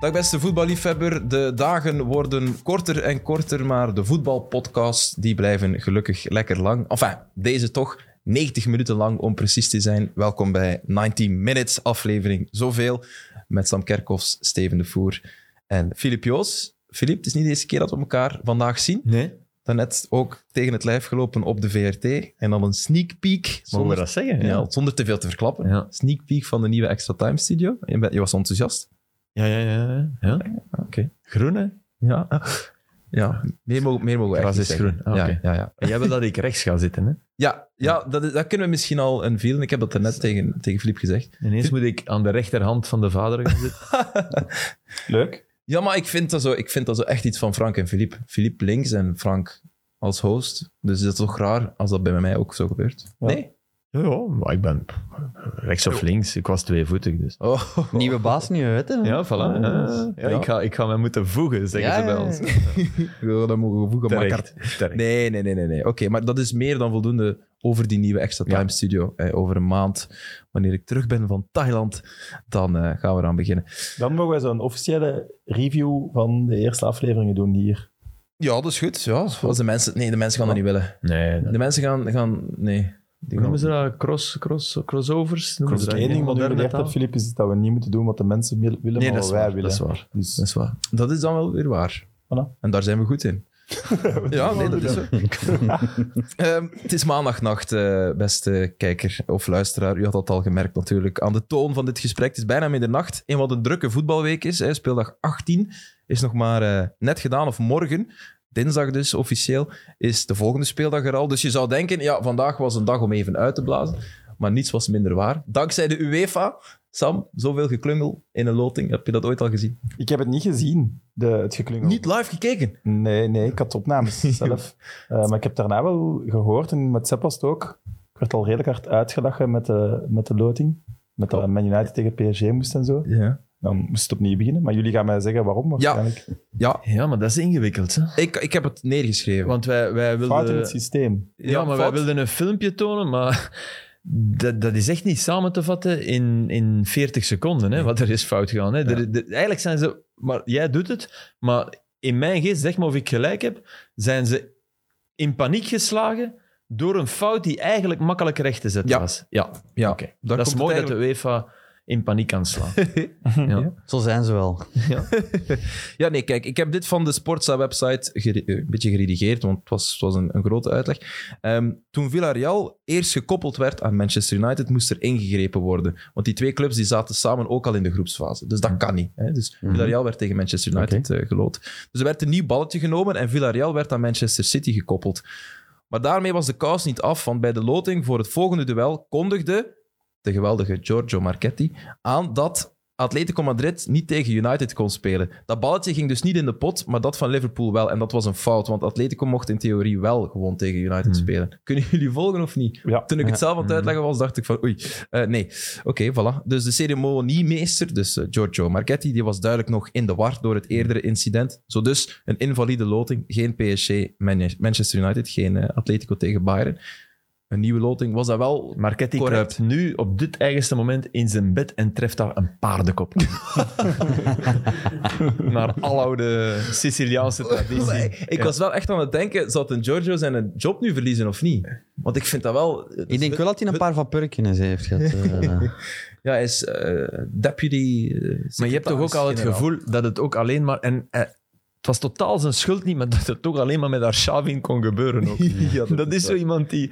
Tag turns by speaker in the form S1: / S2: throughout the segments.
S1: Dag beste voetballiefhebber, de dagen worden korter en korter, maar de voetbalpodcasts die blijven gelukkig lekker lang. Enfin, deze toch 90 minuten lang om precies te zijn. Welkom bij 90 Minutes aflevering zoveel met Sam Kerkhoffs, Steven de Voer en Filip Joos. Filip, het is niet de eerste keer dat we elkaar vandaag zien.
S2: Nee,
S1: Daarnet ook tegen het lijf gelopen op de VRT en dan een sneak peek.
S2: mogen we
S1: Zonder,
S2: dat zeggen?
S1: ja, zonder te veel te verklappen.
S2: Ja.
S1: Sneak peek van de nieuwe Extra Time Studio. Je, bent- je was enthousiast.
S2: ja, ja. ja, ja.
S1: Oké.
S2: Groene.
S1: Ja. Ja, meer mogen, meer mogen we echt
S2: Gras
S1: niet
S2: is
S1: zeggen.
S2: groen. Ah,
S1: ja,
S2: oké.
S1: ja, ja.
S2: En jij wil dat ik rechts ga zitten, hè?
S1: ja, ja dat, is- dat kunnen we misschien al een veel. Ik heb dat daarnet tegen, tegen Filip gezegd.
S2: Ineens Dus moet ik aan de rechterhand van de vader gaan zitten. Leuk.
S1: Ja, maar ik vind dat zo, ik vind dat zo echt iets van Frank en Filip. Filip links en Frank als host. Dus dat is toch raar als dat bij mij ook zo gebeurt?
S2: Ja.
S1: Nee?
S2: Ja, maar ik ben rechts of links. Ik was tweevoetig, dus.
S1: Oh.
S3: Nieuwe baas, nieuwe wetten.
S2: Ja, voilà. Ja,
S1: Ja.
S2: ja, Ik, ga, ik ga mij moeten voegen, zeggen
S3: Ja,
S2: ze bij
S3: ja, ja.
S2: ons.
S1: Ja, dat mogen we voegen, maar
S2: Terecht. Terecht.
S1: Nee, nee, nee, nee. nee. Oké, maar dat is meer dan voldoende over die nieuwe Extra Time
S2: Ja.
S1: Studio. Eh, over een maand, wanneer ik terug ben van Thailand, dan eh, gaan we eraan beginnen.
S4: Dan mogen wij zo'n officiële review van de eerste afleveringen doen hier.
S1: Ja, dat is goed. Ja, als de mensen, nee, de mensen gaan dat niet willen.
S2: Nee, dat-
S1: De mensen gaan... gaan nee. Die
S2: Hoe
S1: gaan-
S2: noemen ze dat? Cross, cross, crossovers? Noemen ze dat
S4: Eén
S2: in
S4: ding Dus wat ik
S2: moderne
S4: geleerd
S2: taal? Oh,
S4: heb, Filip, is dat we niet moeten doen wat de mensen wil- willen,
S1: Nee,
S4: maar
S1: dat is,
S4: wat wij
S1: waar,
S4: willen.
S1: dat is waar.
S4: Dus
S1: Dat is waar. Dat is dan wel weer waar.
S4: Voilà.
S1: En daar zijn we goed in. ja, nee, dat is zo. Ehm, het is maandagnacht, eh, beste kijker of luisteraar. U had dat al gemerkt natuurlijk. Aan de toon van dit gesprek. Het is bijna middernacht. In wat een drukke voetbalweek is. Hè. Speeldag 18 is nog maar eh, net gedaan. Of morgen, dinsdag dus officieel, is de volgende speeldag er al. Dus je zou denken, ja, vandaag was een dag om even uit te blazen. Maar niets was minder waar. Dankzij de UEFA. Sam, zoveel geklungel in een loting. Heb je dat ooit al gezien?
S4: ik heb het niet gezien, de, het geklungel.
S1: Niet live gekeken.
S4: Nee, nee, ik had opnames zelf. Eh, maar ik heb daarna wel gehoord, en met Sepp was het ook. Ik werd al redelijk hard uitgelachen met de, met de loting. Met dat Man United tegen PSG moest en zo.
S1: Ja.
S4: Dan moest het opnieuw beginnen. Maar jullie gaan mij zeggen waarom waarschijnlijk.
S3: dus,
S1: Ja,
S2: Ja, maar dat is ingewikkeld, hè?
S1: ik, ik heb het neergeschreven.
S2: Want wij, wij wilden...
S4: Fout in
S3: eh,
S4: het systeem.
S2: Ja,
S1: Ja,
S2: maar
S1: fout.
S2: wij wilden een filmpje tonen, maar dat, dat is echt niet samen te vatten in, in 40 seconden, hè, wat er is fout gegaan. Hè. Er- er- eigenlijk zijn ze... Maar jij doet het, maar in mijn geest, zeg maar of ik gelijk heb, zijn ze in paniek geslagen door een fout die eigenlijk makkelijk recht te zetten
S1: Ja.
S2: was. Ja,
S1: ja,
S2: oké.
S1: daar
S2: dat is
S1: komt
S2: mooi
S1: het
S2: dat de UEFA in paniek kan slaan.
S3: Zo zijn ze wel.
S1: Ja, nee, kijk, ik heb dit van de Sportsa-website gere- eh, een beetje geredigeerd, want het was, het was een, een grote uitleg. Ehm, toen Villarreal eerst gekoppeld werd aan Manchester United, moest er ingegrepen worden. Want die twee clubs die zaten samen ook al in de groepsfase. Dus dat kan niet. Hè? Dus Villarreal werd tegen Manchester United eh, geloot. Dus er werd een nieuw balletje genomen en Villarreal werd aan Manchester City gekoppeld. Maar daarmee was de kous niet af, want bij de loting voor het volgende duel kondigde de geweldige Giorgio Marchetti aan dat Atletico Madrid niet tegen United kon spelen. Dat balletje ging dus niet in de pot, maar dat van Liverpool wel. En dat was een fout, want Atletico mocht in theorie wel gewoon tegen United
S2: Hmm.
S1: spelen. Kunnen jullie volgen of niet?
S4: Ja.
S1: Toen ik het zelf aan het
S2: Mhm.
S1: uitleggen was, dacht ik van oei, eh, nee. Oké, voilà. Dus de ceremoniemeester, dus eh, Giorgio Marchetti, die was duidelijk nog in de war door het eerdere incident. Zo dus een invalide loting, geen PSG, Man- Manchester United, geen eh, Atletico tegen Bayern. Een nieuwe loting was dat wel...
S2: Marketti
S1: Correct.
S2: kruipt nu op dit eigenste moment in zijn bed en treft daar een paardenkop. Naar aloude Siciliaanse traditie.
S1: Ik was wel echt aan het denken, zou een Giorgio zijn job nu verliezen of niet? Want ik vind dat wel...
S2: Dus
S3: Ik denk wel dat hij een paar van Purkines heeft gehad. eh.
S1: Ja, hij is eh, deputy... eh,
S2: Maar je hebt toch ook al het
S1: secretaris-generaal.
S2: gevoel dat het ook alleen maar... En, eh, het was totaal zijn schuld niet, maar dat het toch alleen maar met haar Shavin kon gebeuren ook.
S1: Ja,
S2: Dat is zo iemand die...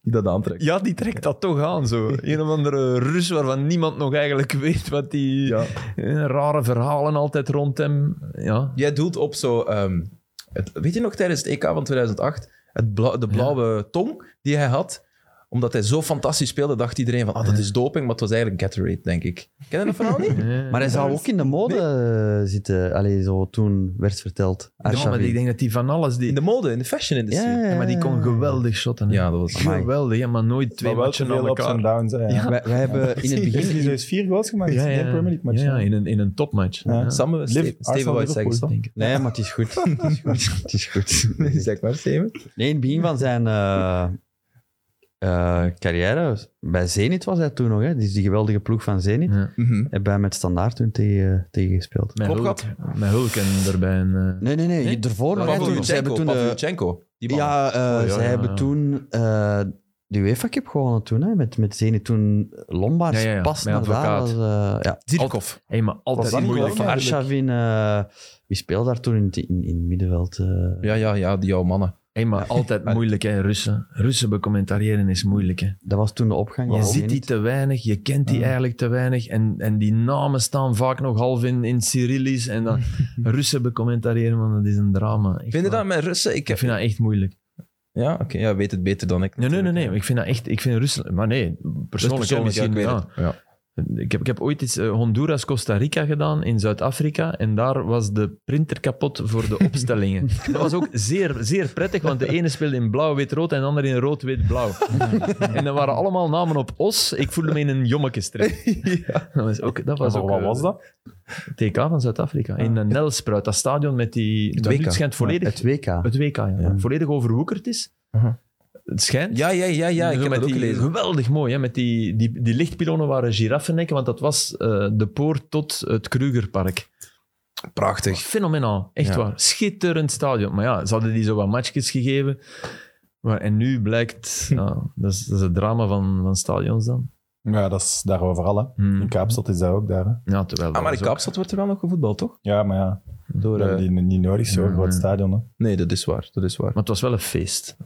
S1: Die dat aantrekt.
S2: Ja, die trekt dat toch aan zo. Een of andere Rus waarvan niemand nog eigenlijk weet wat die...
S1: Ja.
S2: Eh, Rare verhalen altijd rond hem. Ja.
S1: Jij doelt op zo. ehm, het, weet je nog tijdens het EK van 2008? Het blau- de blauwe tong die hij had. Omdat hij zo fantastisch speelde, dacht iedereen van ah, dat is doping, maar het was eigenlijk Gatorade, denk ik. Ken je dat verhaal niet?
S2: Eh,
S3: maar hij zou ook in de mode eh, zitten. Allee, zo toen werd verteld.
S2: Ja, maar
S3: Arshavin.
S2: ik denk dat die van alles... Die,
S1: In de mode, in de fashion industrie.
S3: Ja,
S1: Ja,
S3: ja,
S2: Ja, maar die
S3: Eh.
S2: kon geweldig shotten. hè.
S1: dat was...
S3: Amai.
S2: geweldig, hè, maar nooit twee
S4: maar wel
S2: matchen
S4: te
S2: aan
S4: veel ups en
S2: elkaar.
S4: downs. hè, Ja.
S3: Wij, wij hebben in het
S4: Heeft hij
S3: begin...
S4: zoiets vier goals gemaakt in een Premier League match?
S2: ja,
S4: hè?
S2: in een, in een topmatch.
S4: Ja.
S2: Ja.
S1: Samen, Ste- Steven
S4: Arsenal,
S1: White zeggen
S4: Liverpool.
S1: denk ik.
S3: Nee, maar het is goed. Het is goed. Het is goed.
S1: Zeg maar, Steven.
S3: Nee, in het begin van zijn eh, eh, carrière. Bij Zenit was hij toen nog, hè? Dus die geweldige ploeg van Zenit.
S2: Ja.
S1: Mhm.
S3: Heb hij met Standaard toen tegen, tegen gespeeld.
S2: Met
S1: Klopgat?
S2: Hulk, met Hulk en daarbij een... eh,
S3: Nee, nee, nee.
S1: Nee?
S3: Daarvoor nog. hè, toen- Ze hebben
S1: Pavlyuchenko,
S3: toen de,
S1: Pavlyuchenko. eh, Die man.
S3: Ja, eh
S4: Oh,
S2: ja,
S3: zij
S2: ja,
S3: hebben
S2: ja.
S3: toen eh, de UEFA Cup gewonnen toen, hè, met, met Zenit. Toen Lombaars
S2: Ja, ja, ja,
S3: pas
S2: met
S3: naar daar was...
S2: advocaat.
S3: eh, ja.
S1: Zirkov.
S2: hey, maar
S4: Was
S2: altijd
S4: dat
S2: moeilijk.
S4: niet wel?
S3: Arshavin, eh, wie speelde daar toen in, het- in, in het middenveld? eh?
S1: Ja, ja, ja, die jouw mannen.
S2: Hey, maar altijd moeilijk, hè, Russen. Russen becommentariëren is moeilijk, hè.
S3: dat was toen de opgang.
S2: Je
S3: van
S2: ziet
S3: Zenit.
S2: die te weinig, je kent die
S4: Ja.
S2: eigenlijk te weinig. En, en die namen staan vaak nog half in, in Cyrillisch. En dan Russen becommentariëren, man, dat is een drama. Echt
S1: Vind je
S2: waar.
S1: dat met Russen? Ik
S2: Ik
S1: heb...
S2: vind dat echt moeilijk.
S1: Ja, oké. ja, weet het beter dan ik.
S2: Nee, nee, nee, nee.
S1: natuurlijk.
S2: Ik vind dat echt... Ik vind Rusland... Maar nee,
S1: Dat is
S2: persoonlijk,
S1: persoonlijk, ja,
S2: misschien...
S1: ik weet
S2: ja.
S1: het. Ja.
S2: Ik heb, ik heb ooit eens eh, Honduras-Costa Rica gedaan in Zuid-Afrika. En daar was de printer kapot voor de opstellingen. Dat was ook zeer, zeer prettig, want de ene speelde in blauw-wit-rood en de andere in rood-wit-blauw. En dan waren allemaal namen op os. Ik voelde me in een jommekestreek. Dat was ook... Dat was
S4: Maar
S2: ook
S4: wat
S2: eh,
S4: was dat?
S2: TK van Zuid-Afrika. In eh, Nelspruit, dat stadion met die...
S1: Het
S2: dat
S1: WK.
S2: nu- Het schijnt volledig...
S3: Het WK.
S2: Het WK, ja.
S3: Ja.
S2: Volledig overwoekerd is.
S1: Aha.
S2: Het schijnt.
S1: ja, ja, ja, ja. Ik
S2: Zo
S1: heb
S2: met
S1: dat ook
S2: die-
S1: gelezen.
S2: Geweldig mooi, hè? met die, die, die lichtpilonen waren giraffennekken, want dat was eh, de poort tot het Krugerpark.
S1: Prachtig.
S2: Fenomenaal, echt
S1: Ja.
S2: waar. Schitterend stadion. Maar ja, ze hadden die zo wat matchjes gegeven. Maar, en nu blijkt,
S1: Hm.
S2: ja, dat, is, dat is het drama van, van stadions dan.
S4: Ja, dat is daar overal. Hè.
S2: Hmm.
S4: In Kaapstad is dat ook daar. Hè.
S2: Ja, terwijl
S1: Ah, maar
S2: dat
S1: in
S2: is ook-
S1: Kaapstad wordt er wel nog gevoetbald, toch?
S4: Ja, maar ja,
S1: Door,
S4: dat
S1: eh,
S4: hebben die niet nodig, zo'n
S2: ja,
S4: groot
S2: ja.
S4: stadion. Hè.
S1: Nee, dat is waar. Dat is waar.
S2: Maar het was wel een feest.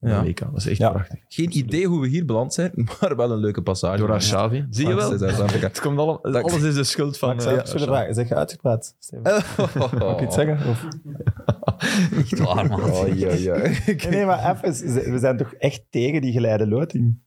S1: Ja.
S2: Ja. WK. Dat was echt
S4: Ja.
S2: prachtig.
S1: Geen idee hoe we hier beland zijn, maar wel een leuke passage.
S2: Door Arshavi. Zie je wel?
S1: Dankzij Zuid-Afrika.
S2: Het komt allemaal,
S1: Dank-
S2: alles is de schuld van...
S4: Maar ik zou
S2: eh,
S4: even willen vragen, zeg je uitgepraat? Steven? Mag ik iets zeggen? Of-
S3: Echt waar, man.
S1: Oh, ja, ja.
S4: Nee, nee, maar even, ze- we zijn toch echt tegen die geleide loting?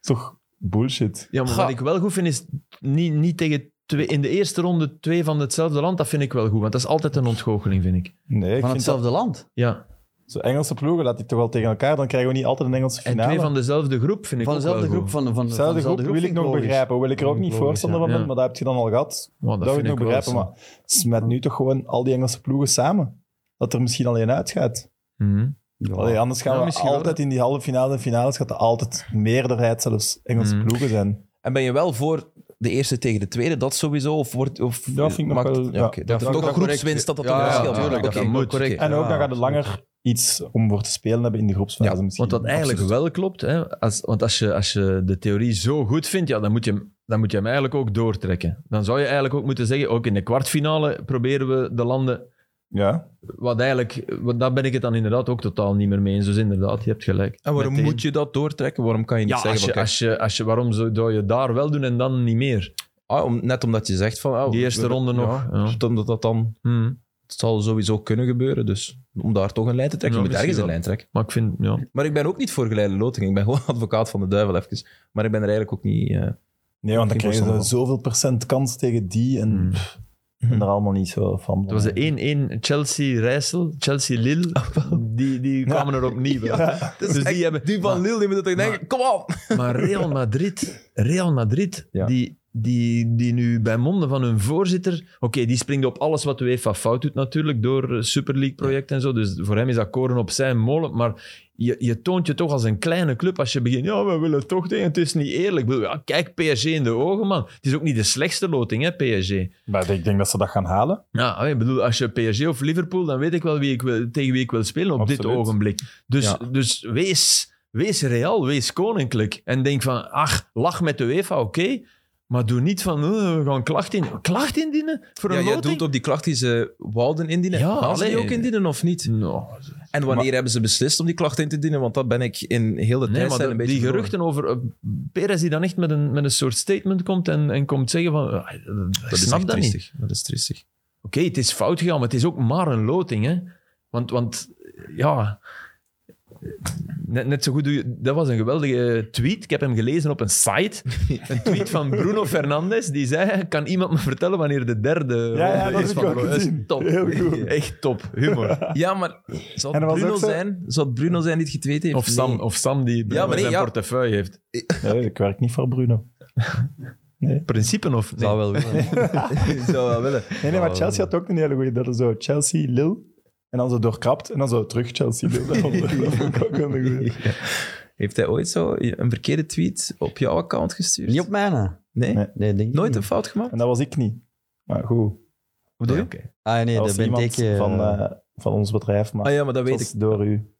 S4: Toch bullshit.
S2: Ja, maar
S1: Ga-
S2: wat ik wel goed vind is niet, niet tegen twee, in de eerste ronde twee van hetzelfde land. Dat vind ik wel goed, want dat is altijd een ontgoocheling, vind ik.
S4: Nee, ik
S3: Van
S4: vind dat,
S3: hetzelfde land.
S2: Ja.
S4: zo Engelse ploegen, laat die toch wel tegen elkaar, dan krijgen we niet altijd een Engelse
S2: En
S4: finale.
S2: twee van dezelfde groep vind ik
S3: Van
S2: ook wel
S3: dezelfde groep.
S2: goed.
S3: Van, van, van
S4: Hetzelfde
S3: dezelfde
S4: groep wil
S3: vind
S4: ik nog
S3: logisch.
S4: begrijpen, wil ik er ook
S3: Vind
S4: niet
S3: ik logisch,
S4: voorstander
S2: ja.
S4: van
S2: Ja.
S4: doen, maar dat heb je dan al gehad.
S2: Maar
S4: Dat,
S2: dat
S4: wil
S2: vind
S4: ik
S2: ik
S4: nog
S2: wel
S4: begrijpen,
S2: zo.
S4: maar smet nu toch gewoon al die Engelse ploegen samen. Dat er misschien alleen uitgaat.
S2: Mhm.
S3: Ja.
S4: Allee, anders gaan
S2: Ja,
S4: we
S2: misschien wel,
S4: altijd in die halve finales en finales gaat er altijd meerderheid zelfs Engelse
S2: Mm.
S4: ploegen zijn.
S1: En ben je wel voor de eerste tegen de tweede, dat sowieso? Of wordt, of
S4: Ja, vind ik nog
S1: maakt-
S4: wel-
S1: Ja,
S4: ja.
S1: oké,
S4: Ja,
S1: dat
S3: vind
S1: er
S3: ik
S1: toch
S3: wel
S1: groepswinst,
S3: correct.
S1: dat dat
S3: Ja,
S1: toch een
S3: ja,
S1: verschil maakt.
S2: tuurlijk,
S1: Oké,
S2: dat moet.
S1: correct.
S4: En ook,
S3: Ja,
S4: dan gaat het langer iets om voor te spelen hebben in de groepsfase
S1: Ja,
S4: misschien.
S2: Want wat eigenlijk wel klopt, hè, als, want als je, als je de theorie zo goed vindt, ja, dan, moet je, hem- dan moet je hem eigenlijk ook doortrekken. Dan zou je eigenlijk ook moeten zeggen, ook in de kwartfinale proberen we de landen...
S4: Ja,
S2: Wat eigenlijk, want daar ben ik het dan inderdaad ook totaal niet meer mee eens. Dus inderdaad, je hebt gelijk.
S1: En waarom
S2: Meteen.
S1: moet je dat doortrekken? Waarom kan je niet
S2: Ja,
S1: zeggen
S2: als je,
S1: van,
S2: als je, als je, waarom zou je daar wel doen en dan niet meer?
S1: kijk, ah, om, net omdat je zegt van... ah,
S2: Die eerste
S1: we-
S2: ronde
S1: ja,
S2: nog, ja.
S1: Omdat dat dan...
S2: Hmm,
S1: Het zal sowieso kunnen gebeuren, dus om daar toch een lijn te trekken.
S2: Ja,
S1: je moet ergens
S2: misschien
S1: een lijn trekken.
S2: Maar ik vind, ja.
S1: Maar ik ben ook niet voor geleide loting. Ik ben gewoon advocaat van de duivel even. Maar ik ben er eigenlijk ook niet... eh,
S4: nee, want dan
S1: Ik
S4: krijgen ze
S1: voorstander
S4: zoveel procent kans tegen die en
S2: Mm.
S4: pff, ik ben er allemaal niet zo van.
S2: Dat was de 1-1 Chelsea-Rijssel, Chelsea-Lille. Die, die kwamen er opnieuw bij. Dus die hebben-
S1: die van
S2: maar-
S1: Lille, die moeten toch
S2: maar-
S1: denken, kom op!
S2: Maar Real Madrid, Real Madrid
S1: Ja.
S2: die, die, die nu bij monden van hun voorzitter... Oké, die springt op alles wat de UEFA fout doet natuurlijk, door eh, Super League-project en zo. Dus voor hem is dat koren op zijn molen. Maar je, je toont je toch als een kleine club als je begint... Ja, we willen toch tegen, het is niet eerlijk. Ik bedoel, Ja, kijk PSG in de ogen, man. Het is ook niet de slechtste loting, hè, PSG.
S4: Maar ik denk dat ze dat gaan halen.
S2: Ja, ah, ik bedoel, als je PSG of Liverpool, dan weet ik wel, wie ik wil, tegen wie ik wil spelen op dit
S4: Absoluut.
S2: ogenblik. Dus,
S1: Ja.
S2: dus wees, wees real, wees koninklijk. En denk van, ach, lach met de UEFA, oké. maar doe niet van, eh, we gaan klacht indienen. Klacht indienen? Voor
S1: Ja,
S2: een
S1: jij
S2: loting?
S1: doet op die klacht die ze wouden indienen.
S2: Ja,
S1: Gaan ze die
S2: allee.
S1: ook indienen of niet?
S2: Nou,
S1: En wanneer
S4: Maar-
S1: hebben ze beslist om die klacht in te dienen? Want dat ben ik in heel de tijd
S2: nee, maar
S1: zijn
S2: de-
S1: een beetje
S2: die
S1: verloren.
S2: geruchten over eh, Perez die dan echt met een, met een soort statement komt en, en komt zeggen van, ah,
S1: Dat is
S2: snap
S1: echt
S2: dat niet.
S1: triestig. Dat is triestig.
S2: Oké, het is fout gegaan, maar het is ook maar een loting. Hè? Want, want ja, net, net zo goed doe je... Dat was een geweldige eh, tweet. Ik heb hem gelezen op een site. Een tweet van Bruno Fernandes. Die zei, kan iemand me vertellen wanneer de derde
S4: ja,
S2: ronde
S4: dat
S2: is
S4: heb
S2: van
S4: ik ook
S2: Bro- Dat is
S4: gezien.
S2: top.
S4: Heel goed.
S2: Echt top. Humor.
S1: Ja, maar zou
S4: En
S1: het
S4: dat was
S1: Bruno
S4: ook zo-
S1: zijn? Zou het Bruno zijn die het getweet heeft?
S2: Of Sam,
S1: Nee.
S2: of Sam die
S1: Ja, maar nee,
S2: zijn
S1: ja.
S2: portefeuille heeft.
S4: Nee, ik werk niet voor Bruno.
S2: Principe of... Nee.
S3: Zou wel willen.
S1: Ik zou wel willen.
S4: Nee, nee, maar Chelsea had ook een hele goede. Dat is zo Chelsea, Lille. En dan zo doorkrapt en dan zo terug Chelsea, Lille. Dat vond ik ook een goede.
S1: Heeft hij ooit zo een verkeerde tweet op jouw account gestuurd?
S3: Niet op mijne.
S1: Nee?
S4: Nee.
S3: Nee, denk ik
S1: Nooit
S3: niet.
S1: een fout gemaakt?
S4: En dat was ik niet. Maar goed,
S1: bedoel je?
S3: Ah nee,
S4: dat
S3: dat
S4: was
S3: ben
S4: iemand
S3: ik... eh,
S4: van, eh, van ons bedrijf,
S2: Oh
S4: maar
S1: Ah ja, maar dat
S4: het
S1: weet
S4: was
S1: ik.
S4: door u.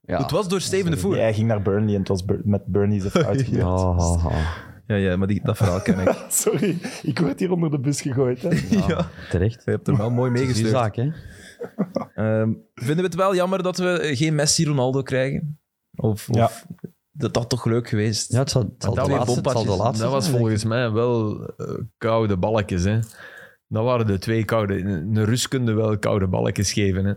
S3: ja.
S1: Het was door Steven de
S3: sorry.
S1: Voer.
S4: Nee, hij ging naar Burnley en het was Bur- met Burnley zijn fout gebeurd.
S3: Oh, oh, oh.
S1: Ja, ja, maar die, dat verhaal ken ik.
S4: Sorry, ik word hier onder de bus gegooid. Hè.
S1: ja.
S3: Terecht.
S1: Je hebt hem wel mooi
S3: Dat is uw
S1: meegestuurd.
S3: zaak, hè?
S1: Ehm, vinden we het wel jammer dat we eh, geen Messi-Ronaldo krijgen? Of, of
S4: Ja.
S1: dat dat toch leuk geweest?
S3: Ja, het zal, het zal
S1: dat
S3: de,
S1: weer
S3: laatste, het zal de
S1: bompatjes,
S3: laatste
S2: Dat was
S3: zijn,
S2: volgens mij wel eh, koude balkjes, hè. Dat waren de twee koude... Een Rus kunde wel koude balkjes geven, hè.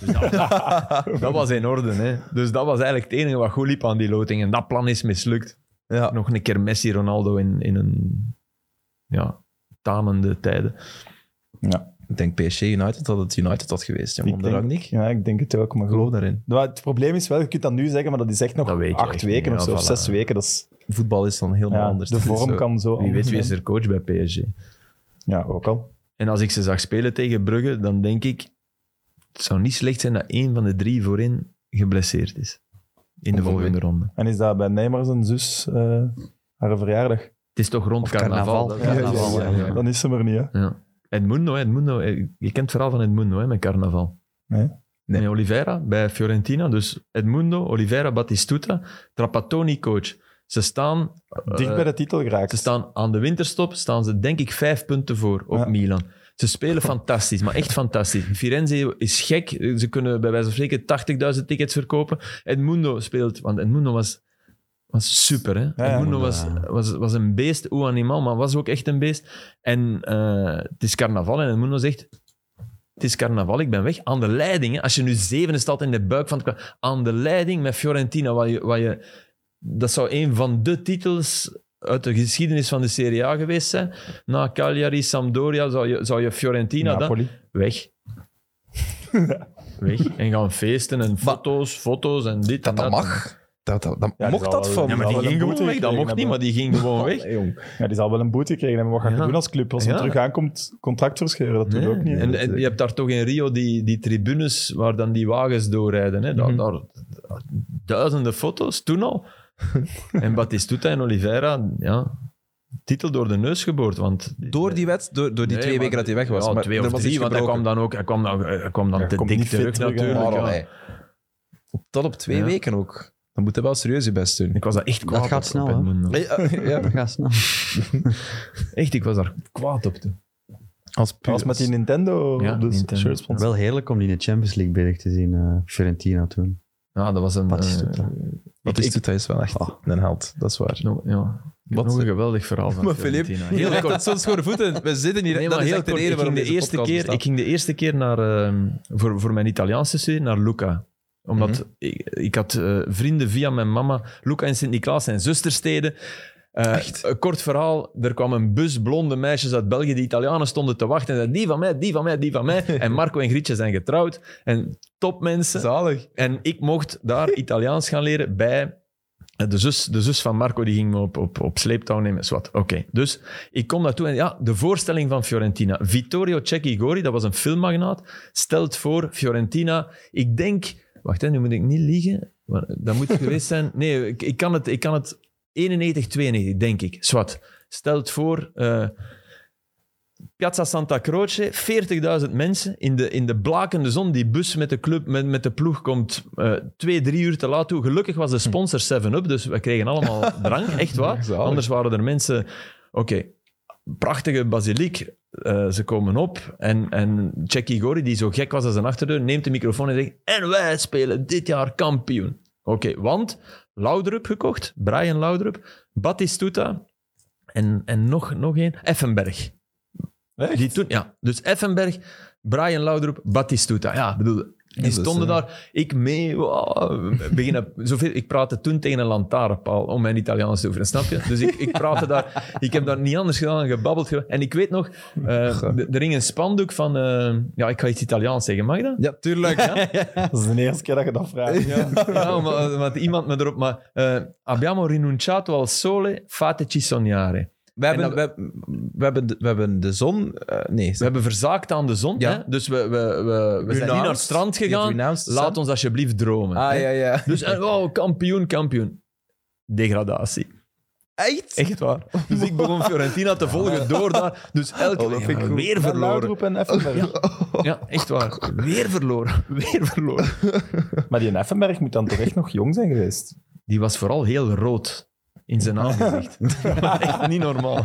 S2: Dus dat, dat was in orde, hè. Dus dat was eigenlijk het enige wat goed liep aan die loting. En dat plan is mislukt.
S1: Ja.
S2: Nog een keer Messi, Ronaldo in, in een... Ja, tamende tijden.
S1: Ik denk PSG United dat het United had geweest. Ja,
S4: Ik
S1: onder
S4: denk-
S1: Rangnick.
S4: Ja, ik denk het ook, maar
S1: Ik
S4: goed.
S1: geloof daarin.
S4: Nou, Het probleem is wel, je kunt dat nu zeggen, maar dat is echt nog
S2: Dat weet je
S4: acht
S2: echt
S4: weken
S2: niet,
S4: of
S2: ja,
S4: zo, of
S2: voilà.
S4: zes weken. Dat is,
S1: Voetbal is dan helemaal
S4: ja,
S1: anders.
S4: de
S1: Dat is
S4: vorm
S1: zo.
S4: kan zo
S2: Wie
S4: anders
S2: weet wie is
S4: zijn.
S2: er coach bij PSG.
S4: Ja, ook al.
S2: En als ik ze zag spelen tegen Brugge, dan denk ik... Het zou niet slecht zijn dat één van de drie voorin geblesseerd is. In de
S1: Om-
S2: volgende ronde.
S4: En is dat bij Neymar zijn zus eh, haar verjaardag?
S2: Het is toch rond
S3: Of
S2: carnaval.
S3: carnaval.
S4: Carnaval,
S2: ja,
S3: ja.
S2: ja.
S4: Dan is ze er niet, hè.
S2: Ja. Edmundo, hè, Edmundo, eh, je kent het verhaal van Edmundo hè, met carnaval.
S4: Nee.
S2: Nee. En Oliveira bij Fiorentina. Dus Edmundo, Oliveira, Battistuta, Trapattoni coach. Ze staan,
S4: Dicht
S2: eh,
S4: bij de titel geraakt.
S2: ze staan aan de winterstop, staan ze denk ik vijf punten voor op
S4: Ja.
S2: Milan. Ze spelen fantastisch, maar echt fantastisch. Firenze is gek. Ze kunnen bij wijze van spreken 80.000 tickets verkopen. Edmundo speelt, want Edmundo was, was super. Hè?
S4: ja.
S2: Edmundo was, was, was een beest, oe animal, maar was ook echt een beest. En eh, het is carnaval en Edmundo zegt... Het is carnaval, ik ben weg. Aan de leiding, hè. als je nu zevende staat in de buik van het... kwa- Aan de leiding met Fiorentina, wat je, wat je, dat zou een van de titels uit de geschiedenis van de Serie A geweest zijn. Na Cagliari, Sampdoria, zou je, zou je Fiorentina... dan-
S4: Napoli.
S2: Weg. Weg. En gaan feesten en foto's, foto's en dit en
S1: Dat dat
S2: dat.
S1: mag. Dat, dat, dat-
S4: Ja, die
S1: mocht
S4: zal
S1: dat
S4: wel-
S1: van...
S2: Ja, maar die
S4: Zou
S2: ging
S4: wel een
S2: gewoon
S4: boete
S2: weg. Dat
S4: gekregen
S2: mocht niet, maar
S4: hebben.
S2: die ging gewoon weg.
S1: Nee, jong.
S4: Ja, die zal wel een boete gekregen hebben. Wat ga je
S2: Ja.
S4: doen als club? Als hij
S2: Ja.
S4: terug aankomt, contract verscheuren, dat doet
S2: Nee.
S4: ook niet.
S2: en, en je hebt daar toch in Rio die, die tribunes waar dan die wagens doorrijden. Hè? Daar,
S4: Mhm.
S2: daar- daar- duizenden foto's, toen al. en Batistuta en Oliveira, ja, titel door de neus geboord. Want
S1: Door die wet, door, door die
S2: Nee,
S1: twee
S2: maar-
S1: weken dat hij weg was.
S2: Ja,
S1: maar
S2: twee
S1: er
S2: of
S1: was
S2: drie,
S1: iets
S2: want hij kwam
S1: gebroken.
S2: dan ook hij kwam dan, hij kwam dan
S4: Hij
S2: te
S4: kwam
S2: dik
S4: niet fit
S2: terug
S4: terug, hè.
S2: natuurlijk.
S1: Maar
S2: ja.
S1: allee. Tot op twee
S2: Ja.
S1: weken ook. Dan moet hij wel serieus je best doen.
S2: Ik was daar echt kwaad
S3: gaat
S2: op, op
S3: snel, hè?
S2: Edmundo.
S1: Ja,
S3: Dat gaat snel.
S2: Echt, ik was daar kwaad op toen.
S1: als
S4: Dat was met die Nintendo
S2: Ja,
S4: op de
S2: Nintendo.
S4: shirts.
S3: Wel heerlijk om die in de Champions League berg te zien, eh, Fiorentina toen.
S2: Ja, dat was een...
S3: Batistuta.
S2: eh,
S1: Dat is, hij is wel echt een held, dat is waar.
S2: nog- ja. Ik heb
S1: Wat-
S2: nog een geweldig verhaal van
S1: Maar Filip,
S2: Fiorentina.
S1: heel
S2: Heel
S1: legt
S2: kort.
S1: dat zo'n schone voeten. We zitten hier,
S2: Nee,
S1: dat
S2: maar
S1: is
S2: heel
S1: echt de
S2: kort.
S1: reden
S2: ik,
S1: waarom
S2: ging de
S1: deze
S2: eerste
S1: podcast
S2: keer,
S1: bestaat.
S2: ik ging de eerste keer naar, ehm, voor, voor mijn Italiaanse studie naar Lucca. Omdat
S1: Mhm.
S2: ik, ik had eh, vrienden via mijn mama. Lucca en Sint-Niklaas zijn zustersteden. Eh,
S1: Echt?
S2: Een kort verhaal. Er kwam een bus blonde meisjes uit België die Italianen stonden te wachten. En zeiden, die van mij, die van mij, die van mij. En Marco en Grietje zijn getrouwd. En topmensen.
S1: Zalig.
S2: En ik mocht daar Italiaans gaan leren bij de zus, de zus van Marco, die ging me op, op, op sleeptouw nemen. Zwat, oké. Dus ik kom daartoe en ja, de voorstelling van Fiorentina. Vittorio Cecchigori, dat was een filmmagnaat, stelt voor Fiorentina, ik denk... Wacht, hè, nu moet ik niet liegen. Maar dat moet geweest zijn... Nee, ik, ik kan het... Ik kan het 91, 92, denk ik. Zwat. Stelt voor... eh, Piazza Santa Croce, 40.000 mensen in de, in de blakende zon. Die bus met de, club, met, met de ploeg komt eh, twee, drie uur te laat toe. Gelukkig was de sponsor 7-Up, dus we kregen allemaal drank, echt waar.
S1: Zalig.
S2: Anders waren er mensen... Oké, prachtige basiliek. Eh, ze komen op en, en Jackie Gori, die zo gek was als een achterdeur, neemt de microfoon en zegt en wij spelen dit jaar kampioen. Oké, want Laudrup gekocht, Brian Laudrup, Battistuta en, en nog, nog één, Effenberg. Die toen, ja, dus Effenberg, Brian Laudrup, Battistuta. Ja, ik bedoel, die
S1: dat is,
S2: stonden
S1: eh,
S2: daar. Ik mee. wow, beginnen, zoveel, ik praatte toen tegen een lantaarnpaal om mijn Italiaans te oefenen, snap je? Dus ik, ik praatte daar. Ik heb daar niet anders gedaan dan gebabbeld. ge- En ik weet nog, eh, d- er hing een spandoek van... eh, ja, ik ga iets Italiaans zeggen, mag dat?
S1: Ja, tuurlijk.
S4: Dat is de eerste keer dat je dat vraagt.
S2: Ja, eh, maar, want iemand me erop... Maar eh, abbiamo rinunciato al sole, fateci sognare.
S1: we, hebben,
S2: dat-
S1: we, hebben- we hebben de, we hebben de zon. eh, nee,
S2: We hebben verzaakt aan de zon,
S1: Ja.
S2: hè? dus we, we, we, we zijn niet
S1: Renounced.
S2: naar het strand
S1: Je hebt
S2: gegaan.
S1: renounced,
S2: Laat ons alsjeblieft dromen.
S1: Ah
S2: hè.
S1: ja, ja.
S2: Dus, en, wow, kampioen, kampioen. Degradatie.
S1: Echt?
S2: Echt waar. Dus ik begon Fiorentina te volgen door daar. Dus elke
S1: Oh, dat vind ik
S2: Ja,
S1: goed.
S2: weer
S4: Ja,
S2: verloren.
S4: Laudrup en Effenberg.
S2: Ja, echt waar. Weer verloren. Weer verloren.
S4: Maar die Effenberg moet dan toch echt nog jong zijn geweest?
S2: Die was vooral heel rood in zijn aangezicht. Maar echt niet normaal.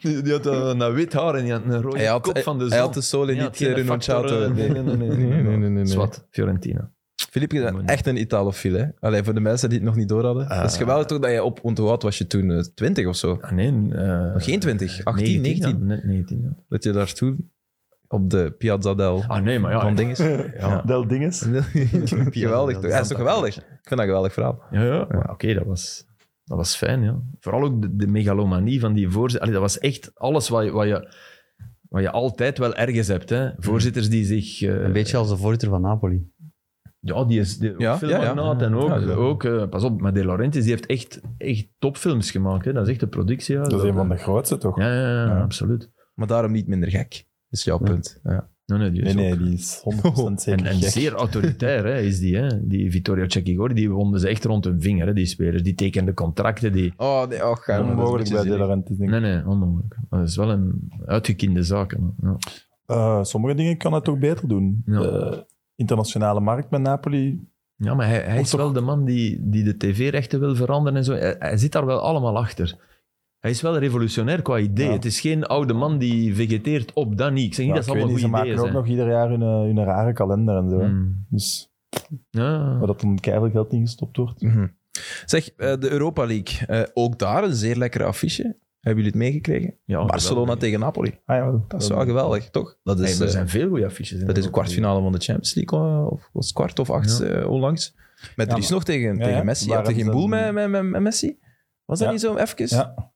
S2: Die, die had eh, een, een wit haar en die had een rode
S1: Hij had,
S2: kop van de zon.
S1: hij had de solen
S2: Ja,
S1: niet
S2: geen
S1: eh, Renault Chato.
S2: factoren. Nee, nee, nee. nee, nee,
S1: Nee, nee, nee, nee.
S2: Zwat, Fiorentina.
S1: Filip is
S2: Manier.
S1: echt een Italofiel, hè? Allee, voor de mensen die het nog niet door hadden.
S2: Ah.
S1: Het is geweldig toch dat jij op, want hoe oud was je toen? eh, 20 of zo?
S2: Ah, nee, eh,
S1: Nog geen 20, 18, 19.
S2: 19. dan, Net 19, ja.
S1: Dat je daar toen op de Piazza del
S2: Ah nee, maar ja.
S1: van dinges.
S2: Ja,
S4: Del Dinges.
S1: geweldig toch? Ja, is toch geweldig? Ik vind dat een geweldig verhaal.
S2: ja, ja, maar oké, dat, was, dat was fijn. Ja. Vooral ook de, de megalomanie van die voorzitter. Allee, dat was echt alles wat je, wat je, wat je altijd wel ergens hebt. Hè. Voorzitters die zich... eh,
S3: Een beetje als de voorzitter van Napoli.
S2: Ja, die is die,
S1: Ja,
S2: film
S1: ja, ja.
S2: maakt en ook,
S1: Ja, ja.
S2: ook eh, pas op, maar De Laurentiis die heeft echt, echt topfilms gemaakt. Hè. Dat is echt een productie.
S4: Dat is een van de grootste, toch?
S2: Ja, ja, ja,
S4: Ja.
S2: absoluut.
S1: Maar daarom niet minder gek. Is jouw
S3: Ja.
S1: punt. Ja.
S2: Nee, nee, die is
S4: Nee,
S2: ook-
S4: nee, die is 100%
S2: En,
S4: zeker
S2: en
S4: gek.
S2: zeer autoritair hè, is die. Hè. Die Vittorio Cecchigori, die wonden ze echt rond hun vinger, hè, die spelers. Die tekenden contracten, die...
S1: Oh, nee, oh, ga
S4: Onmogelijk bij De Laurentiis, denk ik.
S2: Nee, nee, onmogelijk. Maar Dat is wel een uitgekiende zaak. man. Ja.
S4: Eh, sommige dingen kan het toch beter doen.
S2: Ja.
S4: De internationale markt met Napoli.
S2: Ja, maar hij, hij is
S4: Of toch-
S2: wel de man die, die de tv-rechten wil veranderen en zo. Hij, hij zit daar wel allemaal achter. Hij is wel revolutionair qua idee.
S4: Ja.
S2: Het is geen oude man die vegeteert op dat niet. Ik zeg
S4: Ja,
S2: niet
S4: ik
S2: dat ze
S4: weet
S2: allemaal
S4: niet, ze
S2: goede
S4: maken
S2: ideeën
S4: ook
S2: zijn.
S4: nog ieder jaar hun, eh, hun rare kalender en zo. hè.
S2: Hmm.
S4: Dus,
S2: Ja.
S4: maar dat er keihard geld in gestopt wordt.
S2: Hmm.
S1: Mhm. Zeg, eh, de Europa League. eh, ook daar een zeer lekkere affiche. Hebben jullie het meegekregen?
S2: Ja,
S1: Barcelona
S2: Oh, geweldig.
S1: tegen Napoli.
S4: Ah, ja,
S1: Dat is wel geweldig, toch? Dat
S2: Hey,
S1: is,
S2: er
S1: eh,
S2: zijn veel goede affiches. in
S1: dat is de
S2: Europa.
S1: kwartfinale van de Champions League. eh, Of was het kwart of acht
S2: Ja.
S1: eh, onlangs. Met
S4: Ja,
S1: Dries nog tegen,
S4: Ja, ja.
S1: tegen Messi. Je
S4: Waar
S1: had er geen
S4: hebben
S1: boel
S4: ze
S1: met,
S4: dan-
S1: met, met, met Messi? Was dat
S4: Ja.
S1: niet zo even?
S4: Ja.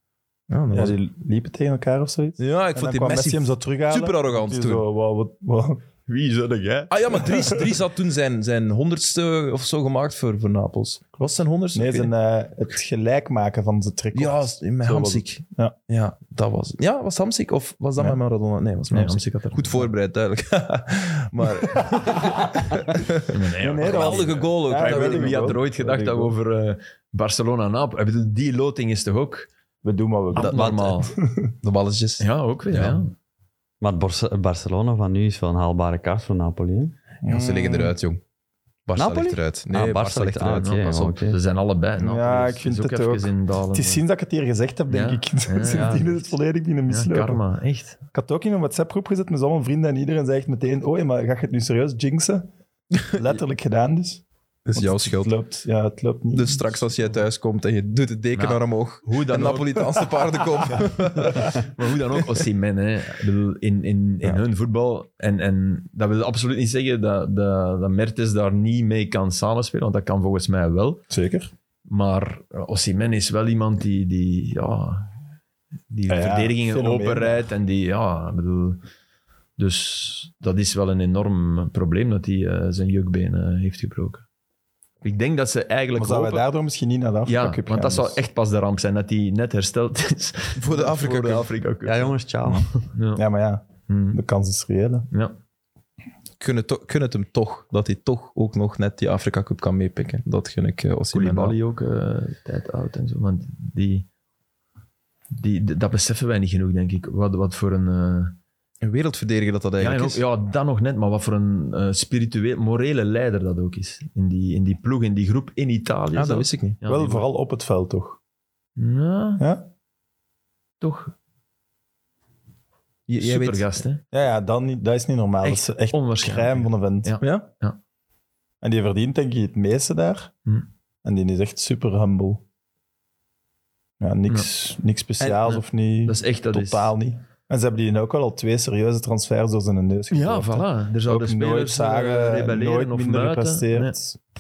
S1: Ja, dat
S4: Ja,
S1: was-
S4: die liepen tegen elkaar of zoiets.
S1: ja, ik
S4: En
S1: vond
S4: dan
S1: die
S4: kwam
S1: Messi,
S4: Messi hem zo terughalen.
S1: super arrogant
S4: Die
S1: toen.
S4: Zo, wow, wat, wow.
S2: Wie is dat, hè?
S1: Ah ja, maar Dries, Dries had toen zijn, zijn honderdste of zo gemaakt voor, voor Napels. Was het zijn honderdste?
S4: Nee,
S1: Ik weet
S4: zijn, eh, het gelijk maken van zijn trick.
S1: niet. Ja, s- met
S4: Zo
S1: Hamsik.
S4: was het.
S1: ja, dat was het. Ja, was het Hamsik of was dat
S4: Nee.
S1: met Maradona? Nee, was met
S2: Nee,
S1: Hamsik.
S2: Hamsik had er-
S1: Goed voorbereid, duidelijk. maar
S2: Nee, nee,
S4: nee, dat was-
S1: geweldige goal ook.
S4: Ja,
S1: hè,
S2: Ik
S4: dat
S2: weet
S1: wel.
S2: niet wie had er ooit gedacht
S4: Ja,
S2: dat we
S4: dat
S2: over eh, Barcelona en Napel... Ik bedoel, Die loting is toch ook
S4: We doen
S2: Ah,
S4: wat we willen.
S1: dat-
S2: abnormaal?
S1: De balletjes.
S2: Ja, ook weer.
S1: Ja.
S2: Ja.
S3: Maar het Borse- Barcelona van nu is wel een haalbare kaart voor Napoli. Hè?
S1: Ja, ze liggen eruit, jong. Barca
S3: Napoli?
S1: ligt eruit. Nee,
S3: Ah,
S1: Barca,
S3: Barca
S1: ligt
S3: ligt
S1: eruit.
S3: aan,
S1: ja,
S3: ja,
S1: pas op.
S3: oké.
S2: Ze zijn allebei. Napel
S4: Ja,
S2: is-
S4: ik vind
S2: is ook
S4: het
S2: even
S4: ook.
S2: In dalen.
S4: Het is sinds dat ik het hier gezegd heb, denk
S2: Ja.
S4: ik.
S2: Ja,
S4: Sindsdien
S2: ja.
S4: is het volledig binnen
S2: ja,
S4: mislopen.
S2: karma, echt.
S4: Ik had ook in een WhatsApp-groep gezet met allemaal vrienden en iedereen zei echt meteen: Oei, maar ga je het nu serieus jinxen? Letterlijk gedaan dus.
S1: Dat is jouw
S4: Want
S1: schuld.
S4: Het loopt, ja, het loopt niet.
S1: Dus straks als jij thuis komt en je doet de deken
S2: Ja.
S1: naar omhoog
S2: Hoe
S1: en
S2: dan, ook,
S1: Napolitaanse paarden komen.
S2: maar hoe dan ook, Osimhen, hè. Ik bedoel, in, in, in
S1: Ja.
S2: hun voetbal. En, en dat wil absoluut niet zeggen dat, dat, dat Mertens daar niet mee kan samenspelen, want dat kan volgens mij wel.
S4: Zeker.
S2: Maar eh, Osimhen is wel iemand die, die, ja, die
S4: Ja, ja,
S2: verdedigingen
S4: fenomeen.
S2: openrijdt. En die, ja, ik bedoel... Dus dat is wel een enorm probleem dat hij eh, zijn jukbeen eh, heeft gebroken. Ik denk dat ze eigenlijk
S4: Maar zouden
S2: hopen...
S4: we daardoor misschien niet naar de Afrika
S2: ja,
S4: Cup
S2: want dat
S4: gaan,
S2: zou
S4: dus-
S2: echt pas de ramp zijn dat hij net hersteld is.
S1: Voor de Afrika
S2: Voor de
S1: Cup.
S2: Afrika Cup.
S3: Ja, jongens, ciao.
S2: Ja.
S4: Ja, maar ja,
S2: Hm.
S4: de kans is reëel. hè.
S2: Ja.
S1: Kun het, to- kun het hem toch, dat hij toch ook nog net die Afrika Cup kan meepikken. Dat gun ik uh, Osimhen wel.
S2: Koulibaly ook eh, tijd oud en zo. Want die, die, d- dat beseffen wij niet genoeg, denk ik. Wat, wat voor een... eh,
S1: Een wereldverdediger dat dat
S2: ja, en
S1: eigenlijk
S2: ook, ja, dat nog net, maar wat voor een eh, spiritueel, morele leider dat ook is. In die, in die ploeg, in die groep in Italië.
S1: is. Ja, dat
S2: zelf.
S1: wist ik niet.
S2: Ja,
S4: Wel
S2: die-
S4: vooral op het veld toch?
S2: Ja,
S4: Ja,
S2: toch.
S1: J- jij weet-
S2: Supergast, hè.
S4: ja, ja dan, niet- dat is niet normaal.
S2: Echt
S4: dat is echt
S2: onwaarschijnlijk.
S4: crème van een vent.
S2: Ja.
S1: Ja?
S4: En die verdient denk ik het meeste daar.
S2: Hm.
S4: En die is echt super humble. Ja, niks, niks speciaals
S2: En-
S4: of niet.
S2: Dat is echt... Dat
S4: Totaal niet. En ze hebben die ook al, al twee serieuze transfers door zijn neus
S2: Is, ja,
S4: gegooid, hè.
S2: voilà. Er zouden
S4: Ook nooit
S2: spelers eh,
S4: zagen,
S2: rebelleren
S4: nooit
S2: of
S4: minder
S2: muiten.
S4: gepresteerd.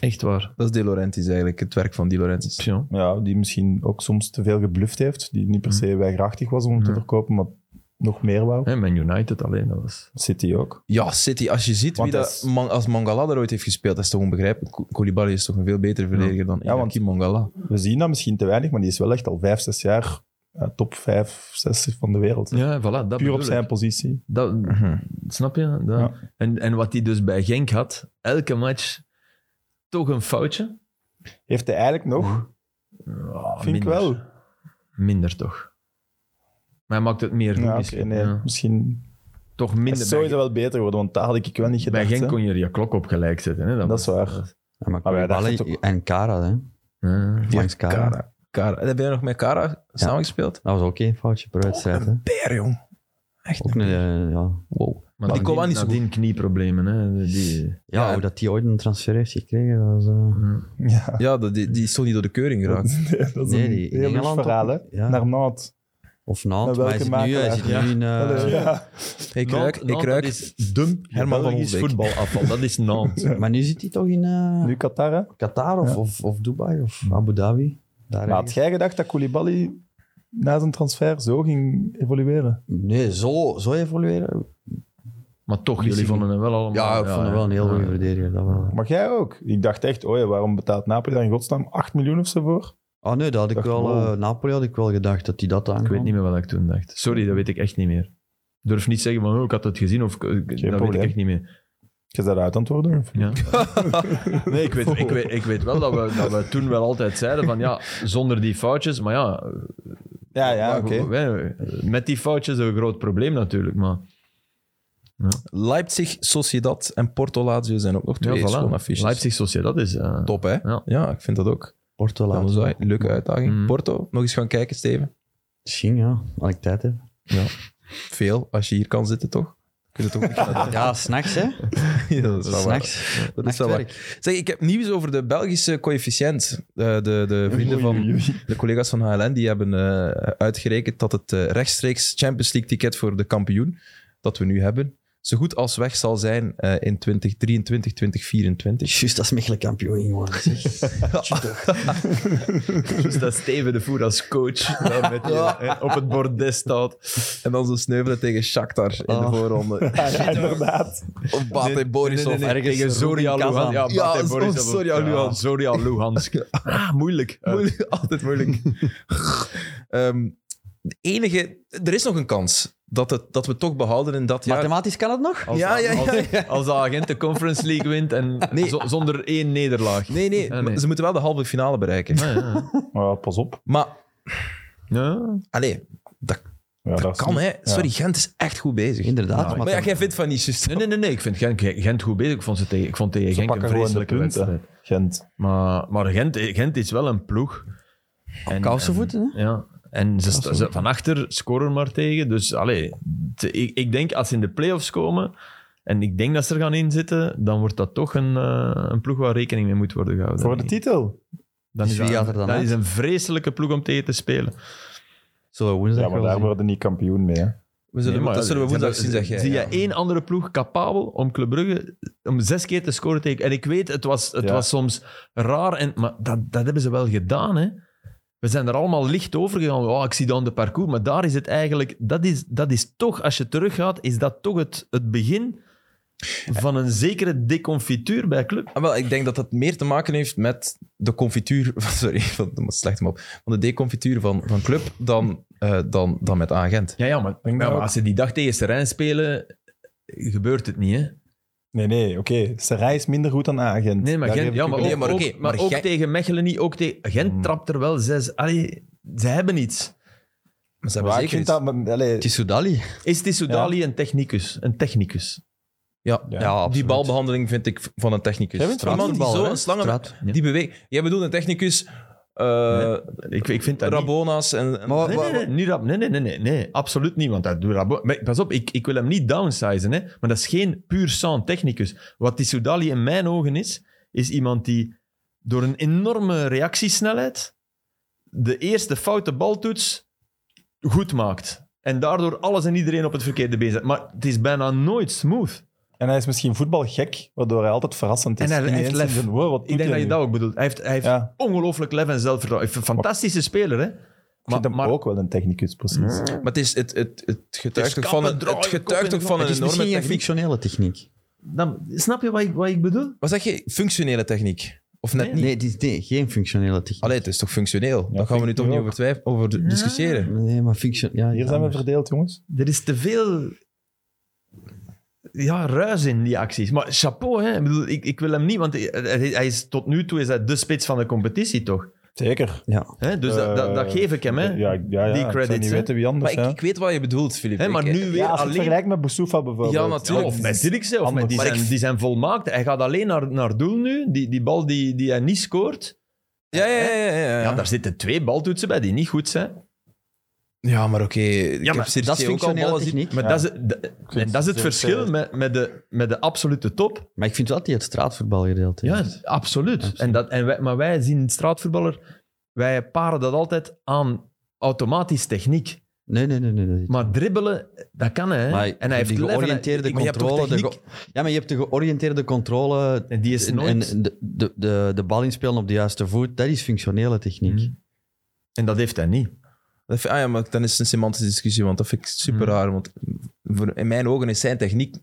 S2: Nee, echt waar.
S1: Dat is De Laurentiis eigenlijk, het werk van De
S4: Dus-
S1: Laurentiis.
S2: Ja.
S4: Ja, die misschien ook soms te veel gebluft heeft. Die niet per se weigerachtig was om hem te
S2: Mhm. Ja.
S4: verkopen, maar nog meer wou.
S2: Hè, Man United alleen, dat was...
S4: City ook.
S1: Ja, City, als je ziet
S4: Want
S1: wie dat,
S4: dat is-
S1: Man- als Mangala er ooit heeft gespeeld, dat is toch onbegrijpelijk. Ko- Koulibaly is toch een veel betere verdediger dan
S4: Ja, want-
S1: Ibrahim Mangala.
S4: We zien dat misschien te weinig, maar die is wel echt al vijf, zes jaar ja, top 5, 6 van de wereld.
S2: Ja, voilà, dat
S4: Puur op
S2: bedoel
S4: zijn
S2: ik.
S4: positie.
S2: Dat,
S1: Mhm.
S2: snap je? Dat-
S4: Ja.
S2: En, en wat hij dus bij Genk had, elke match toch een foutje.
S4: Heeft hij eigenlijk nog?
S2: Ja,
S4: Vind ik
S2: minder.
S4: wel.
S2: Minder toch. Maar hij maakt het meer goed
S4: Ja, oké,
S2: misschien.
S4: nee,
S2: Ja.
S4: Misschien
S2: Toch
S4: het
S2: minder bij
S4: is sowieso wel beter geworden, want daar had ik wel niet
S2: Bij
S4: gedacht.
S2: Genk
S4: hè.
S2: kon je er je klok op gelijk zetten. Hè?
S4: Dat
S2: was-
S4: is waar.
S3: Hij maakt
S4: Maar wij
S3: ballen
S4: dachten toch-
S3: en Kara, hè.
S2: Ja.
S3: Langs Kara.
S1: Kara. Kara. En Heb jij nog met Kara samengespeeld?
S3: Dat was ook geen foutje per wedstrijd, hè.
S1: Een beer, jong. Echt
S3: Ook
S1: een
S3: een,
S1: beer.
S3: eh, ja.
S1: Wow.
S2: Maar
S1: die kon wel niet zo
S2: nadien knieproblemen. Hè? Die,
S3: Ja,
S1: Ja.
S3: hoe dat hij ooit een transfer heeft gekregen, dat was... eh,
S4: Ja.
S1: Ja, dat- die, die is toch niet door de keuring geraakt.
S4: Nee, dat is
S3: Nee,
S4: een
S3: die- in
S4: heel lief
S3: Engeland
S4: verhaal, hè.
S3: ook- ja.
S4: Naar Nantes.
S3: Of Nantes,
S4: Maar
S3: maar hij zit
S4: welke
S3: nu, hij zit
S4: makelaar?
S3: nu in... eh,
S4: Allee, ja.
S1: Ik ruik, ik ruik
S2: Dat is dum
S1: Herman van
S2: Belgisch
S1: Wolbeek.
S2: voetbalafval. Dat is Nantes.
S3: Maar nu zit hij toch in eh,
S4: Nu Qatar, hè.
S3: Qatar of,
S4: Ja.
S3: of, of Dubai of Abu Dhabi. Daar
S4: Maar had
S3: ergens.
S4: jij gedacht dat Koulibaly na zijn transfer zo ging evolueren?
S3: nee, zo, zo evolueren.
S2: Maar toch,
S4: Misschien-
S2: jullie vonden hem wel allemaal...
S3: Ja, ik
S1: Ah,
S3: vond hem wel een heel
S2: ja.
S3: goede verdediger. Dat wel.
S4: Maar jij ook. Ik dacht echt, oei, waarom betaalt Napoli daar in godsnaam 8 miljoen of zo voor?
S3: Ah nee, dat had ik
S4: Dacht,
S3: wel...
S4: wow.
S3: eh, Napoli had ik wel gedacht dat hij dat aan.
S2: Ik weet niet meer wat ik toen dacht. Sorry, dat weet ik echt niet meer. Ik durf niet zeggen van, oh, ik had het gezien of... ik- ik- dat weet
S4: probleem.
S2: ik echt niet meer.
S4: Je zou dat uit antwoorden? Of?
S2: Ja. nee, ik weet, ik, weet, ik weet wel dat we, dat we toen wel altijd zeiden van, ja, zonder die foutjes. Maar ja,
S4: Ja, ja,
S2: maar
S4: oké.
S2: goed, wij- met die foutjes een groot probleem natuurlijk. Maar
S1: Leipzig, Sociedad en Porto Lazio zijn ook nog
S2: ja,
S1: twee
S2: voilà.
S1: schone affiches.
S2: Leipzig Sociedad is... eh,
S1: Top, hè?
S2: Ja.
S1: ja, ik vind dat ook.
S3: Porto
S1: Dat was
S3: laat.
S1: een leuke uitdaging.
S2: Mm.
S1: Porto, nog eens gaan kijken, Steven.
S3: Misschien, ja. Als ik tijd heb.
S1: Veel, als je hier kan zitten, toch? Kunnen toch niet naar de-
S3: Ja, s'nachts, hè.
S1: Ja, Ah. dat is wel waar.
S3: S'nachts.
S1: Dat is wel waar. Zeg, ik heb nieuws over de Belgische coëfficiënt. Eh, de, de vrienden van de collega's van HLN die hebben eh, uitgerekend dat het eh, rechtstreeks Champions League ticket voor de kampioen dat we nu hebben, zo goed als weg zal zijn eh, in 2023, 2024.
S3: Juist als Mechelen kampioen geworden, zeg.
S2: Dus dat Steven de Voer als coach daar met die, eh, op het bordes staat.
S1: En dan zo sneuvelen tegen Shakhtar
S2: Ah.
S1: in de
S3: Oh.
S1: voorronde.
S4: Ja, ja, inderdaad.
S1: Of Bate Borisov.
S3: ergens
S2: tegen Zoria
S3: Rubin
S2: Luhansk.
S3: Kazan.
S2: Ja,
S1: Ja,
S2: Bate
S1: oh,
S2: Borisov.
S1: Zoria
S2: Ja,
S1: Luhansk.
S2: Zoria Luhansk. Ah, moeilijk. Eh,
S1: Moeilijk, altijd moeilijk. Ehm, de enige, er is nog een kans dat, het, dat we het toch behouden in dat jaar.
S3: Mathematisch kan het nog?
S2: als,
S1: Ja, ja, ja,
S2: Als, als de agent de Conference League wint en
S1: Nee.
S2: zo- zonder één nederlaag.
S1: Nee, nee,
S2: Ah, nee.
S1: ze moeten wel de halve finale bereiken.
S2: Ja, ja.
S4: Maar pas op.
S1: Maar,
S2: Ja.
S1: allee, dat
S4: Ja, dat is
S1: kan
S4: niet-
S1: hè. Sorry, Gent is echt goed bezig.
S3: Inderdaad.
S1: Maar ja, jij vindt van niet, juist.
S2: Nee, nee, nee, nee, Ik vind Gent, Gent goed bezig. Ik vond, ze tegen, ik vond tegen
S4: Ze
S2: Genk een
S4: pakken gewoon de
S2: vreselijke
S4: punten.
S2: wedstrijd.
S4: Gent.
S2: Maar, maar Gent, Gent is wel een ploeg. En-
S3: Kousenvoeten,
S2: en-
S3: hè?
S2: Ja, en ze, sta- ze van achter scoren maar tegen. Dus allee, te- ik, ik denk als ze in de play-offs komen en ik denk dat ze er gaan inzitten, dan wordt dat toch een, eh, een ploeg waar rekening mee moet worden gehouden.
S4: Voor de titel.
S2: dan is
S3: Dus
S2: dat-
S3: wie gaat er dan
S2: Dat
S3: uit?
S2: is een vreselijke ploeg om tegen te spelen.
S3: Zullen we woensdag
S4: Ja, maar
S3: wel
S4: daar
S3: zien?
S4: worden niet kampioen mee. Hè.
S1: We zullen,
S2: Nee, maar
S1: dat zullen we
S2: ze
S1: woensdag zien,
S2: hebben-
S1: zeg jij.
S2: Zie
S1: ja.
S2: je één andere ploeg capabel om Club Brugge om zes keer te scoren tegen... En ik weet, het was, het
S4: Ja.
S2: was soms raar, en, maar dat, dat hebben ze wel gedaan, hè. We zijn er allemaal licht over gegaan. Oh, ik zie dan de parcours. Maar daar is het eigenlijk... Dat is, dat is toch, als je teruggaat, is dat toch het, het begin van een zekere deconfituur bij club.
S1: Ah, wel, ik denk dat dat meer te maken heeft met de confituur... van- Sorry, van, dat slecht hem op. Van de deconfituur van, van club dan, eh, dan, dan met Agent.
S2: Ja, ja, maar,
S4: Denk
S2: ja,
S4: dat
S2: maar
S4: ook.
S2: als ze die dag tegen Serijn spelen, gebeurt het niet, hè.
S4: Nee, nee, oké. Sarai is minder goed dan agent.
S2: Nee, maar
S4: Daar
S2: Gent,
S4: geef
S2: ja,
S4: ik
S2: maar
S4: u-
S2: ook,
S1: Nee, maar
S2: ook-
S1: oké,
S2: maar
S1: maar
S2: ook
S1: Gent- Hmm.
S2: tegen Mechelen niet. Ook tegen Gent trapt er wel zes. Allee, ze hebben iets.
S1: Maar ze hebben
S4: Maar ik
S1: zeker
S4: vind
S1: iets.
S4: dat... maar- allee,
S3: Het is Soudali.
S2: Is Tissoudali een technicus? Een technicus.
S1: Ja,
S4: Ja,
S1: die
S3: absoluut.
S1: balbehandeling vind ik van een technicus.
S4: Jij bent van
S1: Iemand die
S3: voetbal,
S1: zo
S3: hè?
S1: een slangen...
S3: Straat.
S2: Ja.
S1: Die beweegt... Jij bedoelt een technicus... eh,
S2: Ik, ik vind dat niet...
S1: Rabona's en... en-
S3: Maar
S2: Nee, nee, nee, niet Rab- nee, nee, nee, nee, nee, absoluut niet. Want dat doet Rabo. Maar pas op, ik, ik wil hem niet downsizen, hè, maar dat is geen puur sang technicus. Wat Tissoudali in mijn ogen is, is iemand die door een enorme reactiesnelheid de eerste foute baltoets goed maakt. En daardoor alles en iedereen op het verkeerde been zet. Maar het is bijna nooit smooth.
S4: En hij is misschien voetbalgek, waardoor hij altijd verrassend is.
S2: En hij- hij heeft
S4: Ineens
S2: lef.
S4: is het, wow, wat
S2: Ik
S4: doet
S2: denk
S4: hij
S2: dat je
S4: nu?
S2: dat ook bedoelt. Hij heeft, hij heeft
S4: Ja,
S2: ongelooflijk lef en zelfvertrouwen. Hij is een fantastische speler, hè?
S4: ik vind hem ook wel een technicus, precies.
S2: Mm.
S1: Maar het, is, het, het, het getuigt
S2: Het
S1: ook
S2: is
S1: van
S2: kappen,
S1: een,
S2: draaien,
S1: het
S2: kop
S1: getuigt
S2: in
S1: ook
S2: de
S1: van
S2: grond.
S1: een
S3: Het is
S1: enorme
S3: misschien een
S1: techniek.
S3: functionele techniek.
S2: Dan, snap je wat ik, wat ik bedoel?
S1: Wat zeg je? Functionele techniek. Of net niet?
S3: Nee, het is, nee, geen functionele techniek.
S1: Allee, het is toch functioneel?
S4: Ja,
S1: Daar gaan we nu toch niet
S4: functioneel
S1: over, twijf- over de-
S2: Ja.
S1: discussiëren.
S3: Nee, maar function... Ja,
S4: Hier zijn we verdeeld, jongens.
S2: Er is te veel ja, ruis in die acties. Maar chapeau, hè? Ik, bedoel, ik, ik wil hem niet, want hij- hij hij is, tot nu toe is hij de spits van de competitie, toch?
S4: Zeker.
S3: Ja.
S2: Hè? Dus dat, dat, dat
S4: Eh,
S2: geef ik hem, hè?
S4: Ja, ik- ja, ja.
S2: Die
S4: ik zou
S2: credits,
S4: niet
S2: hè.
S4: weten wie anders.
S1: Maar
S4: hè.
S1: ik, ik weet wat je bedoelt, Filip.
S2: Hè, maar
S1: Ik-
S2: nu weer
S4: ja, als je het
S2: alleen...
S4: vergelijkt met Boussoufa bijvoorbeeld.
S1: Ja, natuurlijk.
S2: Ja, of met Dirkse, of met die,
S1: Maar ik-
S2: zijn, die zijn volmaakt. Hij gaat alleen naar, naar doel nu. Die, die bal die, die hij niet scoort.
S1: Ja, ja, ja. ja, ja.
S2: Ja. daar zitten twee baltoetsen bij die niet goed zijn.
S1: Ja, maar oké. ik
S2: maar
S1: heb Circe
S3: dat is
S1: ook al
S3: functionele
S1: ballen zien-
S3: techniek.
S2: Maar
S4: Ja.
S2: dat is, dat-
S4: vind
S2: en dat is het
S4: het
S2: verschil
S4: heel-
S2: met, met, de, met de absolute top.
S3: Maar ik vind wel dat die het straatvoetbalgedeelte
S2: Ja,
S3: heeft.
S2: absoluut.
S3: Absoluut.
S2: En dat, en wij, maar wij zien straatvoetballer, wij paren dat altijd aan automatisch techniek.
S3: Nee, nee, nee. nee, nee.
S2: Maar dribbelen, dat kan hij. hè.
S3: Maar
S2: en hij heeft
S3: die
S2: lef en hij-
S3: georiënteerde
S2: ik- maar je hebt toch
S3: controle. de
S2: techniek?
S3: ge- ja, maar je hebt de georiënteerde controle
S2: En die is
S3: en,
S2: nooit... En,
S3: en de, de, de, de bal inspelen op de juiste voet. Dat is functionele techniek.
S2: Mhm. dat heeft hij niet.
S1: Dat vind- ah ja, maar dan is het een semantische discussie, want dat vind ik super
S2: Hmm.
S1: raar. Want voor, in mijn ogen is zijn techniek...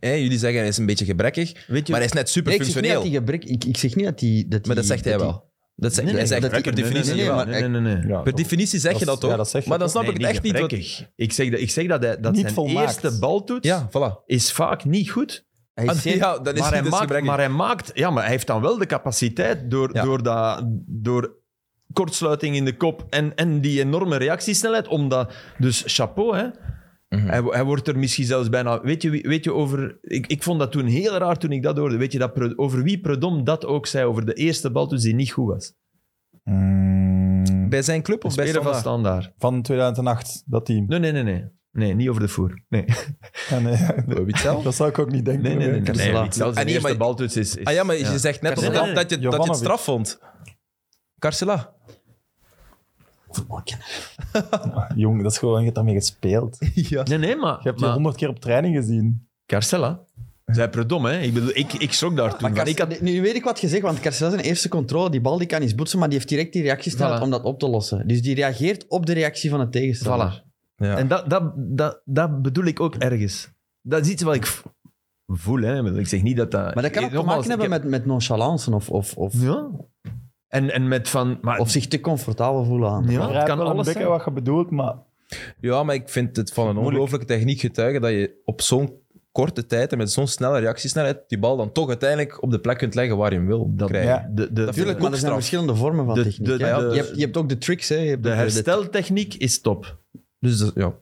S1: Hè, jullie zeggen hij is een beetje gebrekkig,
S2: Weet je,
S1: maar hij is net super
S3: Nee, ik, zeg niet
S1: functioneel.
S3: dat die gebrek, ik, ik zeg niet dat die... Dat die
S1: Maar dat zegt hij
S3: die-
S1: wel. Dat zegt,
S2: Nee, nee,
S1: hij zegt,
S3: dat-
S1: per
S3: nee,
S1: definitie
S3: nee, nee,
S1: wel.
S3: maar-
S2: nee, nee, nee.
S4: Ja,
S1: Per definitie zeg je
S4: Dat
S1: dat
S4: is-
S1: toch?
S4: ja, dat zeg je
S1: maar dan
S4: toch?
S1: snap
S2: Nee,
S1: ik het echt niet. Wat,
S2: gebrekkig. Ik zeg dat, ik zeg dat, hij, dat
S4: Niet
S2: zijn
S4: volmaakt.
S2: eerste baltoets
S1: ja, voilà.
S2: is vaak niet goed.
S3: Hij
S1: Ah,
S3: is zeer-
S1: ja, dan is
S2: maar, hij
S1: dus
S2: maakt,
S1: gebrekkig.
S2: maar hij maakt... Ja, maar hij heeft dan wel de capaciteit door,
S1: Ja.
S2: door, dat, door kortsluiting in de kop en, en die enorme reactiesnelheid. Omdat, dus chapeau, hè.
S1: Mhm.
S2: Hij, hij wordt er misschien zelfs bijna... Weet je, wie- weet je over... Ik, ik vond dat toen heel raar toen ik dat hoorde. Weet je dat, Pre- over wie Predom dat ook zei? Over de eerste bal toen die niet goed was.
S4: Mm,
S1: Bij zijn club
S2: Of
S1: of bij
S2: spelen van
S1: Standaard?
S2: standaard.
S4: Van 2008, dat team.
S2: Nee, nee, nee, nee. Nee, niet over de voer. Nee,
S4: Ja, nee.
S1: Bij Witzel?
S4: Dat zou ik ook niet denken.
S2: nee, nee. nee, nee,
S4: Ik-
S2: nee,
S3: Kersela.
S2: niet zelfs
S1: Ah,
S2: de
S1: nee,
S2: eerste
S1: maar-
S2: baltoets is, is-
S1: Ah ja, maar je zegt net
S2: Karsela.
S1: alsof dat, je,
S2: Nee, nee,
S1: dat je het
S4: Jovanovic.
S1: straf vond. Karsela.
S4: Jong, dat is gewoon, je hebt daarmee gespeeld. Je
S1: ja.
S2: Nee, nee, maar...
S4: hebt die
S2: maar-
S4: honderd keer op training gezien.
S2: Carcella? Ah, Zij predom, hè? Ik, bedoel, ik, ik schrok daar toen.
S3: Maar
S2: van.
S3: Car-
S2: Ik had,
S3: nu, nu weet ik wat je zegt, want Carcela zijn eerste controle, die bal die kan eens botsen, maar die heeft direct die reactiesnelheid
S2: Voilà.
S3: om dat op te lossen. Dus die reageert op de reactie van de tegenstander.
S2: voilà. En dat, dat, dat, dat bedoel ik ook ergens. Dat is iets wat ik v- voel, hè? Ik bedoel, Ik zeg niet dat dat. Eh,
S3: Maar
S1: Eh,
S3: dat kan ook te
S2: Nogmaals,
S3: maken hebben
S2: ik
S3: met, met nonchalance of, of, of,
S2: heb- Ja. En, en met van. Maar,
S3: of zich te comfortabel voelen aan.
S4: Ik
S2: ja, het
S4: begrijp
S2: kan
S4: wel een
S2: alles
S4: beetje
S2: zijn.
S4: wat je bedoelt, maar
S1: Ja, maar ik vind het van een
S4: Moeilijk.
S1: ongelooflijke techniek getuigen dat je op zo'n korte tijd en met zo'n snelle reactiesnelheid die bal dan toch uiteindelijk op de plek kunt leggen waar je hem wil
S2: Dat,
S1: krijgen.
S4: Ja.
S2: de, de,
S1: Dat
S3: Tuurlijk,
S1: Tuurlijk,
S3: maar er zijn
S1: straf.
S3: verschillende vormen van
S2: De-
S3: techniek.
S2: de-
S3: hè.
S2: de-
S3: je, hebt, je hebt ook de tricks. Hè. Je hebt
S2: de
S3: ook
S2: hersteltechniek is top.
S1: Dus dat, ja.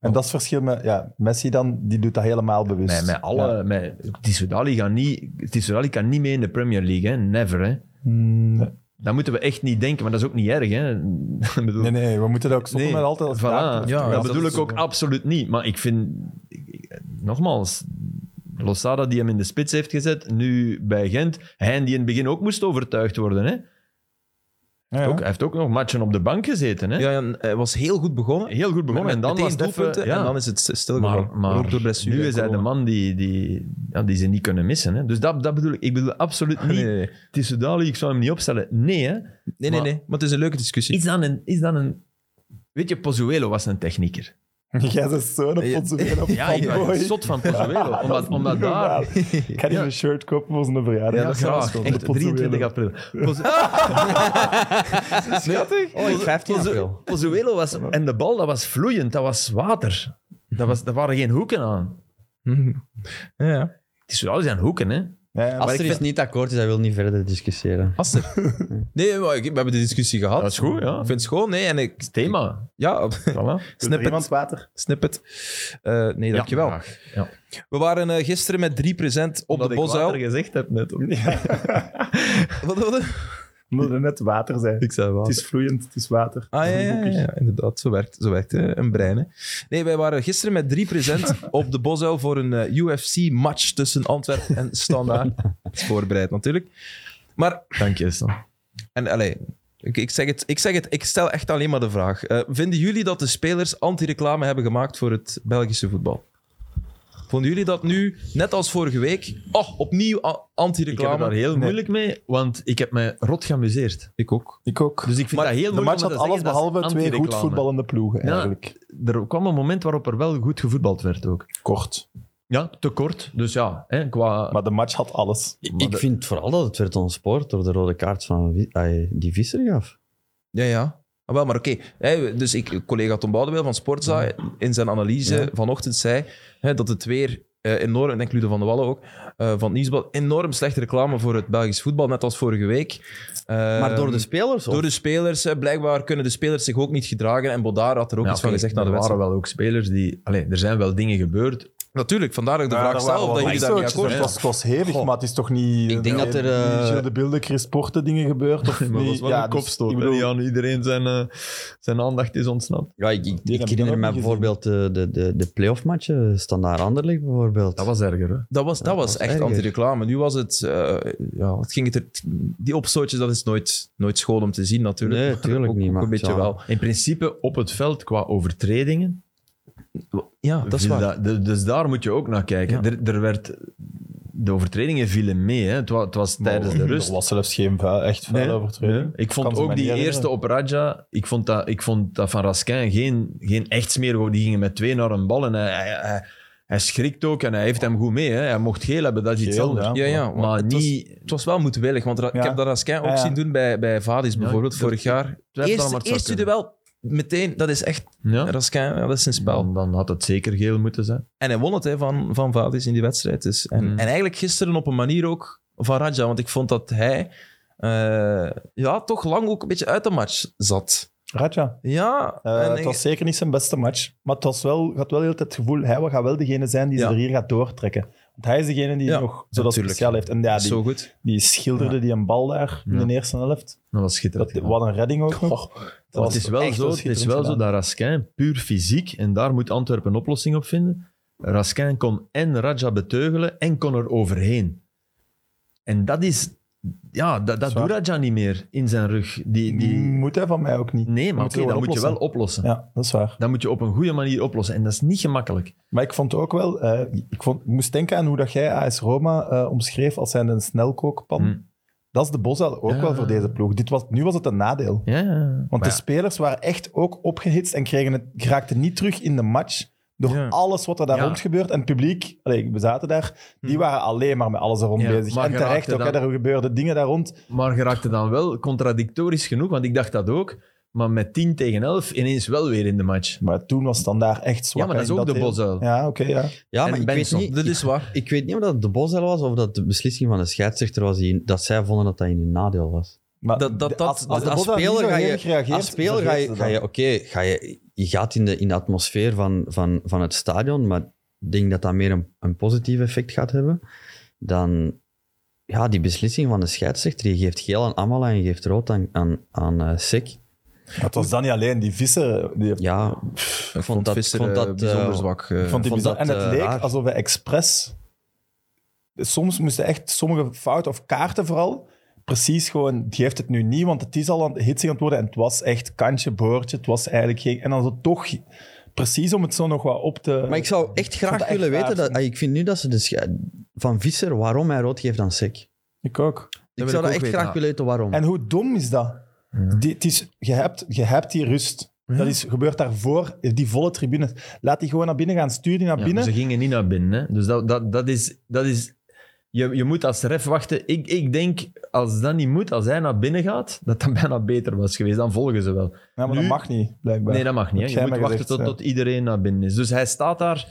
S4: En dat is het verschil met ja, Messi dan, die doet dat helemaal
S3: Dus,
S4: bewust.
S2: Met, met alle.
S4: Ja.
S2: Met, Tissoudali gaat niet- Tissoudali kan niet mee in de Premier League, hè? Never, hè?
S4: Mm, nee.
S2: Dat moeten we echt niet denken, maar dat is ook niet erg, hè? Ik bedoel,
S4: nee, nee, we moeten dat ook stoppen
S2: Nee,
S4: met altijd als
S2: voilà.
S4: taak.
S1: Ja,
S2: dat
S1: dat
S2: bedoel
S1: is
S2: ik ook
S1: zo.
S2: absoluut niet. Maar ik vind, ik- ik- nogmaals, Losada die hem in de spits heeft gezet, nu bij Gent, hij die in het begin ook moest overtuigd worden. Hè?
S4: Ja, ja.
S2: Ook, hij heeft ook nog matchen op de bank gezeten. Hè?
S1: Ja, ja, hij was heel goed begonnen.
S2: Heel goed begonnen.
S1: Met-
S2: en dan
S1: meteen
S2: was het even-
S1: doelpunten
S2: ja.
S1: en dan is het stilgevallen.
S2: maar, maar
S1: ook door blessure.
S2: nu
S1: en
S2: is hij de
S1: corona.
S2: man die, die, ja, die ze niet kunnen missen. Hè? Dus dat, dat bedoel ik. Ik bedoel absoluut niet,
S1: Ah, Nee, nee, nee.
S2: Tissoudali, ik zou hem niet opstellen. Nee, hè?
S1: Nee, nee,
S2: Maar-
S1: nee. Maar het is een leuke discussie.
S2: Is dan een... Is dan een Weet je, Pozuelo was een technieker.
S4: Jij bent zo'n
S1: Ja.
S4: potsenveel op
S2: Ja, ik ben zot van Pozuelo. Omdat, omdat daar...
S4: Ik ga die
S2: Ja.
S4: een shirt kopen voor zijn verjaardag.
S2: Ja, graag.
S4: gewoon
S2: Echt,
S4: de potsenveel.
S2: 23 april. Pozu-
S3: de- Oh, 15 april.
S2: Pozuelo was... En de bal, dat was vloeiend. Dat was water. Dat was, daar waren geen hoeken aan.
S1: Mhm. Ja, ja.
S2: Het is wel zijn hoeken, hè.
S4: Ja, ja, maar
S3: Als er is niet akkoord is, hij wil niet verder discussiëren.
S1: Aster. Nee, maar ik- we hebben de discussie gehad.
S2: Dat is goed, ja.
S1: Ik vind het schoon. Nee, en ik...
S2: Het is thema.
S1: Ja,
S2: Voilà.
S4: doet er iemand
S1: snippet.
S4: water.
S1: Snippet. Eh nee, dankjewel.
S2: Ja, graag. Ja.
S1: We waren eh, gisteren met 3% op
S2: Omdat
S1: de
S2: ik water
S1: Bosuil.
S2: gezegd heb net. ook.
S1: Wat, wat?
S4: Moet er net water zijn.
S2: Ik zei
S4: Het
S2: water.
S4: is vloeiend, het is water.
S1: Ah ja, ja, ja, ja, inderdaad. Zo werkt, zo werkt eh, een brein. Hè. Nee, wij waren gisteren met 3% op de Bosuil voor een eh, UFC-match tussen Antwerpen en Standaard. Dat is voorbereid natuurlijk. Maar,
S2: Dank je, Sam.
S1: en allee, ik, ik, zeg het, ik zeg het, ik stel echt alleen maar de vraag. Eh, vinden jullie dat de spelers anti-reclame hebben gemaakt voor het Belgische voetbal? Vonden jullie dat nu, net als vorige week, oh, opnieuw a-
S2: Ik heb
S1: anti-reclame?
S2: er daar heel
S4: Nee.
S2: moeilijk mee, want ik heb me rot geamuseerd.
S1: Ik ook.
S4: Ik ook.
S2: Dus ik vind
S1: Maar
S2: dat heel
S4: de
S2: moeilijk
S4: match
S2: om
S4: had
S2: te
S4: alles
S2: zeggen, dat is
S4: behalve twee goed
S2: anti-reclame.
S4: voetballende ploegen,
S2: Ja.
S4: eigenlijk.
S2: Er kwam een moment waarop er wel goed gevoetbald werd ook.
S4: Kort.
S2: Ja, te kort. Dus ja, hè, qua...
S4: Maar de match had alles.
S2: Maar
S3: Ik
S2: de-
S3: vind vooral dat het werd ontspoord door de rode kaart van Wi- ay, die Visser gaf.
S1: Ja, ja. Ah, wel, maar oké. Hè, Dus ik, collega Tom Boudewijn van Sportza in zijn analyse vanochtend zei hè, dat het weer eh, enorm, en ik Ludo van de Wallen ook, eh, van het Nieuwsblad, enorm slechte reclame voor het Belgisch voetbal, net als vorige week. Ehm,
S3: maar Ehm, door de
S1: spelers?
S3: spelers
S1: Door de spelers, hè, blijkbaar kunnen de spelers zich ook niet gedragen. En Bodaar had er ook
S2: Ja,
S1: iets van
S2: oké, nou,
S1: gezegd na de
S2: er
S1: wedstrijd.
S2: waren wel ook spelers die... Allee, er zijn wel dingen gebeurd.
S1: Natuurlijk, vandaar dat ik de vraag stel of dat jullie daar niet akkoord
S4: Het
S1: zijn.
S4: was, het was hevig, maar het is toch niet...
S3: Ik denk
S4: eh,
S3: dat er,
S4: niet
S3: eh,
S4: Gilles de beelden, Chris Porte dingen gebeurd. Of
S2: Maar
S4: niet.
S2: dat was wel
S4: Ja,
S2: een
S4: dus,
S2: kopstoot.
S4: ik
S2: hè,
S4: bedoel,
S2: die aan iedereen zijn, eh, zijn aandacht is ontsnapt.
S3: Ja, ik, ik- ik
S4: heb ik
S3: herinner
S4: ook
S3: me
S4: niet
S3: bijvoorbeeld eh, de, de, de playoff matchen. Standaard Anderlecht bijvoorbeeld.
S2: Dat was erger, hè?
S1: Dat was, dat
S3: dat
S1: was
S3: was
S1: echt
S3: erger.
S1: anti-reclame. Nu was het... eh, ja, het ging het er, die opstootjes, dat is nooit, nooit schoon om te zien, natuurlijk.
S3: Nee,
S1: Maar
S3: tuurlijk
S1: ook,
S3: niet,
S1: ook
S3: maar
S1: een beetje
S3: ja.
S1: wel.
S2: In principe op het veld qua overtredingen.
S1: Ja, Ah, dat is
S2: viel
S1: waar.
S2: dat- de- dus daar moet je ook naar kijken.
S1: Ja.
S2: Er, er werd, de overtredingen vielen mee. Hè. Het, wa- het was
S4: Maar
S2: tijdens de
S4: Er
S2: rust.
S4: was zelfs geen vuil, echt vuil
S2: Nee,
S4: overtreding.
S2: nee. Ik
S4: Kan
S2: vond
S4: ze
S2: ook
S4: mij
S2: die
S4: niet
S2: eerste op Raja, ik vond dat, ik vond dat van Raskin geen, geen echt smerig. was. Die gingen met twee naar een bal en hij, hij, hij, hij schrikt ook en hij heeft hem goed mee. Hè. Hij mocht geel hebben, dat is iets
S4: Geel,
S2: anders.
S4: ja.
S1: Ja, ja, maar,
S2: Maar
S1: het,
S2: niet...
S1: was, het was wel moedwillig, want ra- ik
S4: Ja.
S1: heb dat Raskin ook
S4: Ja, ja.
S1: zien doen bij, bij Vadis bijvoorbeeld,
S2: ik-
S1: vorig jaar.
S2: twijfel aan, maar
S1: Eerste,
S2: het zou
S1: eerste
S2: kunnen.
S1: duel, meteen, dat is echt...
S2: Ja.
S1: Raskin, ja, dat is een spel.
S2: Dan, dan had het zeker geel moeten zijn.
S1: En hij won het hè, van, van Vadis in die wedstrijd. Dus. En,
S2: Mm.
S1: en eigenlijk gisteren op een manier ook van Raja. Want ik vond dat hij eh, ja, toch lang ook een beetje uit de match zat.
S4: Radja.
S1: Ja,
S4: Eh,
S1: en
S4: het
S1: ik-
S4: was zeker niet zijn beste match. Maar het was wel, had wel heel het gevoel, hij gaat wel degene zijn die
S1: Ja.
S4: ze er hier gaat doortrekken. Want hij is degene die
S1: Ja,
S4: nog zo dat
S1: natuurlijk.
S4: speciaal heeft. En ja, die,
S1: zo goed.
S4: die schilderde die een bal daar in
S2: Ja.
S4: de eerste helft.
S2: Dat was schitterend.
S4: Dat, wat een redding ook nog.
S2: Maar het is wel,
S4: echt
S2: zo, het is
S4: schitterend
S2: wel zo
S4: gedaan.
S2: dat Raskin puur fysiek, en daar moet Antwerpen een oplossing op vinden. Raskin kon en Raja beteugelen en kon er overheen. En dat is, ja, dat, dat
S4: Zwaar.
S2: doet Raja niet meer in zijn rug. Die,
S4: Die
S2: die,
S4: moet hij van mij ook niet.
S2: nee, maar
S4: moet
S2: oké,
S4: je
S2: dat
S4: wel
S2: moet je wel oplossen.
S4: Ja, dat is waar.
S2: Dat moet je op een goede manier oplossen. En dat is niet gemakkelijk.
S4: Maar ik vond ook wel, eh, ik, vond, ik moest denken aan hoe dat jij AS Roma eh, omschreef als zijn een snelkookpan.
S2: Hm.
S4: Dat is de bosuil ook
S2: Ja.
S4: wel voor deze ploeg. Dit was, nu was het een nadeel.
S2: Ja, ja.
S4: Want
S2: Maar
S4: de spelers waren echt ook opgehitst en kregen het, raakten niet terug in de match door
S1: Ja.
S4: alles wat er daar
S2: Ja.
S4: rond gebeurt. En het publiek, allee, we zaten daar, die waren alleen maar met alles erom
S2: Ja,
S4: bezig.
S2: maar
S4: En
S2: je
S4: terecht
S2: raakte
S4: ook, hè,
S2: dan-
S4: er gebeurden dingen daar rond.
S2: Maar je raakte dan wel contradictorisch genoeg, want ik dacht dat ook. Maar met 10 tegen 11 ineens wel weer in de match.
S4: Maar toen was het dan daar echt
S2: Ja,
S4: zwak.
S2: maar dat is
S4: En
S2: ook de
S4: heel-
S2: bosuil.
S4: Ja, oké, ja.
S3: ja,
S2: en
S3: maar ik weet,
S2: Benson.
S3: niet,
S1: Dat is
S3: ik,
S1: waar.
S3: ik weet niet of dat de Bosel was of dat de beslissing van de scheidsrechter was. Die, dat zij vonden dat dat in hun nadeel was.
S4: Maar
S1: Dat- dat- dat-
S4: als,
S3: Als,
S4: de
S3: als
S4: bosuil niet
S3: speler
S4: zo
S3: ga
S4: hevig
S3: je,
S4: reageert,
S3: als speler ga
S4: vergeet
S3: je,
S4: het
S3: ga
S4: dan.
S3: je oké, ga je, je gaat in de, in de atmosfeer van, van, van het stadion, maar ik denk dat dat meer een, een positief effect gaat hebben dan ja, die beslissing van de scheidsrechter. Je geeft geel aan Amala en je geeft rood aan, aan, aan eh, Sek.
S4: Maar Het was dan niet alleen die vissen. Die,
S3: Ja,
S1: Ik vond
S3: dat-
S1: Visser
S3: ik vond
S1: eh,
S3: dat, eh,
S1: bijzonder zwak. eh.
S4: Ik vond die
S3: vond
S4: bizar.
S3: dat,
S4: en het
S3: eh,
S4: leek
S3: raar.
S4: alsof we expres... Soms moesten echt sommige fouten, of kaarten vooral, precies gewoon, die heeft het nu niet, want het is al aan, hitsig aan het worden. En het was echt kantje, boordje, het was eigenlijk geen... En dan zo toch, precies om het zo nog wat op te...
S3: maar ik zou echt
S4: vond
S3: graag
S4: dat
S3: willen
S4: echt
S3: weten,
S4: raar.
S3: dat, ah, ik vind nu dat ze de sche- van Visser, waarom hij rood geeft aan Sek.
S4: Ik ook.
S3: Ik
S1: wil ik
S3: zou dat
S1: ook
S3: echt
S1: weten,
S3: graag
S1: ja.
S3: willen weten waarom.
S4: En hoe dom is dat? Die, het is, je, hebt, je hebt die rust. Dat is, gebeurt daarvoor, die volle tribune. Laat die gewoon naar binnen gaan, stuur die naar
S2: Ja,
S4: binnen.
S2: Ze gingen niet naar binnen. Hè? Dus dat, dat, dat is... Dat is je, je moet als ref wachten. Ik, ik denk, als dat niet moet, als hij naar binnen gaat, dat dat bijna beter was geweest. Dan volgen ze wel.
S4: Ja, maar
S2: Nu-
S4: dat mag niet, blijkbaar.
S2: Nee, dat mag niet.
S4: Heb
S2: Hè?
S4: jij
S2: Je moet
S4: mij
S2: wachten
S4: gezegd,
S2: tot,
S4: ja.
S2: tot iedereen naar binnen is. Dus hij staat daar,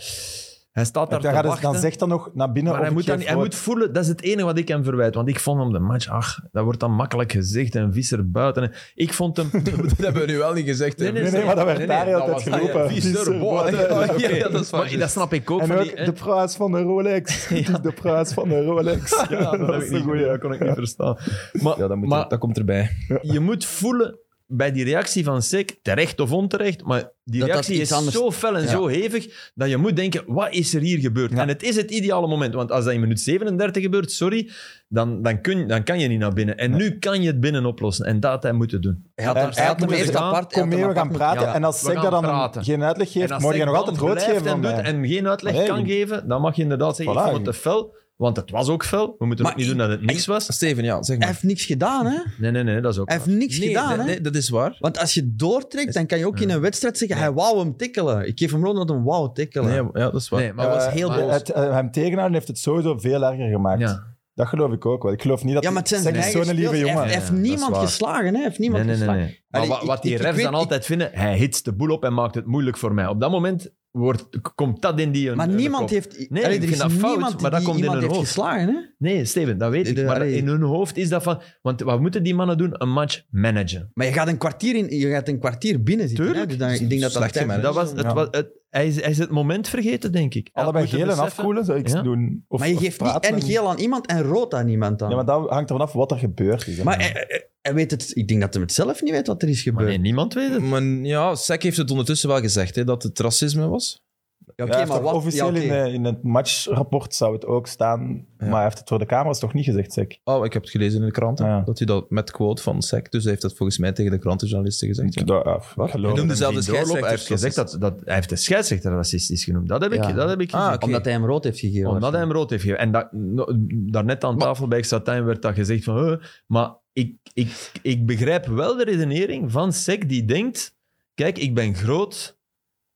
S2: hij staat daar
S4: dan,
S2: te
S4: gaat het-
S2: wachten.
S4: dan zegt dan nog naar binnen
S2: maar
S4: of
S2: hij
S4: ik
S2: moet, dan,
S4: geef
S2: hij
S4: rood.
S2: moet voelen, dat is het enige wat ik hem verwijt. Want ik vond hem de match, ach, dat wordt dan makkelijk gezegd en visser buiten. Ik vond hem...
S1: dat hebben we nu wel niet gezegd. hè.
S4: Nee, nee, maar dat werd daar heel tijd
S1: was- ah, ja,
S4: geroepen.
S1: Visser,
S4: Visser,
S1: boy.
S4: boy.
S1: Ja, oké,
S2: Ja,
S1: dat is waar.
S2: maar dat snap ik ook.
S4: En
S2: van
S4: ook
S2: die, hè.
S4: de prijs van de Rolex. Het is de prijs van de Rolex. Ja,
S2: Ja, dat,
S4: dat is een goeie.
S2: dat kon ik niet verstaan. Maar,
S1: Ja, dat, moet
S2: maar
S1: er- dat komt erbij.
S2: je moet voelen bij die reactie van Sek, terecht of onterecht, maar die
S3: Dat dat
S2: reactie
S3: iets
S2: is
S3: anders-
S2: zo fel en zo hevig dat je moet denken, wat is er hier gebeurd?
S4: Ja.
S2: En het is het ideale moment, want als dat in minuut 37 gebeurt, sorry, dan, dan, kun, dan kan je niet naar binnen. En nu kan je het binnen oplossen. En dat had hij moeten doen.
S3: Hij had,
S4: En
S3: daar- hij had hem
S2: eigenlijk
S3: eerst
S2: moet je
S3: apart... hij
S4: Eh, Kom
S3: had hem
S4: mee, we
S3: apart
S4: gaan
S3: moeten-
S4: praten.
S3: ja.
S4: en als
S2: we
S4: Sek
S2: gaan
S4: dat dan
S2: praten.
S4: een- geen uitleg
S2: En
S4: geeft,
S2: als
S4: moet je
S2: Sek
S4: nog
S2: dan
S4: altijd rood
S2: blijft
S4: geven
S2: en
S4: van
S2: doet
S4: mij.
S2: En geen uitleg
S4: Nee.
S2: kan geven, dan mag je inderdaad zeggen,
S4: Voilà.
S2: ik vond het te fel. Want het was ook fel. We moeten
S3: Maar
S2: ook niet
S3: ik-
S2: doen dat het niks was.
S1: Steven, ja, zeg
S3: Hij
S1: maar.
S3: heeft niks gedaan, hè?
S2: Nee, nee, nee, dat is ook
S3: Hij heeft niks
S1: nee,
S3: gedaan,
S1: nee,
S3: hè?
S1: nee, dat is waar.
S3: Want als je doortrekt, dan kan je ook in een wedstrijd zeggen: hij wou hem tikkelen. Ik geef hem gewoon dat een wou tikkelen.
S1: Nee, ja, dat is waar.
S2: Nee, maar was
S4: Eh,
S2: heel boos.
S4: het, eh, hem tegenhouden heeft het sowieso veel erger gemaakt.
S2: Ja.
S4: Dat geloof ik ook wel. Ik geloof niet dat
S3: ja, maar het zijn
S4: hij-
S3: zijn
S4: hij is
S3: eigen
S4: zo'n lieve
S3: speels. Hij
S4: jongen.
S3: heeft- Hij
S2: Ja, dat is
S3: heeft niemand
S2: waar.
S3: geslagen, hè? Hij heeft niemand
S2: Nee, nee, nee.
S3: geslagen.
S2: nee. Maar
S3: Allee,
S2: wa-
S3: ik-
S2: wat die
S3: ik- ik
S2: refs
S3: weet-
S2: dan
S3: ik-
S2: altijd vinden, hij hitst de boel op en maakt het moeilijk voor mij. Op dat moment wordt, k- komt dat in die... eh,
S3: Maar
S2: hun
S3: niemand
S2: kop.
S3: heeft.
S2: Nee,
S3: allee,
S2: ik
S3: er
S2: vind
S3: is
S2: dat fout,
S3: niemand
S2: maar dat
S3: die
S2: komt in
S3: iemand
S2: hun
S3: heeft
S2: hoofd.
S3: geslagen, hè?
S2: Nee, Steven, dat weet
S3: De-
S2: ik. Maar
S3: allee.
S2: in hun hoofd is dat van... Want wat moeten die mannen doen? Een match managen.
S3: Maar je gaat een kwartier, in, je gaat een kwartier binnen zitten. hè?
S2: Tuurlijk.
S3: Dus dan- ik denk dat dat
S1: Slecht
S3: tijd...
S1: gemanaged.
S2: Dat was, het,
S4: Ja.
S2: was, het, hij, is, hij is het moment vergeten, denk ik. Hij had
S4: Allebei
S2: moeten
S4: geel en
S2: beseffen-
S4: afkoelen zou ik
S2: Ja.
S4: doen. Of,
S3: Maar je
S4: of
S3: geeft niet
S4: praten.
S3: en geel aan iemand en rood aan iemand dan.
S4: Ja, maar dat hangt ervan af wat er gebeurd is. hè.
S3: Maar hij, hij- hij weet het, ik denk dat hij het zelf niet weet wat er is
S2: Maar
S3: gebeurd.
S2: nee, niemand weet het.
S1: Maar ja, Sek heeft het ondertussen wel gezegd hè, dat het racisme was.
S3: Ja,
S4: Ja,
S3: oké,
S4: hij heeft
S3: maar
S4: toch
S3: wat?
S4: officieel
S3: ja,
S4: in,
S3: oké.
S4: eh, in het matchrapport zou het ook staan, maar hij heeft het voor de camera's toch niet gezegd, zeg.
S1: Oh, ik heb het gelezen in de kranten.
S4: Ja.
S1: Dat hij dat met quote van Sek. Dus hij heeft dat volgens mij tegen de krantenjournalisten gezegd. ja.
S4: Ik- dat- ja, ik geloof
S1: Hij
S4: het.
S1: noemde zelf de
S2: Geen doorloop,
S1: scheidsrechter.
S2: Hij heeft gezegd dat, dat hij heeft de scheidsrechter racistisch genoemd. Dat heb ik,
S3: Ja.
S2: dat heb ik
S1: Ah,
S2: gezien.
S1: oké.
S3: Omdat hij hem rood heeft gegeven.
S2: Omdat Oh, hij hem
S3: waarschijnlijk.
S2: rood heeft gegeven. En dat, no- daarnet aan tafel bij Xatijn werd dat gezegd van... eh, maar ik, ik, ik begrijp wel de redenering van Sek die denkt... Kijk, ik ben groot.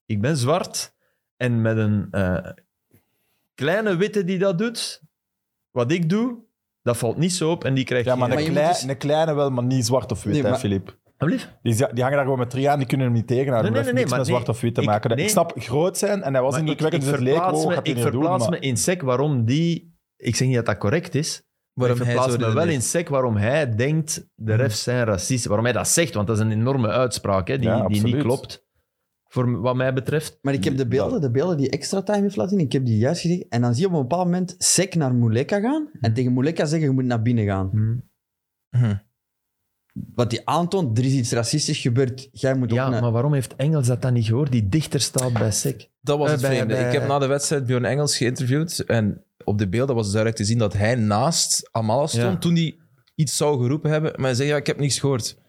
S2: Ik ben zwart. En met een eh, kleine witte die dat doet... Wat ik doe, dat valt niet zo op. En die krijgt
S4: Ja, maar,
S2: geen...
S3: Maar
S4: een,
S3: je
S4: klei-
S3: moet dus-
S4: een kleine wel, maar niet zwart of wit,
S3: Nee,
S4: hè,
S3: maar-
S4: Filip.
S2: Alsjeblieft.
S4: Die, z- die hangen daar gewoon met drie aan, die kunnen hem niet tegenhouden.
S2: Nee,
S4: Nee,
S2: nee,
S4: heeft
S2: nee,
S4: niks
S2: maar
S4: met zwart of wit te
S2: nee,
S4: maken.
S2: ik-
S4: Ik snap, groot zijn en hij was
S2: Maar
S4: indrukwekkend,
S2: ik,
S4: dus
S2: ik
S4: het leek,
S2: verplaats
S4: oh,
S2: me,
S4: gaat hij
S2: ik
S4: niet doen.
S2: verplaats
S4: maar-
S2: me in sec waarom die... Ik zeg niet dat dat correct is. Maar
S1: Waarom
S2: ik
S1: hij
S2: verplaats
S1: zo
S2: me wel in
S1: redeneert.
S2: sec waarom hij denkt
S4: Hmm.
S2: de refs zijn racist. Waarom hij dat zegt, want dat is een enorme uitspraak hè, die,
S4: Ja,
S2: die niet
S4: absoluut.
S2: klopt. Voor m- wat mij betreft.
S3: Maar ik heb de beelden, de beelden die extra time heeft laten zien, ik heb die juist gezien. En dan zie je op een bepaald moment Sek naar Muleka gaan
S2: Mm.
S3: en tegen Muleka zeggen, je moet naar binnen gaan.
S4: Hmm.
S1: Hm.
S3: Wat die aantoont, er is iets racistisch gebeurd, jij moet
S2: Ja,
S3: ook naar...
S2: maar waarom heeft Engels dat dan niet gehoord? Die dichter staat bij sec.
S1: Dat was
S2: Eh,
S1: het
S2: bij-
S1: vreemde.
S2: bij-
S1: Ik heb na de wedstrijd Bjorn Engels geïnterviewd. En op de beelden was het duidelijk te zien dat hij naast Amala stond
S2: Ja.
S1: toen hij iets zou geroepen hebben. Maar hij zei, ja, ik heb niks gehoord.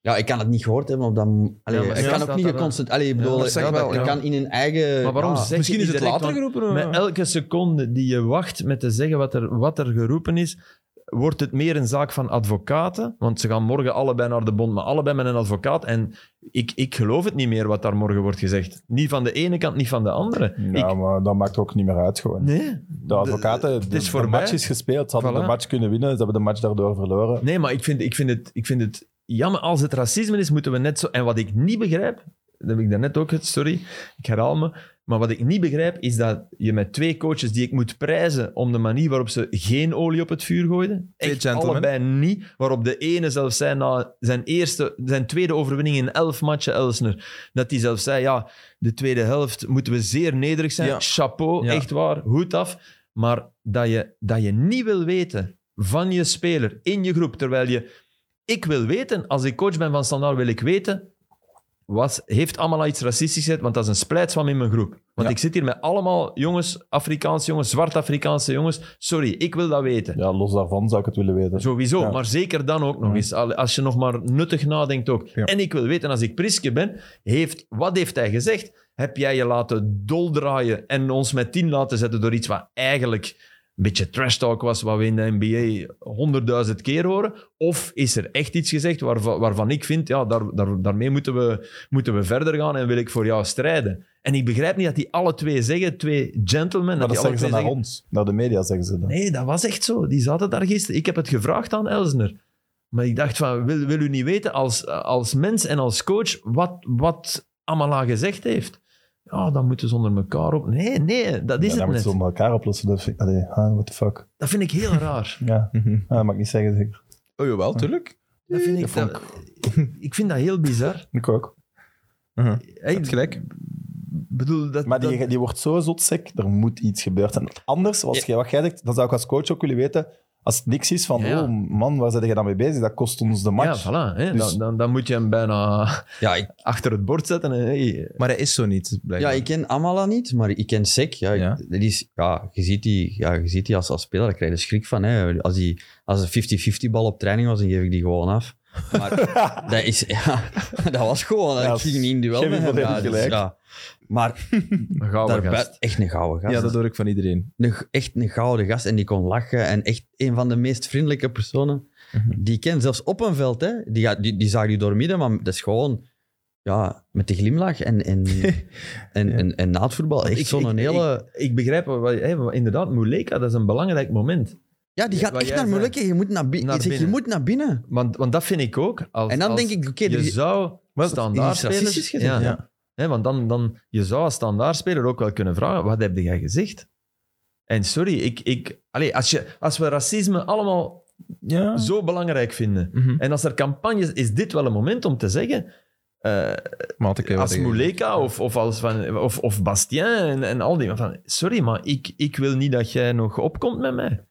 S3: Ja, ik kan het niet gehoord hebben op dat... Allee,
S2: maar
S3: ik
S2: zo
S3: kan
S2: staat
S3: ook niet
S2: dat
S3: geconcentreerd... Allee, ik
S2: Ja,
S3: bedoel,
S1: dat zeg
S3: ja,
S1: ik
S3: dat-
S1: wel,
S3: ik
S1: ja.
S3: kan in een eigen...
S2: Maar waarom
S3: ja.
S2: zeg je
S1: Misschien is
S2: niet
S1: het
S2: direct,
S1: later
S2: want
S1: geroepen.
S2: Met elke seconde die je wacht met te zeggen wat er, wat er geroepen is, wordt het meer een zaak van advocaten. Want ze gaan morgen allebei naar de bond, maar allebei met een advocaat. En ik, ik geloof het niet meer wat daar morgen wordt gezegd. Niet van de ene kant, niet van de andere.
S4: Ja,
S2: Ik-
S4: Nou, maar dat maakt ook niet meer uit gewoon.
S2: nee.
S4: De advocaten, de,
S2: is
S4: de
S2: voorbij.
S4: match is gespeeld. Ze hadden
S2: Voilà.
S4: de match kunnen winnen, ze hebben de match daardoor verloren.
S2: Nee, maar ik vind, ik, vind het, ik vind het jammer. Als het racisme is, moeten we net zo... En wat ik niet begrijp, dat heb ik daarnet ook... het- Sorry, ik herhaal me. Maar wat ik niet begrijp, is dat je met twee coaches die ik moet prijzen om de manier waarop ze geen olie op het vuur gooiden,
S1: Twee
S2: echt
S1: gentlemen.
S2: allebei niet, waarop de ene zelfs zei na zijn, eerste, zijn tweede overwinning in elf matchen, Elsner, dat hij zelfs zei, ja, de tweede helft moeten we zeer nederig zijn.
S1: Ja.
S2: Chapeau,
S1: Ja.
S2: echt waar, hoed af. Maar dat je, dat je niet wil weten van je speler in je groep, terwijl je... Ik wil weten, als ik coach ben van Standaard, wil ik weten... Was, heeft allemaal iets racistisch gezet, want dat is een splijtswam in mijn groep. Want
S1: Ja.
S2: ik zit hier met allemaal jongens, Afrikaanse jongens, Zwart-Afrikaanse jongens. Sorry, ik wil dat weten.
S4: Ja, los daarvan zou ik het willen weten.
S2: Sowieso,
S4: Ja.
S2: maar zeker dan ook nog
S4: Ja.
S2: eens. Al- Als je nog maar nuttig nadenkt ook.
S1: Ja.
S2: En ik wil weten, als ik Priske ben, heeft, wat heeft hij gezegd? Heb jij je laten doldraaien en ons met tien laten zetten door iets wat eigenlijk een beetje trash talk was, wat we in de NBA honderdduizend keer horen? Of is er echt iets gezegd waarvan, waarvan ik vind, ja, daar, daar, daarmee moeten we, moeten we verder gaan en wil ik voor jou strijden? En ik begrijp niet dat die alle twee zeggen, twee gentlemen,
S4: Maar
S2: dat,
S4: dat
S2: die alle
S4: zeggen ze
S2: twee
S4: naar
S2: zeggen,
S4: ons. Naar de media zeggen ze dat.
S2: Nee, dat was echt zo. Die zaten daar gisteren. Ik heb het gevraagd aan Elsner. Maar ik dacht van, wil, wil u niet weten als, als mens en als coach wat, wat Amala gezegd heeft? Ja, dan moeten ze onder elkaar op. Nee, nee, dat is
S4: Ja, dan
S2: het
S4: moeten
S2: net.
S4: ze onder elkaar oplossen. Dat vind ik- Allee, ah, what the fuck.
S2: Dat vind ik heel raar.
S4: Ja, ah, dat mag ik niet zeggen zeker.
S1: Oh, jawel, tuurlijk.
S2: Dat vind ik,
S4: vond
S2: dat- ik vind dat heel bizar.
S4: Ik ook.
S2: Hey,
S1: Je hebt gelijk.
S2: bedoel, dat,
S4: Maar
S2: dat-
S4: die, die wordt zo zotsek, er moet iets gebeuren. zijn. Anders, zoals jij- wat jij zegt, dan zou ik als coach ook willen weten, als het niks is van,
S2: Ja, ja.
S4: oh man, waar zijn jij dan mee bezig? Dat kost ons de
S2: ja,
S4: match.
S2: voilà. hè.
S4: Dus-
S2: Dan, dan, dan moet je hem bijna
S3: Ja, ik,
S2: achter het bord zetten. En, hey,
S1: Maar hij is zo niet,
S3: ja,
S1: blijkbaar.
S3: ik ken Amala niet, maar ik ken Sek. Ja,
S1: Ja.
S3: Dat is, ja, je ziet die, ja, je ziet die als, als speler, daar krijg je schrik van. Hè. Als, die, als een 50-50 bal op training was, dan geef ik die gewoon af. Maar dat, is, ja, dat was gewoon,
S4: Ja,
S3: dat ging niet in duel
S4: Kevin
S3: met hem.
S4: Verdedigt
S3: Ja, dus
S4: gelijk.
S3: ja. Maar
S2: Een gouden
S3: daarbij,
S2: gast.
S3: echt een gouden gast.
S1: Ja, dat hoor ik van iedereen.
S3: Een- echt een gouden gast en die kon lachen. En echt een van de meest vriendelijke personen
S2: Mhm.
S3: die ik ken. Zelfs op een veld, hè. Die, gaat- die, die zag je doormidden, maar dat is gewoon... Ja, met de glimlach en, en, en, en, en na het voetbal.
S2: Ik-
S3: Echt
S2: ik-
S3: zo'n hele...
S2: Ik, ik begrijp, wat, wat- hè, wat- inderdaad, Muleka, dat is een belangrijk moment.
S3: Ja, die gaat
S2: wat
S3: echt
S2: jij
S3: naar
S2: zei.
S3: Muleke. Je moet naar, bi-
S2: Naar
S3: ik zeg, je
S2: binnen.
S3: moet naar binnen.
S2: Want, want dat vind ik ook. Als,
S3: en dan
S2: als
S3: denk ik, oké, dus-
S2: je
S3: er is-
S2: zou
S1: Maar
S2: standaard
S1: is racistisch gezien,
S2: Ja.
S1: ja.
S2: Hè, want dan, dan, je zou als standaardspeler ook wel kunnen vragen, wat heb jij gezegd? En sorry, ik, ik, allez, als, je, als we racisme allemaal
S1: Ja.
S4: Ah.
S2: zo belangrijk vinden,
S1: Mhm.
S2: en als er campagnes, is dit wel een moment om te zeggen, eh,
S1: Maar had ik wel
S2: als
S1: tegen-
S2: Muleka of, of, als van, of, of Bastien en, en al die, van, sorry, maar ik, ik wil niet dat jij nog opkomt met mij.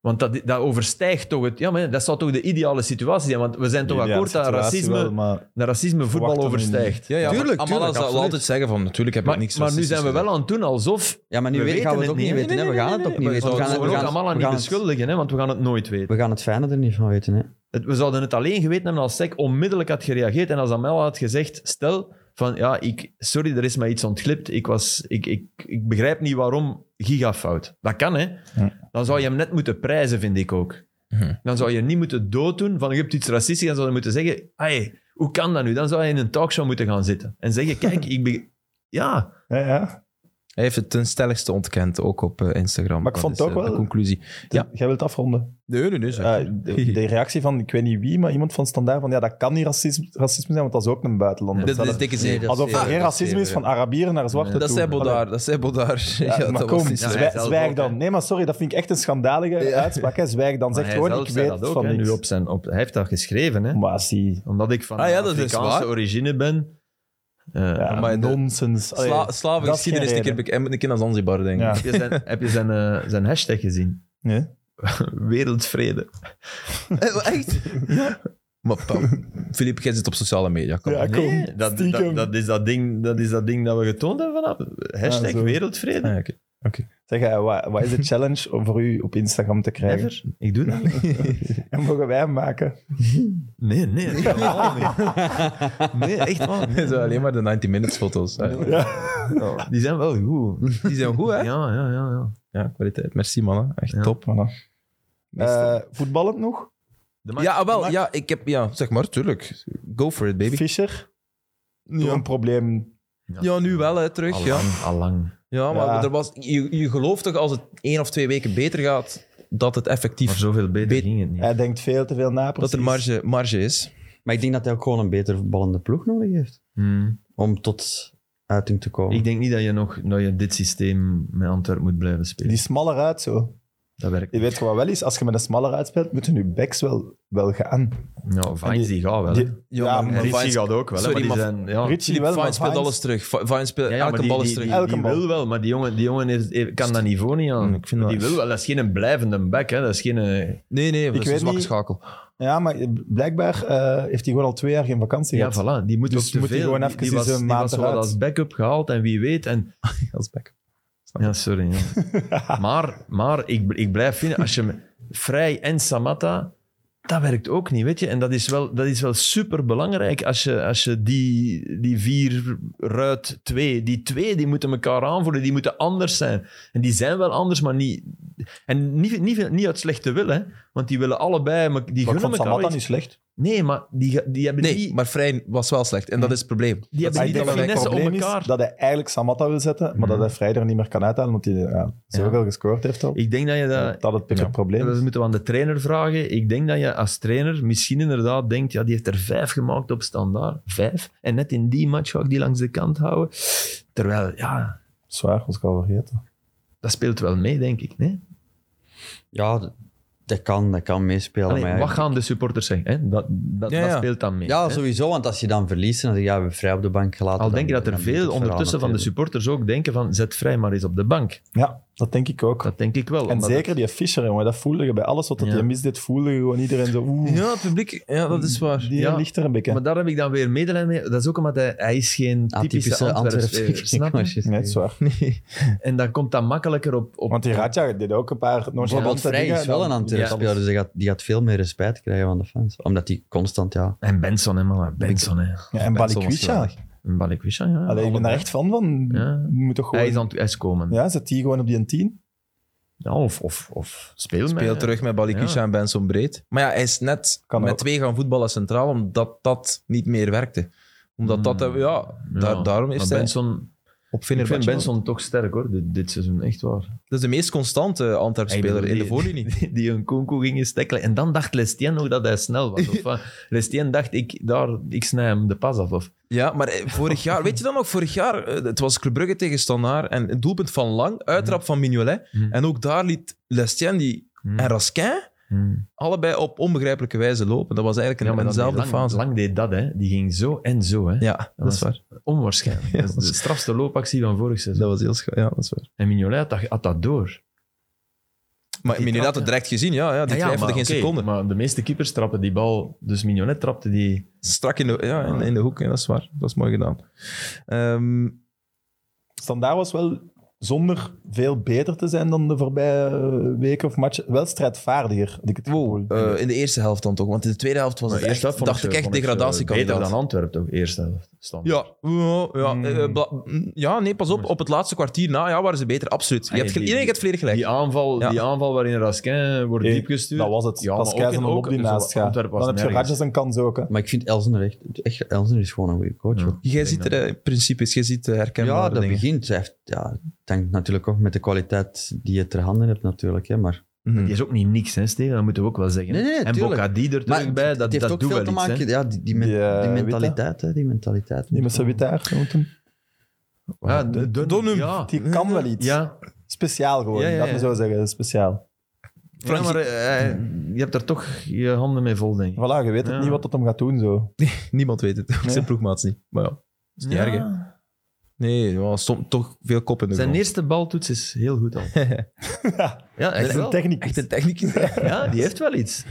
S2: Want dat, dat overstijgt toch het... Ja, maar dat zou toch de ideale situatie zijn? Want we zijn toch
S4: Ja,
S2: akkoord dat
S4: situatie
S2: racisme,
S4: wel, maar
S2: dat racisme voetbal
S4: Verwacht dat
S2: overstijgt.
S4: niet.
S1: Ja, ja, maar
S3: Tuurlijk,
S1: Amala zou
S3: tuurlijk,
S1: wel
S3: absoluut.
S1: altijd zeggen van, natuurlijk heb ik
S2: Maar,
S1: niks
S2: maar nu zijn
S1: racistisch
S2: we wel
S1: gedaan.
S2: aan het doen alsof...
S3: Ja, maar nu
S2: We
S3: weten- gaan we
S2: weten
S3: het ook
S2: het
S3: niet
S2: niet.
S3: weten. hè.
S1: Nee,
S3: We
S1: nee,
S3: gaan
S1: nee,
S3: het ook
S1: nee,
S3: niet
S1: maar
S3: weten.
S1: we
S2: We
S3: We gaan
S2: zullen
S3: we
S2: ook
S3: gaan-
S2: allemaal
S3: we
S2: niet
S3: gaan-
S2: beschuldigen, hè, want we gaan het nooit weten.
S3: We gaan het fijne er niet van weten. Hè.
S2: Het- we zouden het alleen geweten hebben als SEC onmiddellijk had gereageerd en als Amel had gezegd, stel van ja, ik, sorry, er is mij iets ontglipt, ik, was, ik, ik, ik begrijp niet waarom, gigafout. Dat kan, hè.
S4: Ja.
S2: Dan zou je hem net moeten prijzen, vind ik ook.
S1: Mhm.
S2: Dan zou je niet moeten dooddoen van je hebt iets racistisch en zou je moeten zeggen, hey, hoe kan dat nu? Dan zou je in een talkshow moeten gaan zitten en zeggen, kijk, ik be- Ja,
S4: ja, ja.
S1: Hij heeft het ten stelligste ontkend, ook op eh, Instagram.
S4: Maar ik
S1: Dat
S4: vond
S1: is,
S4: het ook
S1: eh, de
S4: wel-
S1: conclusie. Ah, Ja.
S4: Dus Jij wilt afronden.
S1: Nee, nee, nee.
S4: Eh,
S1: zeker.
S4: de, de reactie van, ik weet niet wie, maar iemand van Standaard van ja, dat kan niet racisme, racisme zijn, want dat is ook een buitenlander.
S1: dat is
S4: Zelf-
S1: dikke
S3: Nee,
S1: zeven.
S3: dat
S4: Alsof er
S3: zeven,
S4: geen
S3: dat
S4: racisme is
S3: zeven.
S4: van Arabieren naar zwarten
S2: Nee.
S1: Dat
S4: toe.
S1: zei Bodaar.
S4: Allee.
S1: Dat zei Bodaar. Ja,
S4: Ja, maar
S1: dat
S4: kom,
S1: was niet
S2: Ja,
S1: zo.
S2: hij
S4: zwij-
S2: zelf
S4: zwijg
S2: ook,
S4: dan.
S2: hè.
S4: Nee, maar sorry, dat vind ik echt een schandalige uitspraak. Hè. Zwijg dan. Zeg
S2: maar
S4: gewoon,
S2: zelf
S4: ik
S2: zei
S4: weet
S2: dat ook,
S4: van
S2: hè,
S4: niks.
S2: nu op zijn, op, Hij heeft dat geschreven, hè.
S4: Maar zie,
S2: Omdat ik van
S1: Ah ja, dat is
S2: Afrikaanse
S1: waar.
S2: origine ben. Eh,
S4: ja,
S1: maar de-
S4: nonsens. Allee,
S1: Sla- Slavengeschiedenis,
S4: dat
S1: een
S4: is geen
S1: keer bek- en een keer naar Zanzibar, denk ik.
S4: Ja.
S2: Heb je zijn, heb je zijn, eh, zijn hashtag gezien?
S4: nee.
S2: Wereldvrede.
S1: Eh, Echt? Maar Pam, Filip, jij zit op sociale media. Kom.
S4: Ja,
S1: op.
S4: Ah, kom.
S2: dat,
S4: stiekem.
S2: dat, dat, is dat, ding, dat is dat ding dat we getoond hebben vanaf. Hashtag
S4: zo.
S2: wereldvrede.
S1: Ah, ja, oké.
S4: Zeg, eh, wat, wat is de challenge om voor u op Instagram te krijgen?
S2: Ever? Ik doe dat niet.
S4: En mogen wij hem maken?
S2: Nee, nee. nee, helemaal niet. Nee, echt waar.
S1: Zo, alleen maar de 90 Minutes foto's. Ah, ja.
S2: Die zijn wel goed.
S1: Die zijn goed,
S2: Ja,
S1: hè?
S2: ja, ja. ja.
S1: Ja, kwaliteit. Merci, mannen. Echt
S2: Ja.
S1: top.
S4: Voilà. Eh voetballend nog?
S2: De match-
S1: Ja, ah, wel.
S4: Max-
S1: Ja, ik heb... Ja, zeg maar, tuurlijk. Go for it, baby.
S4: Fischer? Door
S1: Ja,
S4: een probleem.
S1: ja nu wel, hè, terug. Ja.
S2: Allang, allang.
S1: Ja, maar
S4: Ja.
S1: Er was, je, je gelooft toch als het één of twee weken beter gaat, dat het effectief...
S2: Maar zoveel beter
S1: Be-
S2: ging het niet.
S4: Hij denkt veel te veel na,
S1: dat
S4: precies.
S1: er marge, marge is.
S3: Maar ik denk dat hij ook gewoon een beter voetballende ploeg nodig heeft.
S2: Hmm.
S3: Om tot uiting te komen.
S2: Ik denk niet dat je nog dat je dit systeem met Antwerp moet blijven spelen.
S4: Die smaller uit zo.
S2: Dat werkt
S4: Je weet gewoon wel eens, als je met een smaller uitspeelt, moeten je backs wel, wel gaan.
S2: Nou, Vines
S4: die-
S2: die gaat wel.
S4: die-
S2: hè.
S1: Ja,
S4: Ja,
S1: maar
S2: En Ritchie
S1: Vines-
S2: gaat ook wel. hè,
S1: Sorry,
S2: maar die
S1: maar-
S2: zijn, ja.
S4: Ritchie wel,
S1: Vine
S4: maar
S1: speelt
S4: Vines-
S1: alles terug. Va- Vine speelt
S2: Ja, ja, maar
S1: elke
S2: die,
S1: bal is
S2: die-
S1: terug.
S2: die-
S4: Elke
S2: die
S4: bal.
S2: wil wel, maar die jongen, die jongen heeft- heeft- kan dat niveau niet aan.
S1: Mm, ik vind dat
S2: die
S1: echt-
S2: wil wel, dat is geen blijvende bek. Hè. Dat is geen... eh,
S1: Nee, nee, dat is een
S4: weet
S1: zwakke
S4: niet.
S1: schakel.
S4: Ja, maar blijkbaar eh, heeft hij gewoon al twee jaar geen vakantie
S2: Ja,
S4: gehad.
S2: voilà. Die moet
S4: Dus
S2: ook te
S4: moet die
S2: veel.
S4: gewoon
S2: Die-
S4: even
S2: die
S4: eens
S2: was,
S4: een
S2: die was
S4: maand
S2: wel
S4: eruit.
S2: als backup gehaald en wie weet. En,
S1: Als back.
S2: ja, sorry. ja. maar maar ik, ik blijf vinden, als je me- Vrij en Samatta, dat werkt ook niet, weet je. En dat is wel, dat is wel superbelangrijk als je, als je die, die vier ruit twee, die twee, die moeten elkaar aanvoelen, die moeten anders zijn. En die zijn wel anders, maar niet... En niet, niet, niet uit slechte wil, hè. Want die willen allebei... me- Die
S4: Maar
S2: gunnen
S4: ik vond
S2: elkaar
S4: Samatta
S2: wel
S4: niet
S2: iets.
S4: slecht.
S2: Nee, maar die, die hebben
S1: Nee,
S2: niet...
S1: maar Vrij was wel slecht. En dat is het probleem.
S2: Mm. die hebben
S4: Maar
S2: niet
S4: ik
S2: dat
S4: denk dat het
S2: finesse om
S4: probleem is
S2: elkaar.
S4: dat hij eigenlijk Samatta wil zetten, maar dat hij Vrijder niet meer kan uithalen, omdat hij ja, zoveel gescoord heeft al.
S2: Hmm. Ik denk dat je dat...
S4: dat het
S1: Ja.
S4: het probleem
S2: Dat
S4: is.
S2: moeten we aan de trainer vragen. Ik denk dat je als trainer misschien inderdaad denkt, ja, die heeft er vijf gemaakt op standaard. Vijf. En net in die match ga ik die langs de kant houden. Terwijl, ja,
S4: Zwaar, was ik al vergeten.
S2: dat speelt wel mee, denk ik. Nee?
S3: Ja, dat- dat kan, dat kan meespelen.
S2: Allee,
S3: maar ja,
S2: wat gaan de supporters zeggen? Hè? Dat, dat,
S1: Ja,
S2: dat
S1: ja.
S2: speelt dan mee.
S3: Ja,
S2: hè?
S3: sowieso, want als je dan verliest, dan zeg je, ja, we hebben vrij op de bank gelaten.
S2: Al denk je
S3: dan-
S2: dat er
S3: dan doet
S2: veel
S3: het verhaal
S2: ondertussen van de
S3: natuurlijk.
S2: supporters ook denken van zet vrij maar eens op de bank.
S4: Ja, dat denk ik ook.
S2: Dat denk ik wel.
S4: en
S2: omdat
S4: zeker die Fischer, jongen, dat voelde je bij alles wat dat
S2: Ja.
S4: je misdeed, voelde je gewoon iedereen zo. Oeh,
S1: Ja, het publiek, ja, dat is waar.
S4: die
S2: Ja.
S4: ligt er een beetje.
S2: Maar daar heb ik dan weer medelijden mee. Dat is ook omdat hij, hij is geen typische
S3: Atypische
S2: Antwerpse
S3: Antwerpse
S2: snap je?
S4: Net zwaar.
S1: Nee.
S2: En dan komt dat makkelijker op... op
S4: Want die Radja deed ook een paar nonchalante
S3: Bijvoorbeeld Vrij
S4: dingen.
S3: is wel een
S4: dan-
S3: betere
S2: Ja.
S3: speler, dus die gaat, die gaat veel meer respect krijgen van de fans. Omdat die constant, ja...
S2: En Benson, hè, man. Benson, hè.
S4: Ja, en
S1: Benson was
S4: Balikwisha.
S1: geweldig.
S2: En Balikwisha, ja.
S4: Allee, ik ben daar
S2: allebei.
S4: echt fan van.
S2: Ja.
S4: Je Moet toch
S2: Hij is
S4: gewoon...
S2: aan het hij is komen. Ja.
S4: Ja, zet die gewoon op die 10.
S2: of, of, of speel mij,
S1: Speelt
S2: hè.
S1: terug met Balikwisha
S2: Ja.
S1: en Benson Breed. Maar ja, hij is net
S4: Kan
S1: met
S4: ook.
S1: twee gaan voetballen centraal, omdat dat niet meer werkte. Omdat dat,
S2: Hmm.
S1: ja,
S2: Ja,
S1: daar- daarom
S2: maar
S1: heeft hij
S2: Benson,
S1: op
S2: ik
S1: Fenerbahce...
S2: vind Benson toch sterk, hoor. Dit, dit seizoen, echt waar.
S1: Dat is de meest constante Antwerp-speler in de voorlinie.
S2: Die, die een Konko gingen stekkelen. En dan dacht Lestien nog dat hij snel was. Of, wat? Lestien dacht, ik, daar, ik snij hem de pas af. Of,
S1: Ja, maar eh, vorig jaar, weet je dan nog, vorig jaar, eh, het was Club Brugge tegen Standaard en het doelpunt van Lang, uittrap van Mignolet.
S2: Mhm.
S1: En ook daar liet Lestien die en Raskin
S2: Hmm.
S1: allebei op onbegrijpelijke wijze lopen. Dat was eigenlijk
S2: Ja,
S1: een,
S2: maar
S1: eenzelfde
S2: lang,
S1: fase.
S2: Lang deed dat, hè. Die ging zo en zo, hè.
S1: Ja, dat is
S2: was-
S1: waar.
S2: Onwaarschijnlijk.
S1: Ja,
S2: dat is de
S1: dat is-
S2: strafste loopactie van vorig seizoen.
S1: Dat was heel scha- Ja, dat is waar.
S2: En Mignolet had dat, had dat door.
S1: Maar Mignolet had het direct gezien, ja. ja die twijfelde geen
S2: oké,
S1: seconde.
S2: Maar de meeste keepers trappen die bal. Dus Mignolet trapte die...
S1: Strak in de, ja, in, in de hoek, ja, dat is waar. Dat is mooi gedaan. Ehm,
S4: Standaard was wel, zonder veel beter te zijn dan de voorbije eh, weken of matchen, wel strijdvaardiger. Had ik het
S1: wow,
S4: gevoel.
S1: eh, in de eerste helft dan toch, want in de tweede helft was het echt, dacht ik
S2: eh,
S1: echt
S2: Beter
S1: degradatiekandidaat.
S2: dan Antwerpen toch, eerste helft. Stand.
S1: Ja, ja, ja,
S4: Hmm.
S1: eh, bla- mm, ja, nee, pas op. Op het laatste kwartier na ja, waren ze beter, absoluut. Je
S2: Ah,
S1: hebt, ge-
S2: die-
S1: nee, je hebt volledig gelijk.
S2: Die aanval,
S1: Ja.
S2: die aanval waarin Raskin wordt
S4: Eh,
S2: diep gestuurd.
S4: dat was het.
S2: Ja,
S4: Ja,
S2: maar
S4: Pas
S2: ook in-
S4: Keizer een lop die
S2: ook-
S4: naast
S2: zo,
S4: gaat.
S2: Antwerpen was
S4: Dan heb je
S2: nergens.
S4: Radjes een kans ook. Hè.
S3: Maar ik vind Elsener echt... echt Elsener is gewoon een goede coach,
S2: Ja.
S3: hoor.
S1: Jij ziet er eh, in principe jij ziet eh, herkenbare
S3: Ja, dat
S1: dingen.
S3: begint. Hij heeft, ja, het hangt natuurlijk ook met de kwaliteit die je ter handen hebt, natuurlijk. Hè, maar
S1: Mhm.
S2: Die is ook niet niks, hè, Steven. Dat moeten we ook wel zeggen.
S3: Nee, nee,
S2: en
S3: tuurlijk.
S2: Bocadi er terug
S3: Maar
S2: bij, dat,
S3: het heeft
S2: dat
S3: ook
S2: doet
S3: veel
S2: wel
S3: te
S2: iets.
S3: maken...
S2: hè.
S3: ja, die, die, men-
S4: Die, eh,
S3: die
S4: Witte.
S3: mentaliteit, hè, die mentaliteit.
S4: Die met zijn witte haar. noemt hem.
S2: Ja, Dunham.
S1: Dunham.
S2: Ja.
S4: Die kan wel iets.
S2: Ja,
S4: Speciaal gewoon,
S2: Ja, ja,
S4: laat me
S2: ja.
S4: zo zeggen. Speciaal.
S2: Ja, maar eh, eh, je hebt daar toch je handen mee vol, denk ik.
S4: Voilà, je weet het
S2: Ja.
S4: niet wat dat hem gaat doen zo.
S1: Niemand weet het.
S4: Nee.
S1: Zijn ploegmaats niet. Maar ja, is niet erg, hè. Nee, ja, som- toch veel kop in de
S2: Zijn
S1: grond.
S2: eerste baltoets is heel goed al.
S4: Ja,
S2: Ja,
S4: dat
S2: echt
S4: is een
S2: wel.
S4: techniek.
S1: Echt een technicus.
S2: Ja, die heeft wel iets.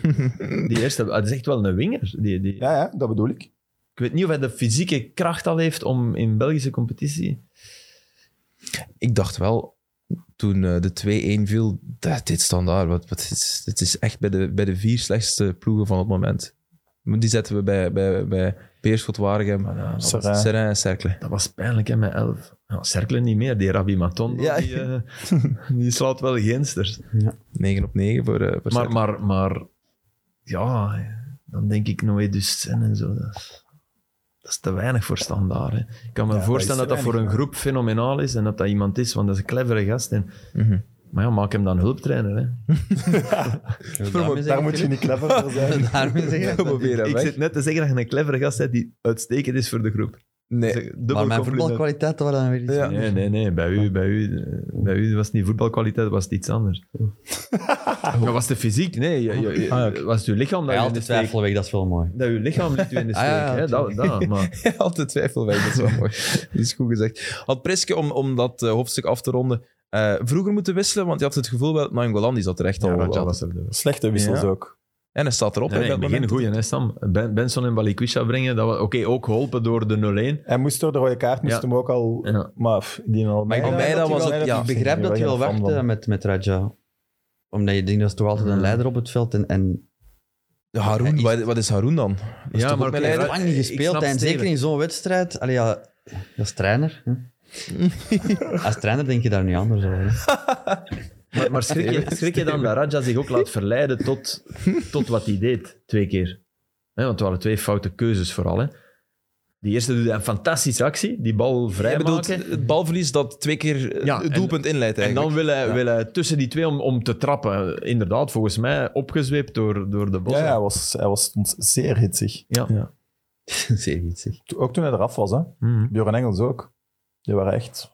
S2: Die eerste, het is echt wel een winger. Die, die,
S4: Ja, ja, dat bedoel ik.
S2: Ik weet niet of hij de fysieke kracht al heeft om in Belgische competitie...
S1: ik dacht wel, toen eh, de 2-1 viel, dat, dit standaard. Wat, wat is, dit is echt bij de, bij de vier slechtste ploegen van het moment. Die zetten we bij, bij, bij Beerschot, Waregem,
S2: Maar ja, dat, was,
S4: Serrain. Ja.
S1: Serrain en Cercle.
S2: dat was pijnlijk, hè, met elf. Ja, Cercle niet meer. Die Rabi Matondo,
S1: Ja.
S2: die, eh, die slaat wel ginsters.
S1: 9 op 9 voor, eh voor
S2: Maar,
S1: Cercle.
S2: maar, maar... Ja, dan denk ik Noé Dustin en zo. Dat is, dat is te weinig voor standaard. Hè. Ik kan me
S4: Ja, dat
S2: voorstellen
S4: is
S2: dat dat
S4: te
S2: voor een
S4: weinig,
S2: groep fenomenaal is en dat dat iemand is, want dat is een clevere gast. En,
S1: Mhm.
S2: maar ja, maak hem dan hulptrainer, hè.
S4: Daar moet je niet clever voor zijn.
S3: Daarmee zeggen.
S1: Promoveer hem
S2: Ik
S1: weg.
S2: zit net te zeggen dat je een clevere gast bent die uitstekend is voor de groep.
S1: Nee,
S2: Zeg, dubbel
S3: Maar mijn
S2: compliment.
S3: voetbalkwaliteit waren dan weer iets.
S1: Ja.
S2: Nee, nee, nee. Bij u, bij u, eh, bij u was het niet voetbalkwaliteit, was het iets anders. Maar was de fysiek? Nee, je, je- je-
S1: Ah, oké.
S2: was het uw lichaam dat
S3: Hij
S2: je
S3: haalt
S2: in de
S3: de
S2: steek...
S3: twijfel weg, dat is wel mooi.
S2: Dat uw lichaam liet u in de
S3: Ah,
S2: steek.
S3: ja,
S2: hè? Dat, dat, maar
S1: altijd twijfel weg, dat is wel mooi. Dat is goed gezegd. Had Priske, om, om dat eh, hoofdstuk af te ronden, eh, vroeger moeten wisselen, want je had het gevoel wel, Nangolan die zat er echt al.
S2: ja,
S1: al-
S2: was er door.
S4: Slechte wissels
S1: Ja.
S4: ook.
S1: En hij staat erop.
S2: Nee,
S1: hè,
S2: nee,
S1: dat
S2: in het begin
S1: moment.
S2: goeie, hè, Sam. Ben, Benson en Balikwisha brengen. dat was- Oké, ook geholpen door de 0-1.
S4: Hij moest door de rode kaart, moest
S2: Ja.
S4: hem ook al...
S2: Ja.
S4: Maar pff, die al...
S1: ik denk dat was ook- ja,
S3: Ik begrijp dat je wel wachtte met, met Raja. Omdat je denkt, dat is toch altijd een
S2: Hmm.
S3: leider op het veld. En, en
S1: Haroun,
S3: Is-
S1: wat, wat is Haroun dan? is toch ook
S2: oké,
S1: mijn
S3: hij
S1: leider?
S3: heeft
S2: Ra-
S3: lang niet
S2: Eh, ik
S3: gespeeld.
S2: snap
S3: En
S2: Steven.
S3: zeker in zo'n wedstrijd. Allee, ja, als trainer. hè. als trainer denk je daar niet anders over. hè.
S2: Maar, maar schrik, je, schrik je dan dat Raja zich ook laat verleiden tot, tot wat hij deed, twee keer? Hè, want het waren twee foute keuzes vooral. Hè? Die eerste doet een fantastische actie, die bal
S1: Jij bedoelt
S2: vrijmaken.
S1: het balverlies dat twee keer eh,
S2: Ja,
S1: het
S2: en-
S1: doelpunt inleidt
S2: En
S1: eigenlijk.
S2: dan wil hij,
S1: Ja.
S2: wil hij tussen die twee om, om te trappen. Inderdaad, volgens mij opgezweept door, door de bos.
S4: Ja, ja, hij, was, hij was soms zeer hitsig.
S3: Zeer iets, zeg.
S4: To- Ook toen hij eraf was, hè. Björn Engels ook. Die waren echt...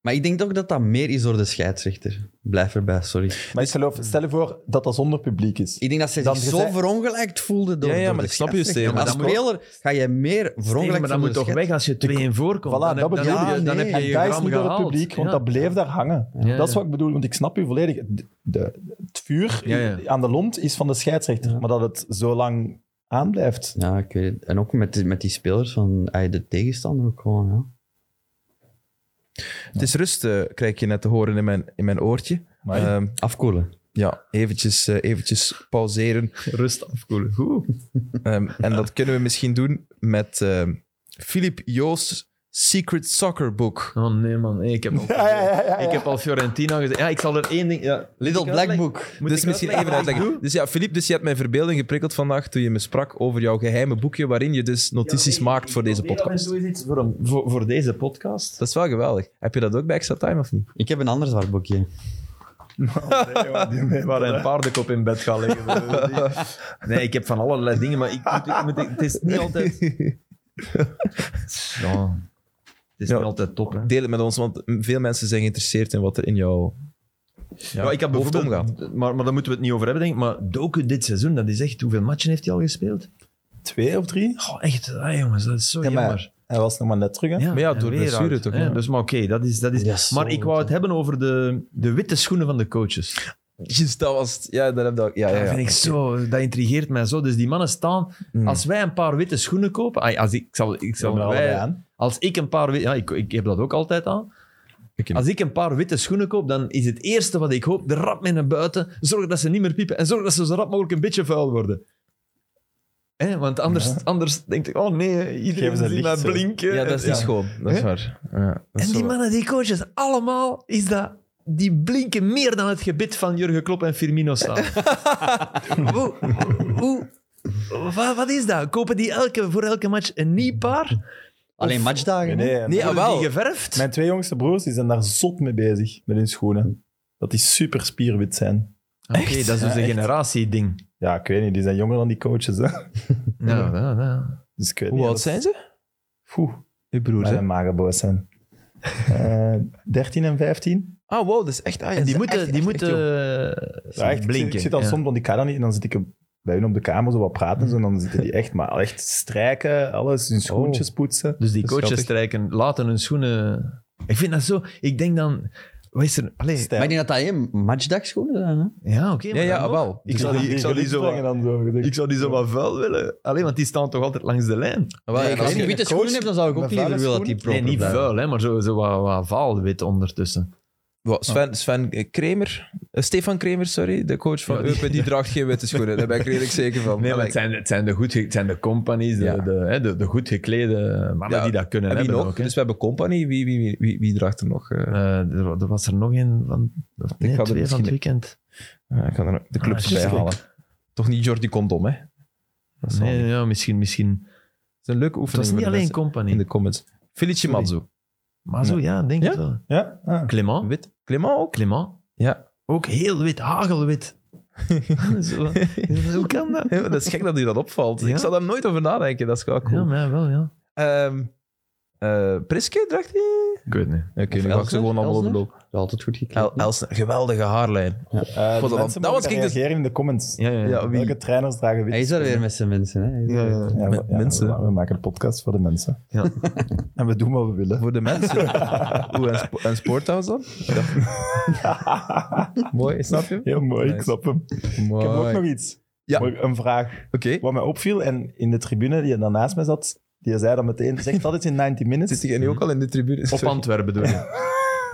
S3: Maar ik denk toch dat dat meer is door de scheidsrechter. Blijf erbij, sorry.
S4: Maar ik geloof, stel je voor dat dat zonder publiek is.
S3: Ik denk dat ze
S4: Dan
S3: zich
S4: je
S3: zo
S4: zei-
S3: verongelijkt voelde door
S1: Ja, ja,
S3: door
S1: maar
S3: de
S1: ik snap je,
S3: scheidsrechter.
S1: Steven, maar
S3: Als
S1: dat moet-
S3: speler ga je meer
S2: Steven,
S3: verongelijkt
S2: maar dat moet toch weg als je 2-1 voorkomt.
S4: Voilà,
S2: dan,
S4: dat
S2: heb- dan
S4: bedoel
S2: heb
S3: ik.
S2: je, dan
S3: Ja,
S2: heb je
S4: En
S2: je
S4: dat is
S2: gram
S4: niet door het
S2: gehaald.
S4: publiek, want
S2: Ja.
S4: dat bleef daar hangen.
S2: Ja,
S4: Dat is
S2: ja.
S4: wat ik bedoel, want ik snap u volledig. De, de- het vuur
S2: Ja, ja.
S4: in- aan de lont is van de scheidsrechter, maar dat het zo lang aanblijft.
S3: Ja, ik weet het. En ook met, die- met die spelers van ah, de tegenstander ook gewoon. Ja.
S1: Het is rust, eh, krijg je net te horen in mijn, in mijn oortje.
S4: Maar
S1: Ehm,
S3: Afkoelen.
S1: ja, eventjes, eh, eventjes pauzeren.
S2: Rust afkoelen. Goed.
S1: Ehm, en dat kunnen we misschien doen met ehm Filip Joos' Secret Soccer Book.
S2: Oh nee, man. Hey, ik, heb al,
S4: Ja, ja, ja, ja,
S2: ik heb al Fiorentina gezegd. Ja, ik zal er één ding... Ja.
S3: Little
S2: Ik
S3: Black
S2: uitleg-
S3: Book.
S2: Moet
S1: dus
S2: ik
S1: misschien even
S2: wat ik
S1: uitleggen.
S2: doe?
S1: Dus ja, Filip, dus je hebt mijn verbeelding geprikkeld vandaag toen je me sprak over jouw geheime boekje waarin je dus notities maakt voor deze podcast.
S2: Doe eens iets voor, een- voor, voor deze podcast.
S1: Dat is wel geweldig. Heb je dat ook bij Extra Time of niet?
S3: Ik heb een ander zwart boekje.
S2: We waren een paardenkop in bed gaan liggen. Nee, ik heb van allerlei dingen, maar ik, moet- ik, moet- het is niet altijd... Ja. Het is
S1: Ja.
S2: niet altijd top, hè.
S1: Deel het met ons, want veel mensen zijn geïnteresseerd in wat er in jouw
S2: Ja, ik heb
S1: hoofd
S2: bijvoorbeeld,
S1: omgaat.
S2: maar, maar daar moeten we het niet over hebben, denk ik. Maar Doku dit seizoen, dat is echt... Hoeveel matchen heeft hij al gespeeld?
S4: Twee of drie?
S2: Goh, echt, ah, jongens, dat is zo
S4: Ja, maar-
S2: jammer.
S4: Hij was nog maar net terug, hè?
S1: Maar ja,
S2: en
S1: door
S2: weer
S1: blessure
S2: uit,
S1: toch,
S2: hè.
S1: ja.
S2: Dus, maar oké, dat is... Dat is
S3: Ja, zo
S2: maar ik wou het
S3: goed.
S2: hebben over de, de witte schoenen van de coaches.
S1: Juist, dat was het. Ja, dat heb ik ook. Ja, ja,
S2: Dat
S1: ja.
S2: vind ik zo... Dat intrigeert mij zo. Dus die mannen staan...
S4: Hmm.
S1: Mm.
S2: Als wij een paar witte schoenen kopen... ai, Als ik, ik zal... Ik
S4: Ze
S2: zal
S4: hebben er
S2: wij-
S4: allebei aan.
S2: als ik een paar... wi- Ja, ik, ik heb dat ook altijd aan.
S1: Ik niet.
S2: Als ik een paar witte schoenen koop, dan is het eerste wat ik hoop... De rap mee naar buiten. Zorg dat ze niet meer piepen. En zorg dat ze zo rap mogelijk een beetje vuil worden. Hè, want anders, anders denk ik... Oh nee, iedereen
S4: Geven ze
S2: ziet
S4: licht
S2: mij
S4: zo.
S2: blinken.
S1: ja, dat is niet
S2: Ja.
S1: schoon. Dat is
S2: Hè?
S1: waar. Ja, dat is
S2: En
S1: zo
S2: die
S1: waar.
S2: mannen, die coaches, allemaal is dat... Die blinken meer dan het gebit van Jurgen Klopp en Firmino samen. hoe, hoe, wat, wat is dat? Kopen die elke, voor elke match een nieuw paar?
S3: Alleen
S4: Nee,
S3: matchdagen. hè?
S4: nee,
S1: Nee,
S4: maar-
S1: ah,
S2: Worden
S1: wel.
S2: die geverfd?
S4: Mijn twee jongste broers die zijn daar zot mee bezig, met hun schoenen. Dat die super spierwit zijn.
S2: Oké, dat is dus een
S4: Ja, echt.
S2: generatieding.
S4: Ja, ik weet niet, die zijn jonger dan die coaches, hè?
S2: Nou, nou, nou.
S4: Dus ik weet
S1: Hoe
S4: niet,
S1: oud
S4: dat-
S1: zijn ze?
S4: Poeh,
S1: Je broer,
S4: maar
S1: hè?
S4: zijn magenboos zijn. Eh 13 en 15.
S1: Ah, wow, dat is echt... Ah, ja,
S2: En
S1: ze
S2: die
S1: zijn
S2: moeten, eh,
S1: echt-
S2: die
S1: echt- echt jong.
S2: moeten
S4: Ja, echt, ik zit-
S2: blinken.
S4: Ik zit dan
S2: ja.
S4: soms, want ik kan dat niet. En dan zit ik bij hun op de kamer zo wat praten. En, zo, en dan zitten die echt, maar echt strijken, alles, hun schoentjes poetsen.
S2: Dus die
S4: Dat is
S2: coaches
S4: schattig.
S2: strijken, laten hun schoenen... Ik vind dat zo... Ik denk dan... Wat is er... Allee,
S4: Stijl.
S3: Maar ik denk dat dat één matchdagschoenen zijn. Hè?
S2: ja, oké. maar
S1: Ja, ja,
S2: dan
S1: ah,
S2: nog.
S1: wel.
S2: Ik
S1: Dus-
S2: zal die, ik zal die zo... wat-
S4: brengen dan zo. denk
S2: Ik zou die zo wat vuil willen. Alleen, want die staan toch altijd langs de lijn.
S1: ah, wel, ja,
S3: Nee,
S1: dat
S3: als
S1: is-
S3: je
S4: een
S3: witte
S4: coach
S3: schoenen hebt, dan zou ik
S4: met
S3: ook liever
S4: vuile
S3: willen dat die
S4: schoenen-
S3: proper
S2: Nee, niet
S3: blijven.
S2: vuil, hè, maar zo, zo wat, wat vaalwit ondertussen.
S1: Wow,
S2: Ah.
S1: Sven, Sven eh, Kremer, eh, Stefan Kremer, sorry, de coach van
S2: Ja, die-
S1: Eupen, die draagt geen witte schoenen. Daar ben ik redelijk zeker van.
S2: Nee, maar
S1: Allee,
S2: het zijn, het zijn, de, goed, ge- het zijn de companies, de,
S1: Ja.
S2: de, hè, de, de goed geklede mannen
S1: Ja,
S2: die dat kunnen
S1: en wie
S2: hebben.
S1: nog?
S2: ook, hè.
S1: dus we hebben Company. Wie, wie, wie, wie, wie draagt er nog? eh?
S2: Eh, er, wa- er was er nog een van, of nee,
S1: ga er
S2: twee van het
S1: misschien-
S2: weekend.
S1: Ja, ik kan er nog de clubs
S2: Ah,
S1: bij
S2: juist.
S1: halen. Toch niet Jordi Condom, hè? Dat is wel-
S2: Nee, ja, misschien, misschien.
S1: Het is een leuke
S2: Het was
S1: oefening.
S2: niet
S1: voor de
S2: alleen
S1: mensen in
S2: company.
S1: de comments. Felice
S2: Sorry.
S1: Mazzo.
S2: Maar zo, ja, denk
S1: Ja?
S2: ik wel.
S4: ik. Ja? Ah.
S2: Clément.
S1: Wit. Clément ook?
S2: Clément.
S1: Ja.
S2: Ook heel wit, hagelwit. Ah, Zo, hoe kan dat?
S1: Ja, maar dat is gek dat u dat opvalt.
S2: Ja.
S1: Ik zou daar nooit over nadenken. Dat is wel
S2: Ja,
S1: cool.
S2: maar ja, wel, ja.
S1: Ehm, eh, Priske, draagt hij?
S2: Ik weet niet.
S1: Oké, nu
S3: Elsner?
S1: ga ik ze gewoon allemaal
S3: Elsner?
S1: overlopen.
S3: Dat is altijd goed gekleed.
S1: El, Elsner, geweldige haarlijn.
S4: Eh,
S1: dat
S4: de
S1: was-
S4: mensen
S1: dat was
S4: mogen
S1: ik dus-
S4: reageren in de comments.
S2: Ja, ja,
S1: Ja,
S2: ja.
S1: wie-
S4: Welke trainers dragen wit?
S3: Hij is daar weer met zijn mensen. Hè? Hij is daar weer.
S4: Ja,
S1: Met
S4: we- ja,
S1: mensen.
S4: We, we maken de podcast voor de mensen.
S2: Ja.
S4: en we doen wat we willen.
S1: Voor de mensen. Hoe, en, spo en Sporthouse dan? Ja. Mooi, snap je?
S4: Heel mooi, ik
S1: Nice.
S4: snap hem. Ik heb ook nog iets.
S1: Ja.
S4: Maar Een vraag.
S1: Oké.
S4: Wat mij opviel, en in de tribune die daarnaast mij zat, die zei dat meteen, zegt dat iets in 90
S1: Zit
S4: Minutes?
S1: hij nu ook al in de tribune?
S2: Op Antwerpen bedoel je?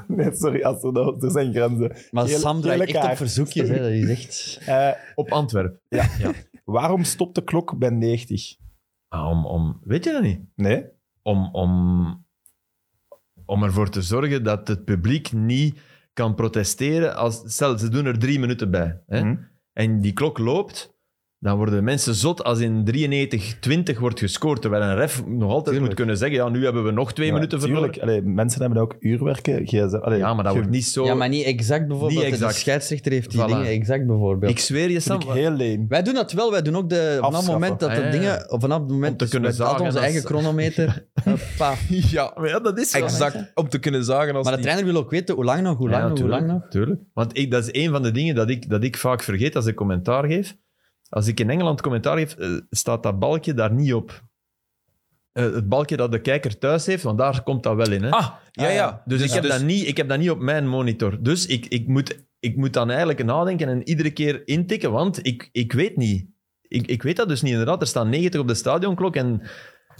S4: Nee, sorry, Astro, dat- er zijn grenzen.
S3: Maar
S4: Gele-
S3: Sam draait
S4: gele
S3: echt op
S4: kaart.
S3: verzoekjes. Hè? Dat is echt...
S4: Eh,
S2: Op Antwerpen.
S4: waarom stopt de klok bij 90?
S2: Ah, om, om, weet je dat niet?
S4: Nee?
S2: om, om, om ervoor te zorgen dat het publiek niet kan protesteren. Als, stel, ze doen er drie minuten bij. Hè?
S4: Hm?
S2: En die klok loopt, dan worden mensen zot als in 93-20 wordt gescoord. Terwijl een ref nog altijd moet kunnen zeggen, ja, nu hebben we nog twee
S4: Ja,
S2: minuten
S4: tuurlijk.
S2: verloren.
S4: Allee, mensen hebben ook uurwerken. GSM, allee,
S2: Ja, maar dat
S4: je-
S2: wordt niet zo...
S3: Ja, maar niet exact bijvoorbeeld.
S2: Niet exact.
S3: De scheidsrechter heeft die
S2: Voilà.
S3: dingen exact bijvoorbeeld.
S2: Ik zweer je, Sam.
S4: vind ik heel leem.
S3: Wij doen dat wel. Wij doen ook de, vanaf het
S4: Afschaffen.
S3: moment dat
S2: Ah,
S3: de
S2: ja, ja.
S3: dingen... Vanaf het moment
S2: te kunnen
S3: wij hadden
S2: zagen
S3: onze
S2: als-
S3: eigen chronometer. Hoppa.
S1: Ja,
S2: Maar ja, dat is zo.
S1: exact. Om te kunnen zagen als
S3: Maar de
S1: die...
S3: trainer wil ook weten hoe lang nog, hoe lang
S2: Ja,
S3: nog, hoe lang nog.
S2: Tuurlijk. Want ik, dat is een van de dingen dat ik, dat ik vaak vergeet als ik commentaar geef. Als ik in Engeland commentaar geef, eh, staat dat balkje daar niet op. Eh, het balkje dat de kijker thuis heeft, want daar komt dat wel in. Hè?
S1: Ah, ja, ja.
S2: dus ik, heb
S1: dus-
S2: Dat niet, ik heb dat niet op mijn monitor. Dus ik, ik, moet, ik moet dan eigenlijk nadenken en iedere keer intikken, want ik, ik weet niet. Ik, ik weet dat dus niet, inderdaad. Er staan 90 op de stadionklok en,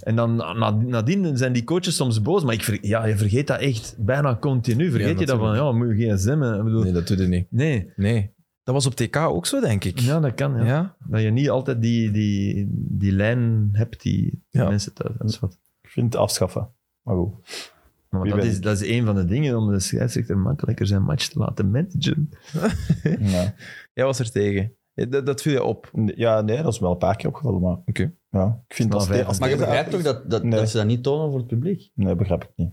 S2: en dan na- nadien zijn die coaches soms boos. Maar ik ver- ja, je vergeet dat echt bijna continu. Vergeet je dat van, ja, moet je gsm... hè? Ik bedoel,
S1: Nee, dat doet hij niet.
S2: Nee.
S1: Nee. Dat was op TK ook zo, denk ik.
S2: Ja, dat kan. Ja.
S1: Ja?
S2: Dat je niet altijd die, die, die lijn hebt die
S1: Ja.
S2: mensen thuis. Dat is wat.
S4: Ik vind het afschaffen. Maar goed.
S2: Maar
S4: Wie
S2: dat,
S4: ben
S2: is,
S4: ik?
S2: dat is een van de dingen om de scheidsrechter makkelijker zijn match te laten managen.
S4: Ja.
S1: Jij was er tegen. Ja, Dat, dat viel je op.
S4: ja, nee, dat is wel een paar keer opgevallen, maar...
S1: Oké.
S4: Ja, ik vind
S2: Maar
S4: dat...
S2: vijf-
S4: als
S3: Maar je
S4: deze
S3: begrijpt toch
S4: uit-
S3: dat, dat,
S4: Nee.
S3: dat ze dat niet tonen voor het publiek?
S4: Nee, begrijp ik niet.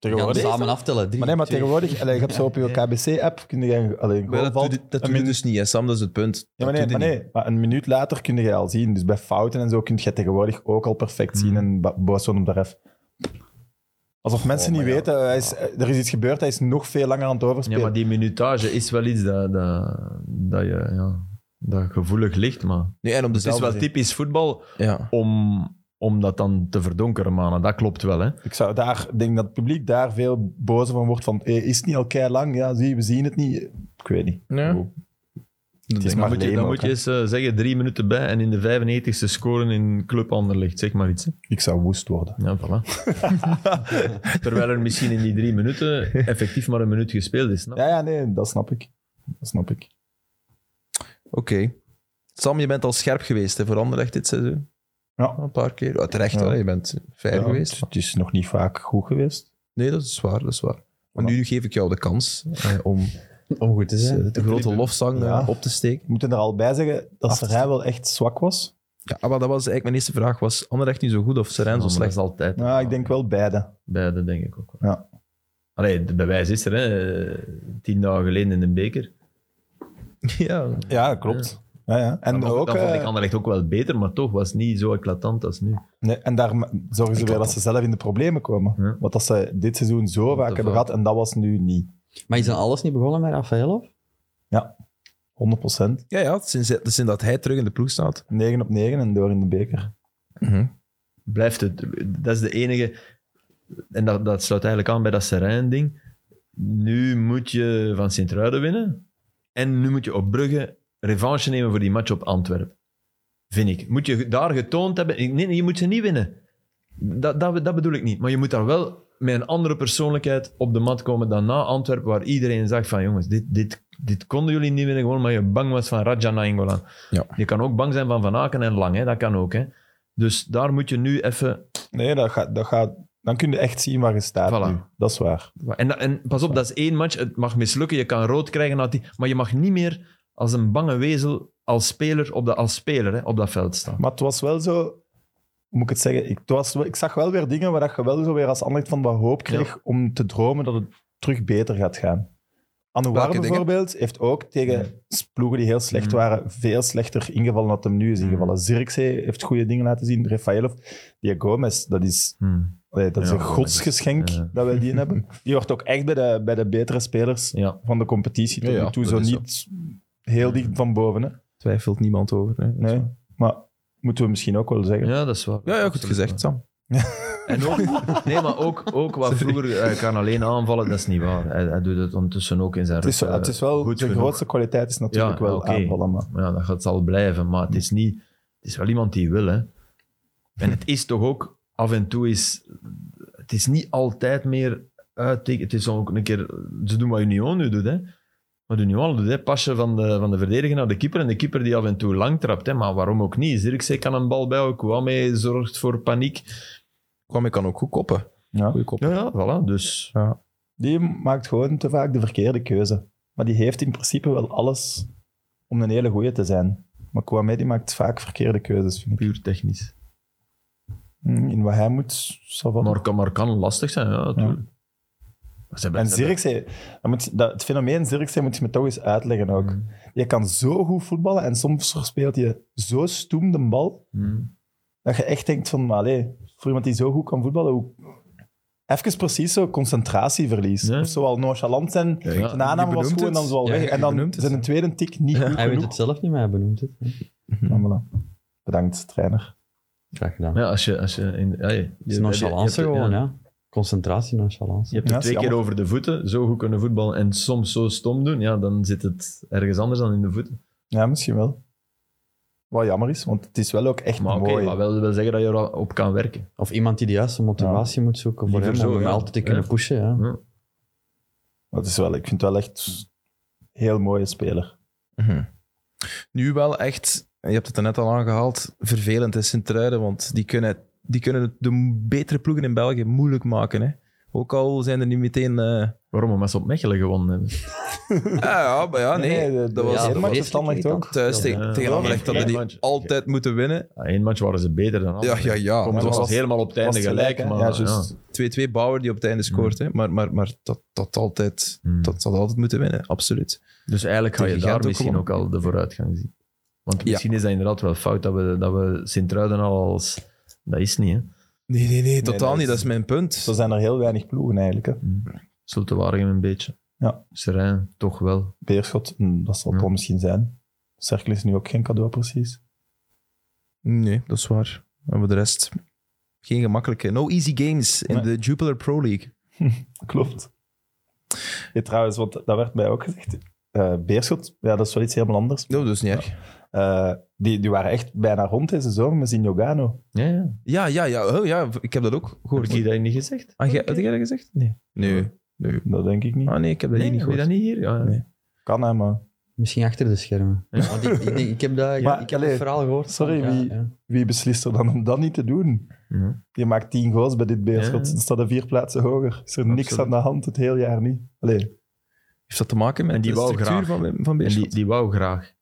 S3: We gaan
S4: Tegenwoordig...
S3: samen aftellen. Drie,
S4: Maar nee, maar
S3: twee.
S4: tegenwoordig... allee, je hebt zo op je KBC-app... Kun je alleen
S1: Maar dat doe, je- dat doe je dus niet, hè, Sam. Dat is het punt.
S4: Ja, maar
S1: Dat
S4: nee,
S1: doe
S4: maar
S1: je niet.
S4: nee, maar een minuut later kun je al zien. Dus bij fouten en zo kun je tegenwoordig ook al perfect
S2: Mm.
S4: zien. En ba- boos worden op de ref. Alsof mensen
S1: maar
S4: niet
S1: ja.
S4: weten, hij is, er is iets gebeurd, hij is nog veel langer aan het
S2: Oh Ja,
S4: overspelen.
S2: maar die minutage is wel iets dat, dat, dat je ja, dat gevoelig ligt. Maar
S1: Nee, en om
S2: het is
S1: dezelfde
S2: wel
S1: zin.
S2: typisch voetbal
S1: Ja.
S2: om, om dat dan te verdonkeren, maar dat klopt wel. Hè?
S4: Ik zou daar, ik denk dat het publiek daar veel bozer van wordt. Van, eh, is het niet al kei lang? Ja, zie, we zien het niet. Ik weet niet.
S1: Ja.
S4: Goed.
S1: Oh, Dat
S4: is
S1: denk
S4: maar
S1: ik.
S2: Dan moet je,
S4: Leem
S2: dan
S4: ook,
S2: moet je
S4: hè.
S2: eens eh, zeggen drie minuten bij en in de 95ste scoren in Club Anderlecht. Zeg maar iets. Hè?
S4: Ik zou woest worden.
S2: Ja, voilà. Terwijl er misschien in die drie minuten effectief maar een minuut gespeeld is. snap je?
S4: Ja, ja, nee, dat snap ik. Dat snap ik.
S1: Oké. Sam, je bent al scherp geweest hè, voor Anderlecht dit seizoen.
S4: Ja.
S1: Een paar keer. Oh, terecht,
S4: Ja.
S1: hè, je bent fair
S4: Ja,
S1: geweest.
S4: Het is nog niet vaak goed geweest.
S1: Nee, dat is waar, dat is waar. Maar
S4: Voilà.
S1: nu geef ik jou de kans eh, om
S3: Om goed te zijn.
S1: eh, de grote lofzang eh,
S4: Ja.
S1: op te steken.
S4: Ik moet er al bij zeggen dat
S1: Af-
S4: Serijn wel echt zwak was.
S1: Ja, ah, maar dat was eigenlijk mijn eerste vraag. Was Anderlecht nu zo goed of Serijn
S2: Ja,
S1: zo
S2: maar dat
S1: slecht?
S2: is altijd.
S4: Nou, ik denk wel beide.
S2: Beide, denk ik ook wel.
S4: Ja.
S2: Allee, de bewijs is er, hè. Tien dagen geleden in de beker.
S1: Ja,
S4: Ja, klopt. Ja, ja. En,
S2: dan,
S4: ook,
S2: dan vond
S4: eh,
S2: ik Anderlecht ook wel beter, maar toch was het niet zo eclatant als nu.
S4: nee, en daar ma- zorgen ze weer dat ze zelf in de problemen komen.
S2: Ja.
S4: Want dat ze dit seizoen zo vaak hebben
S2: vaak.
S4: gehad en dat was nu niet. 100%.
S3: Maar is dan alles niet begonnen met Rafaelov?
S1: ja, ja sinds, eh, sinds dat hij terug in de ploeg staat.
S4: 9 op 9 en door in de beker.
S2: Blijft het, dat is de enige... En dat, dat sluit eigenlijk aan bij dat Serijn-ding. Nu moet je van Sint-Truiden winnen. En nu moet je op Brugge revanche nemen voor die match op Antwerpen. Vind ik. Moet je daar getoond hebben... Nee, nee, je moet ze niet winnen. Dat, dat, dat bedoel ik niet. Maar je moet daar wel met een andere persoonlijkheid op de mat komen dan na Antwerpen, waar iedereen zag van jongens, dit, dit, dit konden jullie niet winnen, gewoon maar je bang was van Raja Nainggolan.
S1: Ja.
S2: Je kan ook bang zijn van Van Aken en Lang, hè? dat kan ook. Hè? Dus daar moet je nu even...
S4: Nee, dat gaat, dat gaat, dan kun je echt zien waar je staat
S2: Voilà.
S4: nu. Dat is waar.
S2: En, dat- en pas op, dat is één match, het mag mislukken, je kan rood krijgen, na die, maar je mag niet meer als een bange wezel als speler op, dat als speler, hè, op dat veld staan.
S4: Maar het was wel zo... hoe Moet ik het zeggen? Ik, het was, wel- ik zag wel weer dingen waar dat je wel zo weer als ander van wat hoop kreeg om te dromen dat het terug beter gaat gaan. Anouar
S1: Welke dingen? Mhm.
S4: bijvoorbeeld heeft ook tegen ploegen die heel slecht
S2: Mm.
S4: waren, veel slechter ingevallen dan hem nu is ingevallen. Zirkzee heeft goede dingen laten zien. Rafaelov, die Gomez, dat is
S2: Hmm.
S4: Nee, dat is
S2: Ja,
S4: een
S2: gewoon,
S4: godsgeschenk
S2: ja.
S4: dat wij die hebben. Die wordt ook echt bij de, bij de betere spelers
S2: Ja.
S4: van de competitie tot
S1: Ja, ja,
S4: nu toe.
S1: dat
S4: Zo
S1: is
S4: niet heel dicht van boven. Hè.
S1: Twijfelt niemand over. Nee. dat is
S4: Nee,
S1: waar.
S4: maar moeten we misschien ook wel zeggen.
S2: Ja, dat is waar.
S1: Ja, ja, goed
S2: Absoluut waar.
S1: gezegd, Sam.
S2: En ook, nee, maar ook, ook wat vroeger, hij kan alleen aanvallen, dat is niet waar. Hij, hij doet het ondertussen ook in zijn
S4: het, is,
S2: rug, eh,
S4: het is wel,
S2: goed
S4: de
S2: genoeg.
S4: grootste kwaliteit is natuurlijk
S2: Ja,
S4: wel
S2: oké.
S4: aanvallen. Maar
S2: Maar ja, dat gaat zal blijven, maar het is niet... Het is wel iemand die wil, hè. En het is toch ook, af en toe is... Het is niet altijd meer uit... Het is ook een keer... Ze doen wat Union nu doet, hè. Wat Union doet, hè. Passen van de, van de verdediger naar de keeper en de keeper die af en toe lang trapt, hè. Maar waarom ook niet? Zirkzee kan een bal bij, Kwame zorgt voor paniek.
S1: Kwame kan ook goed koppen.
S4: Ja.
S1: Goeie kop.
S2: Ja, ja, voilà, dus...
S4: die maakt gewoon te vaak de verkeerde keuze. Maar die heeft in principe wel alles om een hele goeie te zijn. Maar Kwame die maakt vaak verkeerde keuzes, vind ik.
S2: Puur technisch.
S4: Mm, In wat hij moet, zal wel.
S2: Maar, kan- maar kan lastig zijn, ja, natuurlijk. Maar ze hebben-
S4: En
S2: ze hebben-
S4: Zirkzee, dat moet, dat, het fenomeen Zirkzee moet je me toch eens uitleggen
S2: Mm.
S4: ook. Je kan zo goed voetballen en soms speelt je zo stoem de bal
S2: Mm.
S4: dat je echt denkt van, maar allee, voor iemand die zo goed kan voetballen, hoe... even precies zo concentratieverlies.
S2: Ja.
S4: Of zo al nonchalant zijn,
S2: Ja, ja.
S4: de aanname
S1: je
S4: was
S1: benoemt
S4: goed en dan
S1: het.
S4: zo al
S1: Ja,
S4: weg.
S1: je
S4: En dan
S1: benoemt het.
S4: zijn een tweede tik niet goed
S3: Hij weet
S4: genoeg.
S3: het zelf niet, maar hij benoemt het.
S4: Ja, voilà. Bedankt, trainer.
S3: Graag gedaan.
S2: Ja, als je, als je in, ja, je,
S3: Het is
S2: je-
S3: nonchalance
S2: je hebt-
S3: gewoon,
S2: ja.
S3: ja. Concentratie, nonchalance.
S2: Je hebt het
S4: Ja, dat is
S2: twee keer
S4: jammer.
S2: over de voeten, zo goed kunnen voetballen en soms zo stom doen, ja, dan zit het ergens anders dan in de voeten.
S4: Ja, misschien wel. Wat jammer is, want het is wel ook echt
S2: Maar oké,
S4: mooi.
S2: maar wel, wel zeggen dat je erop kan werken.
S3: Of iemand die de juiste motivatie moet zoeken voor
S2: Liever
S3: hem, om
S2: zo,
S3: hem
S2: ja.
S3: altijd te kunnen
S2: Ja.
S3: pushen. Ja.
S4: Dat is wel, ik vind het wel echt heel mooie speler.
S1: Mhm. Nu wel echt, en je hebt het er net al aangehaald, vervelend is Sint-Truiden, want die kunnen, die kunnen het de betere ploegen in België moeilijk maken. Hè? Ook al zijn er niet meteen... eh,
S2: Waarom? Omdat ze op Mechelen gewonnen hebben.
S1: Ah, ja, maar ja, nee.
S4: de- de-
S1: dat was
S4: ja,
S1: dat
S4: maar-
S1: was
S4: match verstandig toch?
S1: thuis tegen,
S2: Ja.
S1: tegen Anderlecht. Dat we die
S2: Ja, ja.
S1: altijd moeten winnen.
S2: Ja, Eén match waren ze beter dan
S1: Ja,
S2: anderen.
S1: ja, ja.
S2: Kom, het
S1: Maar
S2: was,
S4: was-
S2: helemaal op het einde
S4: was
S2: gelijk.
S4: hè?
S2: maar,
S4: ja, juist.
S1: 2-2 Bauer die op het einde scoort. Hè? Maar, maar, maar dat, dat, altijd,
S2: Hmm.
S1: dat zal altijd moeten winnen, absoluut.
S2: Dus eigenlijk ga je
S1: Tegen
S2: daar
S1: Gent ook
S2: misschien ook
S1: gewonnen.
S2: al de vooruitgang zien. Want
S1: Ja.
S2: misschien is dat inderdaad wel fout dat we, dat we Sint-Truiden al als... Dat is niet, hè.
S1: Nee, nee, nee. Totaal
S4: dat
S1: niet,
S4: is-
S1: dat is mijn punt.
S4: Zo zijn er heel weinig ploegen eigenlijk. Hè.
S2: Zult te waren een beetje.
S4: Ja.
S2: Serijn, toch wel.
S4: Beerschot, hm, dat zal het
S2: Ja.
S4: wel misschien zijn. Cerkel is nu ook geen cadeau precies.
S1: Nee, dat is waar. En voor de rest, geen gemakkelijke. No easy games in
S4: Nee.
S1: de Jupiler Pro League.
S4: Klopt. Ja, trouwens, want dat werd mij ook gezegd. Eh, Beerschot, ja, dat is wel iets helemaal anders.
S1: No, dat is niet erg.
S4: Eh, die, die waren echt bijna rond deze zomer met Zinogano.
S2: Ja, ja.
S1: Ja, ja, ja. Oh, ja ik heb dat ook
S2: Heb
S1: gehoord.
S2: ik dat niet gezegd?
S1: Ah, jij- had jij dat gezegd? Nee. Nee. nee.
S4: Dat denk ik niet.
S1: Ah, nee, ik heb dat
S2: Nee,
S1: hier niet
S2: heb je
S1: gehoord.
S2: dat niet hier? Ja, ja.
S1: Nee.
S4: Kan hij, maar
S3: Misschien achter de schermen.
S2: Ja.
S3: Want ik, ik, denk- ik heb, dat,
S4: Maar,
S3: ik heb
S4: allee,
S3: het verhaal gehoord. van-
S4: sorry,
S3: ja,
S4: wie-
S3: ja.
S4: wie beslist er dan om dat niet te doen?
S2: Ja.
S4: Je maakt tien goals bij dit Beerschot.
S2: Ja.
S4: Dan staat er vier plaatsen hoger. Is er niks
S2: Absoluut.
S4: aan de hand het hele jaar niet. Allee,
S1: Heeft dat te maken met
S2: En die
S1: de
S2: wou
S1: structuur
S2: graag.
S1: van, van
S2: En
S1: Beerschot?
S2: die, die wou graag.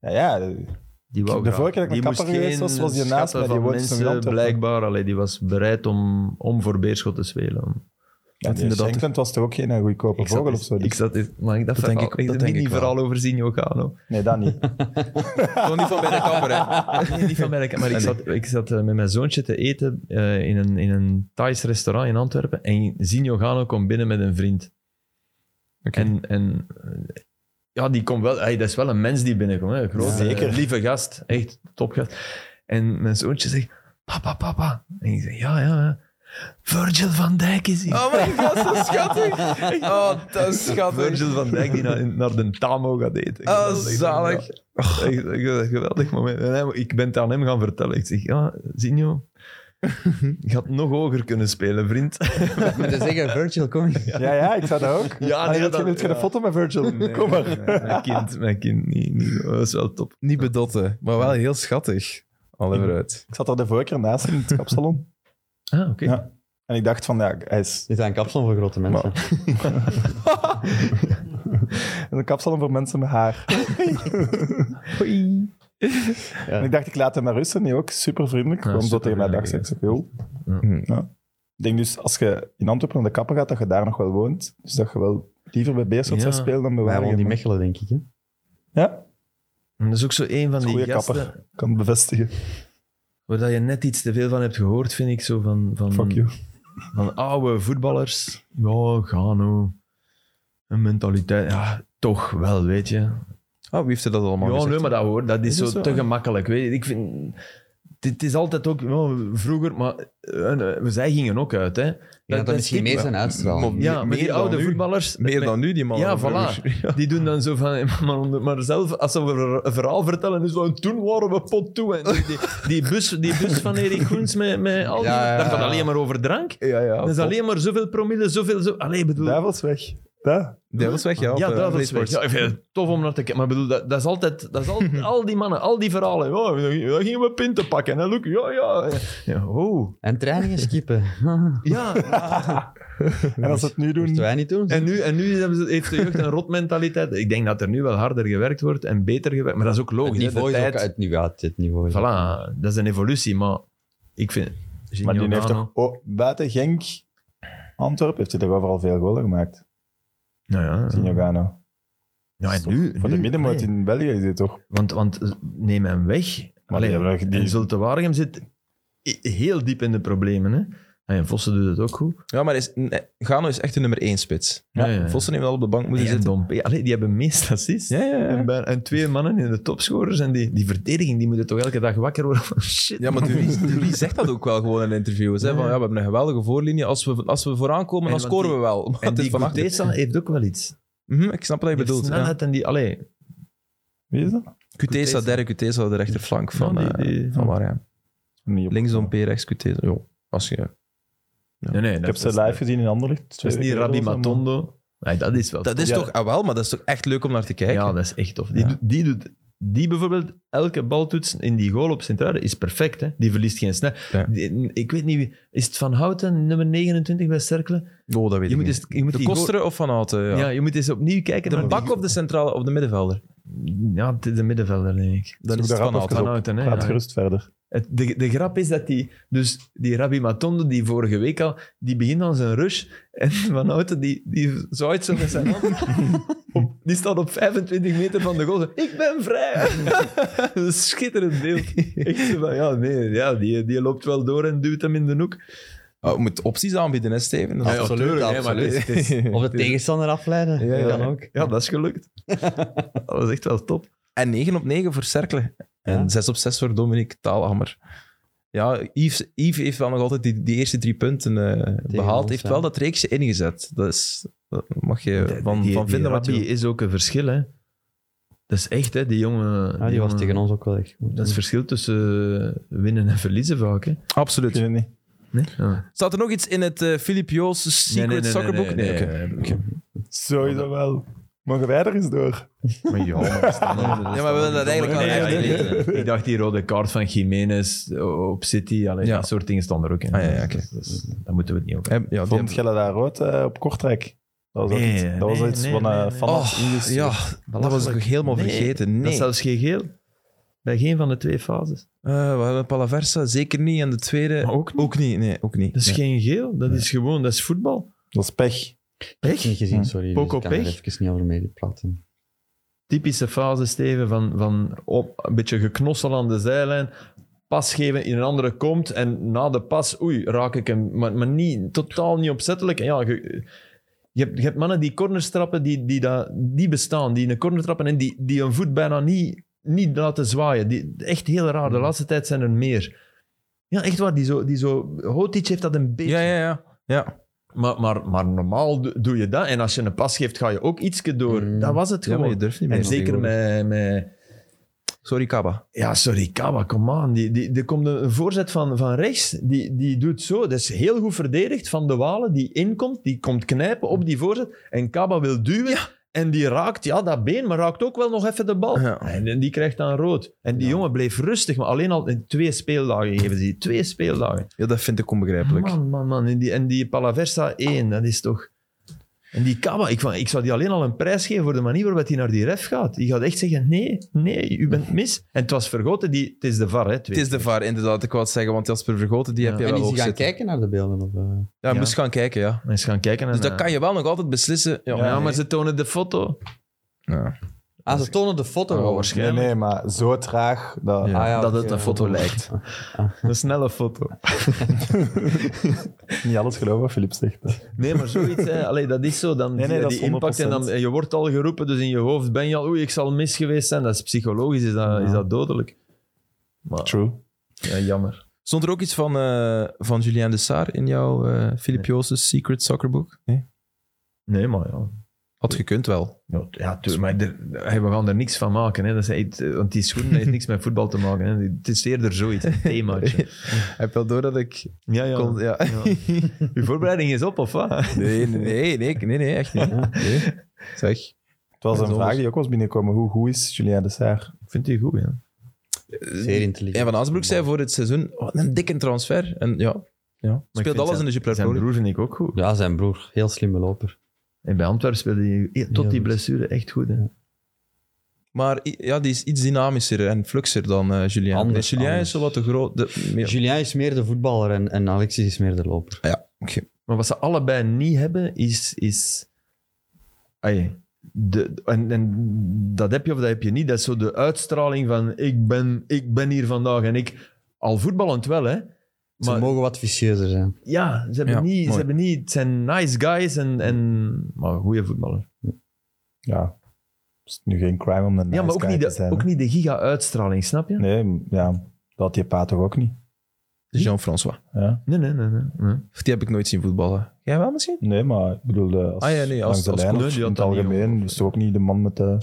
S4: ja, ja, eh, de-
S2: Die wou
S4: De
S2: graag.
S4: vorige keer dat ik
S2: Die
S4: met
S2: moest
S4: kapper geweest
S2: geen
S4: was, was die naast
S2: schatten
S4: mij, die
S2: van
S4: woont in
S2: mensen,
S4: Antwerpen.
S2: Blijkbaar, allee, die was bereid om, om voor Beerschot te spelen. Om-
S4: ja,
S1: Dat inderdaad-
S4: Shankland was toch ook geen eh, goedkope
S2: zat
S4: vogel of
S2: eens-
S4: zo?
S2: Ik zat, eens- maar ik dacht,
S1: Dat
S2: van,
S1: denk ik-
S2: oh, ik
S1: dat
S2: heb
S1: denk
S2: niet
S1: ik wel.
S2: vooral over Zinho Gano.
S4: Nee, dat niet.
S1: Gewoon niet van bij de kapper, hè.
S2: Nee, niet van Merk, maar ik zat, ik zat eh, met mijn zoontje te eten eh, in, een, in een Thais restaurant in Antwerpen. En Zinho Gano komt binnen met een vriend. En, en eh, ja, die komt wel... Hey, dat is wel een mens die binnenkomt. Hè. Groot,
S4: Zeker.
S2: eh, lieve gast. Echt topgast. En mijn zoontje zegt... Papa, papa. En ik zeg, ja, ja, ja. Virgil van Dijk is hier.
S1: Oh my god, dat is schattig. Oh, dat is schattig.
S2: Virgil van Dijk die
S1: nou-
S2: naar, naar de Tamo gaat
S4: Ah,
S2: eten.
S1: Oh,
S2: Geweldig.
S1: zalig.
S2: Ja, echt een geweldig moment. En hij- ik ben het aan hem gaan vertellen. Ik zeg, ja, Zinho, je had nog hoger kunnen spelen, vriend.
S3: Ik moet zeggen, Virgil, kom hier.
S4: Ja, ja, ik zou dat ook.
S2: nee,
S4: Allee, wilt
S2: dat-
S4: je- wilt je een
S2: ja.
S4: foto met Virgil? Kom maar.
S2: Mijn kind, mijn kind. Niet, niet, dat was wel top.
S1: Niet bedotten, maar wel heel schattig. Al even uit.
S4: Ik zat er de vorige keer naast in het kapsalon.
S2: Ah, oké.
S4: Ja. En ik dacht van, ja, hij is
S3: Dit is een kapsel voor grote mensen.
S4: een kapsalon voor mensen met haar. En ik dacht, ik laat hem maar rusten. Die ook super vriendelijk.
S2: Ja,
S4: Gewoon zo
S2: super
S4: tegen mij dag. Ik
S2: vriendelijk,
S4: zeg, joh.
S2: ja.
S4: Hm. Ja. Ik denk dus, als je in Antwerpen naar de kapper gaat, dat je daar nog wel woont. Dus dat je wel liever bij Beerschot
S2: Ja.
S4: zou spelen dan bij
S3: Wij wonen
S4: Waregem.
S3: die Mechelen, denk ik. Hè?
S4: Ja,
S2: En dat is ook zo een van die
S4: goede
S2: gasten
S4: kapper. ik kan het bevestigen.
S2: waar dat je net iets te veel van hebt gehoord, vind ik. Zo van, van,
S4: Fuck you.
S2: van oude voetballers. Ja, Gano. Een mentaliteit. Ja, toch wel, weet je.
S1: Oh, wie heeft er dat allemaal
S2: Ja,
S1: gezegd?
S2: nee, maar dat hoor, dat is,
S1: Is dat
S2: zo
S1: zo?
S2: te gemakkelijk. Weet je. Ik vind, dit is altijd ook, ja, vroeger, maar eh, eh, zij gingen ook uit. Hè.
S3: Ja, dat, misschien meer zijn uitstraling.
S1: Maar-
S2: Ja,
S1: Meer
S2: maar die
S1: dan
S2: oude
S1: nu.
S2: voetballers,
S1: Meer
S2: met-
S1: dan nu, die man.
S2: Ja, voilà. die doen dan zo van, eh, maar, onder- maar zelf, als ze een ver- een verhaal vertellen, is van, toen waren we pot toe. En die, die, die bus, die bus van Erik Groens met, met al die,
S3: Ja, ja,
S2: dat gaat
S3: ja.
S2: alleen maar over drank.
S4: Ja, ja.
S2: dat is
S4: top.
S2: alleen maar zoveel promille, zoveel... Zo, allee, bedoel,
S4: Duivels weg. Daar.
S1: Dat was weg, ja. op,
S2: ja,
S1: eh,
S2: dat is
S1: Play Sports.
S2: Ja, ik vind het tof om naar te kijken. Maar ik bedoel, dat, dat is altijd... Dat is al, al die mannen, al die verhalen. Ja, dan gingen we pinten pakken. En Luc, ja, ja. ja oh.
S3: En trainingen skippen.
S2: Ja.
S4: En als ze het nu doen...
S3: Moeten wij niet doen?
S2: En nu, en nu hebben ze, heeft de jeugd een rotmentaliteit. Ik denk dat er nu wel harder gewerkt wordt en beter gewerkt. Maar dat is ook
S3: het
S2: logisch. hè,
S3: niveau
S2: de
S3: is ook
S2: tijd,
S3: uit nu uit dit niveau. is-
S2: Voilà, dat is een evolutie. Maar ik vind...
S4: Maar die heeft
S2: Gino
S4: toch... Oh, buiten Genk, Antwerpen, heeft hij toch overal veel golen gemaakt.
S2: Nou ja.
S4: Sinogano.
S2: Ja, en nu...
S4: Voor de
S2: nu,
S4: middenmoot
S2: allee.
S4: in België is hij toch...
S2: Want, want neem hem weg.
S4: Maar
S2: Allee,
S4: die hebben echt die-
S2: En Zulte Waregem zit i- heel diep in de problemen. Hè? En Vossen doet het ook goed.
S1: Ja, maar is, nee, Gano is echt de nummer één spits.
S2: Ja,
S1: Ja,
S2: ja, ja.
S1: Vossen heeft wel op de bank moeten
S2: Die,
S1: zitten.
S2: Allee, die hebben meest assists.
S1: Ja, ja, ja.
S2: En, bij- en twee mannen in de topscorers. En die, die verdediging, die moeten toch elke dag wakker worden van shit.
S1: Ja, maar Durie, Durie zegt dat ook wel gewoon in interviews. Hè, van, ja, we hebben een geweldige voorlinie. Als we, als we vooraan komen,
S2: En
S1: dan
S2: want
S1: scoren we wel. Maar
S2: en
S1: het is
S2: die
S1: van achter.
S2: Cortesa heeft ook wel iets.
S1: Mhm, ik snap wat je
S2: Die
S1: bedoelt.
S2: heeft
S1: Ja.
S2: snelheid en die... Allee,
S4: Wie is dat?
S1: Kutesa, derde Kutesa, de rechterflank van,
S2: Ja,
S1: eh
S2: die- die-
S1: van Waregem.
S4: Niet op-
S1: Linksom, P, rechts, QT. Jo, als je...
S2: nee, nee,
S4: Ik heb ze live gezien in Anderlecht.
S2: Dat is niet Rabbi Matondo. Maar dat is wel
S1: Dat is
S4: Ja.
S1: toch, ah wel, maar dat is toch echt leuk om naar te kijken.
S2: Ja, dat is echt tof. Die,
S1: Ja.
S2: doet- die doet... Die bijvoorbeeld, elke baltoets in die goal op Sint-Truiden is perfect. Hè? Die verliest geen snel.
S1: Ja.
S2: Die- ik weet niet, wie- is het Van Houten, nummer 29 bij Cerkelen?
S1: Oh, dat weet
S2: Je
S1: ik
S2: moet
S1: niet.
S2: eens, je moet
S1: de
S2: die goal-
S1: Kosteren of Van Houten? Ja.
S2: ja. je moet eens opnieuw kijken.
S1: de
S2: naar
S1: bak
S2: die-
S1: of de centrale of de middenvelder?
S2: Ja, het is de middenvelder, denk ik.
S1: Dan
S4: Zoek
S1: is het
S4: daar
S1: Van
S4: af of
S1: Houten.
S2: Van Houten, hè.
S4: Gaat
S2: ja.
S4: gerust verder.
S2: Het- de, de grap is dat die, dus die Rabbi Matondo, die vorige week al, die begint aan zijn rush. En Van Houten, die, die zaait zo met zijn hand. Op- die staat op 25 meter van de goal. zo, Ik ben vrij. dat is een schitterend beeld. Ik zo van, ja, nee, ja, die, die loopt wel door en duwt hem in de hoek.
S1: Oh, je moet opties aanbieden, hè, Steven? Dat is-
S3: Absoluut, absoluut. Of de tegenstander afleiden,
S1: Ja, ja.
S3: kan ook.
S2: Ja, dat is gelukt. dat was echt wel top.
S1: En 9 op 9 voor Cerkelen.
S3: Ja.
S1: En 6 op 6 voor Dominic Taalhammer. Ja, Yves, Yves heeft wel nog altijd die, die eerste drie punten eh, behaald.
S3: ons,
S1: heeft
S3: ja.
S1: wel dat reeksje ingezet. Dat, is, dat mag je van,
S2: Die-
S1: van
S2: die
S1: vinden wat je
S2: Rabbi
S1: wil.
S2: is ook een verschil, hè. Dat is echt, hè, die jongen...
S3: Ja, Ah, die was
S2: jongen-
S3: tegen ons ook wel echt goed.
S2: Dat is het verschil tussen winnen en verliezen vaak, hè.
S4: Ik
S1: Absoluut.
S4: weet het niet.
S2: Nee?
S1: Staat er nog iets in het eh Filip Joos Secret Soccerbook? Nee, oké.
S4: Sowieso wel. Mogen wij er eens door?
S2: Maar ja, maar dat staan er-
S1: Ja, maar we willen dat eigenlijk wel
S2: Nee,
S1: echt
S2: ja, ik-
S1: weten.
S2: Ik dacht die rode kaart van Jiménez oh, op City, allee,
S1: Ja.
S2: dat soort dingen staan er ook in.
S1: Ah, ja, ja, oké.
S2: Dus- dus daar moeten we het niet over
S1: Heb- Ja, die
S4: Vond jij dat daar rood eh, op Kortrijk? Dat was ook
S2: Nee,
S4: iets, dat was
S2: nee,
S4: iets
S2: nee,
S4: van
S2: nee,
S4: eh,
S2: nee.
S4: van ons
S1: Oh,
S4: ingestuurd.
S1: ja, dat was ik helemaal
S2: Nee,
S1: vergeten.
S2: Dat
S1: Nee.
S2: is zelfs geen geel. Bij geen van de twee fases.
S1: Eh, we hebben Palaversa, zeker niet. En de tweede...
S2: Maar ook niet.
S1: Ook niet, nee, ook niet.
S2: Dat
S1: Nee.
S2: is geen geel, dat is gewoon, dat is voetbal.
S4: Dat is pech.
S3: Echt niet gezien, sorry. Dus
S2: Poco
S3: ik kan er
S2: pech.
S3: even niet over meepraten.
S2: Typische fase, Steven, van, van op, een beetje geknossel aan de zijlijn. Pas geven, in een andere komt en na de pas, oei, raak ik hem. Maar, maar niet, totaal niet opzettelijk. En Ja, je, je, hebt, je hebt mannen die corners trappen, die, die, dat- die bestaan, die een corner trappen en die, die een voet bijna niet, niet laten zwaaien. Die, echt heel raar.
S1: Hmm.
S2: De laatste tijd zijn er meer. Ja, echt waar. Die zo, die zo, Hotic heeft dat een beetje.
S1: Ja, ja, ja. ja.
S2: Maar, maar, maar normaal do- doe je dat. En als je een pas geeft, ga je ook ietsje door.
S3: Mm.
S2: Dat was het
S1: Hmm. Ja,
S2: gewoon.
S1: maar je durft niet meer.
S2: En zeker
S1: tegenwoordig.
S2: met, met...
S1: Sorry, Kaba.
S2: Ja, sorry, Kawa, come on. Die, die, er komt een voorzet van, van rechts. Die, die doet zo. Dat is heel goed verdedigd van de Walen. Die inkomt, die komt knijpen op die voorzet. En Kaba wil duwen. En die raakt, ja, dat been, maar raakt ook wel nog even de bal.
S1: Ja.
S2: En, en die krijgt dan rood. En die
S3: Ja.
S2: jongen bleef rustig. Maar alleen al in twee speeldagen geven ze die. Twee speeldagen.
S1: Ja, dat vind ik onbegrijpelijk.
S2: Man, man, man. En die, en die Palaversa 1, dat is toch... En die Kaba, ik, wou- ik zou die alleen al een prijs geven voor de manier waarop hij naar die ref gaat. Die gaat echt zeggen, nee, nee, u bent mis. En het was vergoten, die, het is de VAR, hè.
S1: Het is de VAR, inderdaad. Ik wou het zeggen, want Jasper Vergoten, die
S2: Ja.
S1: heb je
S3: En
S1: wel
S3: is
S1: hoog
S3: die gaan
S1: zitten.
S3: kijken naar de beelden? Of, eh?
S1: Ja, je
S2: Ja.
S1: moest gaan kijken, ja.
S2: Eens gaan kijken. En,
S1: Dus dat
S2: eh,
S1: kan je wel nog altijd beslissen. Ja,
S2: Ja, maar ze tonen de foto.
S1: Ja.
S3: Ah, ze tonen de foto
S2: Oh,
S3: wel
S4: Nee,
S2: waarschijnlijk.
S4: nee, maar zo traag. Dat...
S1: Ja.
S3: Ah, ja,
S2: dat
S3: oké,
S2: het een
S3: ja.
S2: foto lijkt. Een snelle foto.
S4: Niet alles geloven wat Filip zegt.
S2: Nee, maar zoiets, hè. Allee, dat is zo. Dan
S4: Nee, nee,
S2: die-
S4: dat
S2: die
S4: is
S2: impact en, dan,
S4: 100%.
S2: en je wordt al geroepen, dus in je hoofd ben je al, oei, ik zal mis geweest zijn. Dat is psychologisch, is dat, is dat dodelijk. Maar
S4: True.
S2: ja, jammer.
S1: Stond er ook iets van, eh, van Julien de Saar in jouw eh Filip Joos's Secret Soccerbook? Nee?
S2: Nee, maar ja.
S1: Had gekund wel.
S2: Ja, t- Ja, tuurlijk, maar er- hey, Dus we gaan er niks van maken. Hè. Dat is, echt- eh, want die schoenen heeft niks met voetbal te maken. Hè. Het is eerder zoiets, een themaatje.
S1: Heb wel door dat ik...
S2: Ja, ja.
S1: kon- ja.
S2: Uw voorbereiding is op, of wat?
S1: Nee, nee, nee, nee, nee, nee, echt niet. Nee. Zeg.
S4: Het was
S1: Dat
S4: een
S1: is
S4: vraag
S1: anders.
S4: die ook was binnengekomen. Hoe goed is Julien Dessert?
S2: Ik vind die goed, ja.
S1: Eh,
S3: Zeer intelligent.
S1: Ja, Van Aasbroek zei voor het seizoen, wat een dikke transfer. En ja, ja.
S2: Maar ik vind
S1: speelt alles
S2: zijn-
S1: in de Jupiler
S2: Zijn
S1: Pro League.
S2: broer vind ik ook goed.
S3: Ja, zijn broer. Heel slimme loper.
S2: En bij Antwerpen speelde hij e-
S3: Heel
S2: tot die
S3: goed.
S2: blessure echt goed. Hè.
S1: Maar i- ja, die is iets dynamischer en fluxer dan eh Julien.
S3: Anders,
S1: Nee, Julien
S3: anders.
S1: is zo wat de groot... De, meer-
S3: Julien is meer de voetballer en, en Alexis is meer de loper.
S2: Maar wat ze allebei niet hebben, is... is ai, de, en, en dat heb je of dat heb je niet. Dat is zo de uitstraling van ik ben, ik ben hier vandaag en ik... Al voetballend wel, hè.
S3: Ze mogen wat vicieuzer zijn.
S2: Ja, ze hebben,
S1: Ja,
S2: niet, ze
S1: mooi.
S2: hebben niet... Het zijn nice guys en... en maar goede voetballer.
S4: Ja. Is het nu geen crime om een nice
S2: ja, maar ook
S4: guy
S2: niet,
S4: te
S2: de,
S4: zijn?
S2: ook
S4: hè?
S2: niet de giga-uitstraling, snap je?
S4: Nee, m- ja. Dat had je pa toch ook niet?
S1: Jean-François.
S4: Ja.
S2: Nee, nee, nee. nee, nee.
S1: Of Die heb ik nooit zien voetballen. Jij wel misschien?
S4: Nee, maar ik bedoel, eh, als,
S1: Ah ja, nee, als-
S4: langs de
S1: als
S4: lijn
S2: coach,
S4: of
S2: die
S4: in
S2: had
S4: het
S2: dat niet
S4: algemeen. Dus toch ook niet de man met de...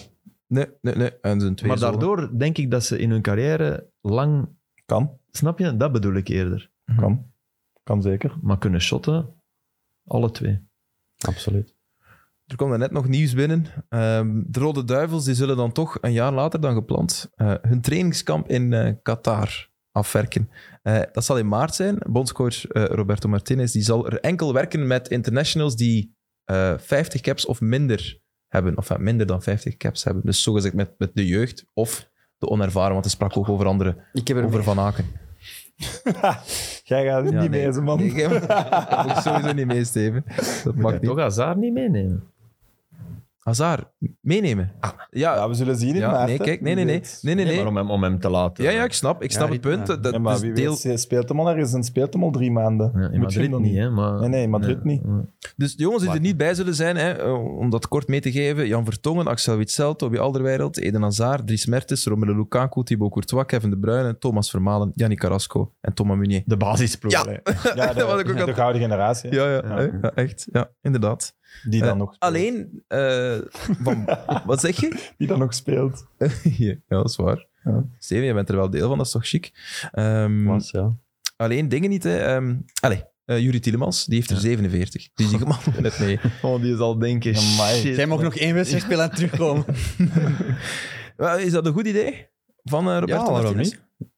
S1: Nee, nee, nee. En zijn twee
S2: Maar
S1: zonen.
S2: daardoor denk ik dat ze in hun carrière lang...
S4: Kan,
S2: Snap je? Dat bedoel ik eerder.
S4: kan. Kan zeker.
S2: Maar kunnen shotten, alle twee.
S3: Absoluut.
S1: Er kwam net nog nieuws binnen. Ehm, de Rode Duivels die zullen dan toch een jaar later dan gepland eh, hun trainingskamp in eh, Qatar afwerken. Eh, dat zal in maart zijn. Bondscoach eh, Roberto Martinez die zal er enkel werken met internationals die eh, 50 caps of minder hebben. Of enfin, minder dan 50 caps hebben. Dus zogezegd met, met de jeugd of de onervaren, want hij sprak ook over andere,
S3: Ik heb
S1: over Van Aken.
S4: Jij gaat het
S1: Ja, nee.
S4: niet mee, eens, man.
S1: Nee, ik heb ik sowieso niet mee, Steven. Dat mag niet.
S2: Toch Hazard niet meenemen.
S1: Hazard, meenemen. Ja,
S4: Ja, we zullen zien in
S1: ja
S4: maart,
S1: nee,
S4: hè.
S1: kijk, nee, nee,
S4: Wie
S1: nee.
S4: weet.
S1: nee, nee,
S2: Nee,
S1: nee.
S2: maar om hem, om hem te laten.
S1: eh, Ja, ja, ik snap, ik
S3: Ja,
S1: snap het
S3: ritme.
S1: punt. Dat,
S4: Ja, maar
S1: dus
S4: wie
S1: deel-
S4: weet, speelt hem al ergens en speelt hem al drie maanden.
S2: Ja, in
S4: Moet je hem
S2: Madrid
S4: dan
S2: niet, hè? Maar...
S4: Nee, nee, in Madrid niet.
S1: Dus de jongens die er niet bij zullen zijn, hè, eh, om dat kort mee te geven, Jan Vertongen, Axel Witsel, Toby Alderweireld, Eden Hazard, Dries Mertens, Romelu Lukaku, Thibaut Courtois, Kevin De Bruyne, Thomas Vermalen, Yannick Carrasco en Thomas Meunier.
S2: De basisploeg.
S1: Ja.
S4: Allee. Ja,
S1: Dat had ik
S4: de,
S1: ook al-
S4: de gouden generatie. hè.
S1: Ja, ja, hè, ja, echt. Ja, inderdaad.
S4: Die dan
S1: Eh,
S4: nog speelt.
S1: Alleen, eh, van, wat zeg je?
S4: Die dan nog speelt.
S1: ja, dat is waar.
S4: Ja.
S1: Steven, jij bent er wel deel van, dat is toch chic? Ehm,
S3: Was, ja.
S1: alleen dingen niet, hè. Ehm allee, eh, Yuri Tielemans, die heeft er 47. Dus die man net mee.
S2: Oh, die zal denken,
S4: Amai.
S2: shit.
S3: Jij mag nog één wedstrijd spelen en terugkomen.
S1: Wel, Is dat een goed idee van eh Roberto
S3: waarom
S1: Martinez?
S3: niet?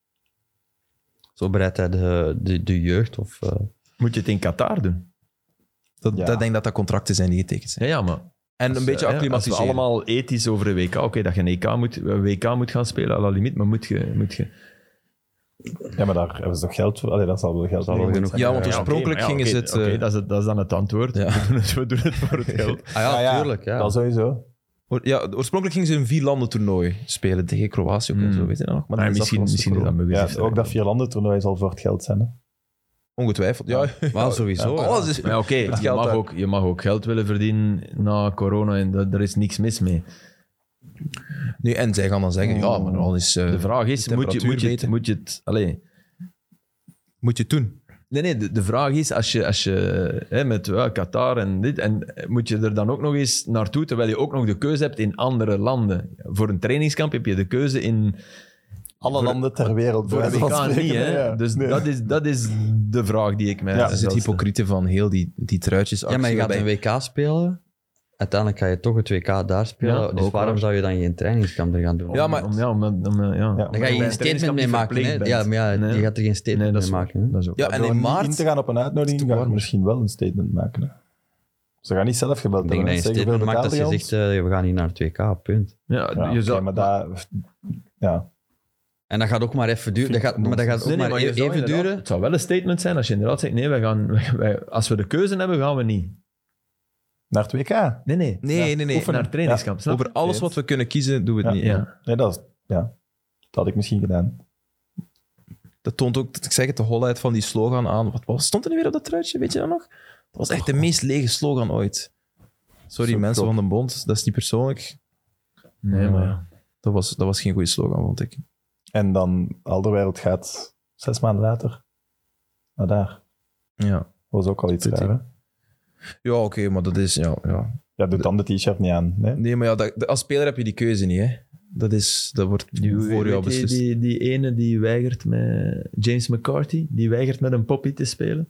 S3: Zo bereidt hij de, de, de jeugd of... eh,
S2: Moet je het in Qatar doen?
S1: Dat,
S4: Ja.
S1: dat denk dat dat contracten zijn die getekend zijn.
S2: Ja, ja maar...
S1: En een beetje acclimatiseren.
S2: Als we allemaal ethisch over een WK... Oké, dat je een EK moet, een WK moet gaan spelen, à la limiet, maar moet je... Moet je...
S4: Ja, maar daar hebben ze toch geld voor? Allee, dat zal wel geld
S3: Zal wel
S4: voor
S3: genoeg
S4: zijn.
S1: Ja, want
S2: Ja, oké,
S1: oorspronkelijk
S2: maar ja,
S1: gingen
S2: oké,
S1: ze het, eh,
S2: oké, dat, is het dat is dan het antwoord.
S1: Ja.
S2: We, doen het, we doen het voor het geld.
S3: Ah ja,
S4: Ah ja,
S3: tuurlijk. Ja.
S4: Dat sowieso.
S1: Oor- ja, oorspronkelijk gingen ze een vier-landen toernooi spelen tegen Kroatië ook en
S2: Hmm.
S1: zo, weet je dat nog? Maar
S2: Maar
S1: dat is
S2: misschien,
S1: afgelast
S2: misschien is
S1: door
S2: dat
S1: corona.
S2: mogelijk.
S4: Ja, ook dat Vierlanden-toernooi zal voor het geld zijn. Hè?
S1: Ongetwijfeld, ja.
S3: Maar sowieso.
S1: Ja,
S3: ja.
S1: alles is...
S2: Maar ja, oké,
S1: Het
S2: je,
S1: geld
S2: mag
S1: daar.
S2: ook- je mag ook geld willen verdienen na corona en dat, daar is niks mis mee.
S1: Nu, en zij gaan dan zeggen, ja, maar al is... eh,
S2: De vraag is,
S1: de
S2: moet je, moet je, het-
S1: temperatuur
S2: moet je het... Allee,
S1: moet je het doen?
S2: Nee, nee, de, de vraag is, als je, als je hè, met ja, Qatar en dit, en eh, moet je er dan ook nog eens naartoe, terwijl je ook nog de keuze hebt in andere landen. Voor een trainingskamp heb je de keuze in...
S4: Alle landen ter wereld.
S2: Voor
S4: bij
S2: de
S4: wijze van
S2: WK niet,
S4: spreken,
S2: hè.
S4: ja.
S2: Dus
S4: Nee.
S2: dat, is, dat is de vraag die ik mij
S4: Ja,
S1: Dat is het hypocriete van heel die, die truitjes.
S3: Ja, maar je gaat een WK spelen. Uiteindelijk ga je toch het WK daar spelen.
S2: Ja,
S3: dus
S2: ook
S3: waarom
S2: waar.
S3: zou je dan geen trainingskamp er gaan doen?
S1: Ja,
S2: Ja,
S1: maar-
S2: maar... Om, ja, om, om, eh, ja.
S4: Ja.
S3: dan ga je
S2: Bij
S3: geen
S2: een
S3: statement
S2: trainingskamp
S3: mee
S2: die
S3: maken.
S2: verplicht
S3: hè.
S2: bent.
S3: Ja, maar ja,
S2: Nee.
S3: je gaat er geen statement
S2: Nee, dat is,
S3: mee maken. hè.
S2: dat is ook
S1: Ja,
S2: waar.
S1: en
S4: Door
S1: in
S4: niet
S1: maart-
S4: in te gaan op een uitnodiging,
S1: Toch
S4: gaan
S1: waar.
S4: we misschien wel een statement maken. Hè? Ze gaan niet zelf gebeld
S3: Ik denk
S4: hebben.
S3: dat
S4: hè.
S3: je een
S4: Zeggen, hoeveel
S3: statement maakt als je
S4: betaalde
S3: zegt, eh, we gaan niet naar het WK, punt.
S2: Ja,
S4: ons? Ja,
S2: je
S4: oké,
S2: zou,
S4: maar dat... Ja.
S3: En dat gaat ook maar even duren. Dat
S4: Vind ik
S3: gaat, maar dat gaat ook
S2: Nee, nee,
S3: maar,
S2: je
S3: e-
S2: zou
S3: even
S2: inderdaad-
S3: duren.
S2: Het zou wel een statement zijn als je inderdaad zegt, nee, wij gaan, wij- wij- als we de keuze hebben, gaan we niet.
S4: Naar het WK?
S2: Nee, nee.
S1: Nee, nee, nee.
S2: Oefenen naar het trainingskamp, snap je?
S1: Over alles wat we kunnen kiezen, doen we het
S4: Ja.
S1: niet.
S2: Ja.
S4: Nee, dat, is- ja. dat had ik misschien gedaan.
S1: Dat toont ook, ik zeg het, de holheid van die slogan aan. Wat, wat stond er nu weer op dat truitje, weet je dat nog? Dat was echt de meest lege slogan ooit. Sorry
S4: Zo
S1: mensen
S4: top.
S1: van de bond, dat is niet persoonlijk.
S2: Nee, maar ja.
S1: Dat was, dat was geen goede slogan, vond ik.
S4: En dan Alderwereld gaat zes maanden later naar daar.
S1: Ja,
S4: Dat was ook al iets
S1: Doet
S4: raar, hè?
S1: ja oké, maar dat is... Ja, ja.
S4: Ja, doet dan de t-shirt niet aan. Nee?
S1: Nee, maar ja, dat- als speler heb je die keuze niet, hè. Dat, is, dat wordt voor jou
S2: die,
S1: beslist.
S2: die, die ene die weigert met James McCarthy, die weigert met een poppy te spelen.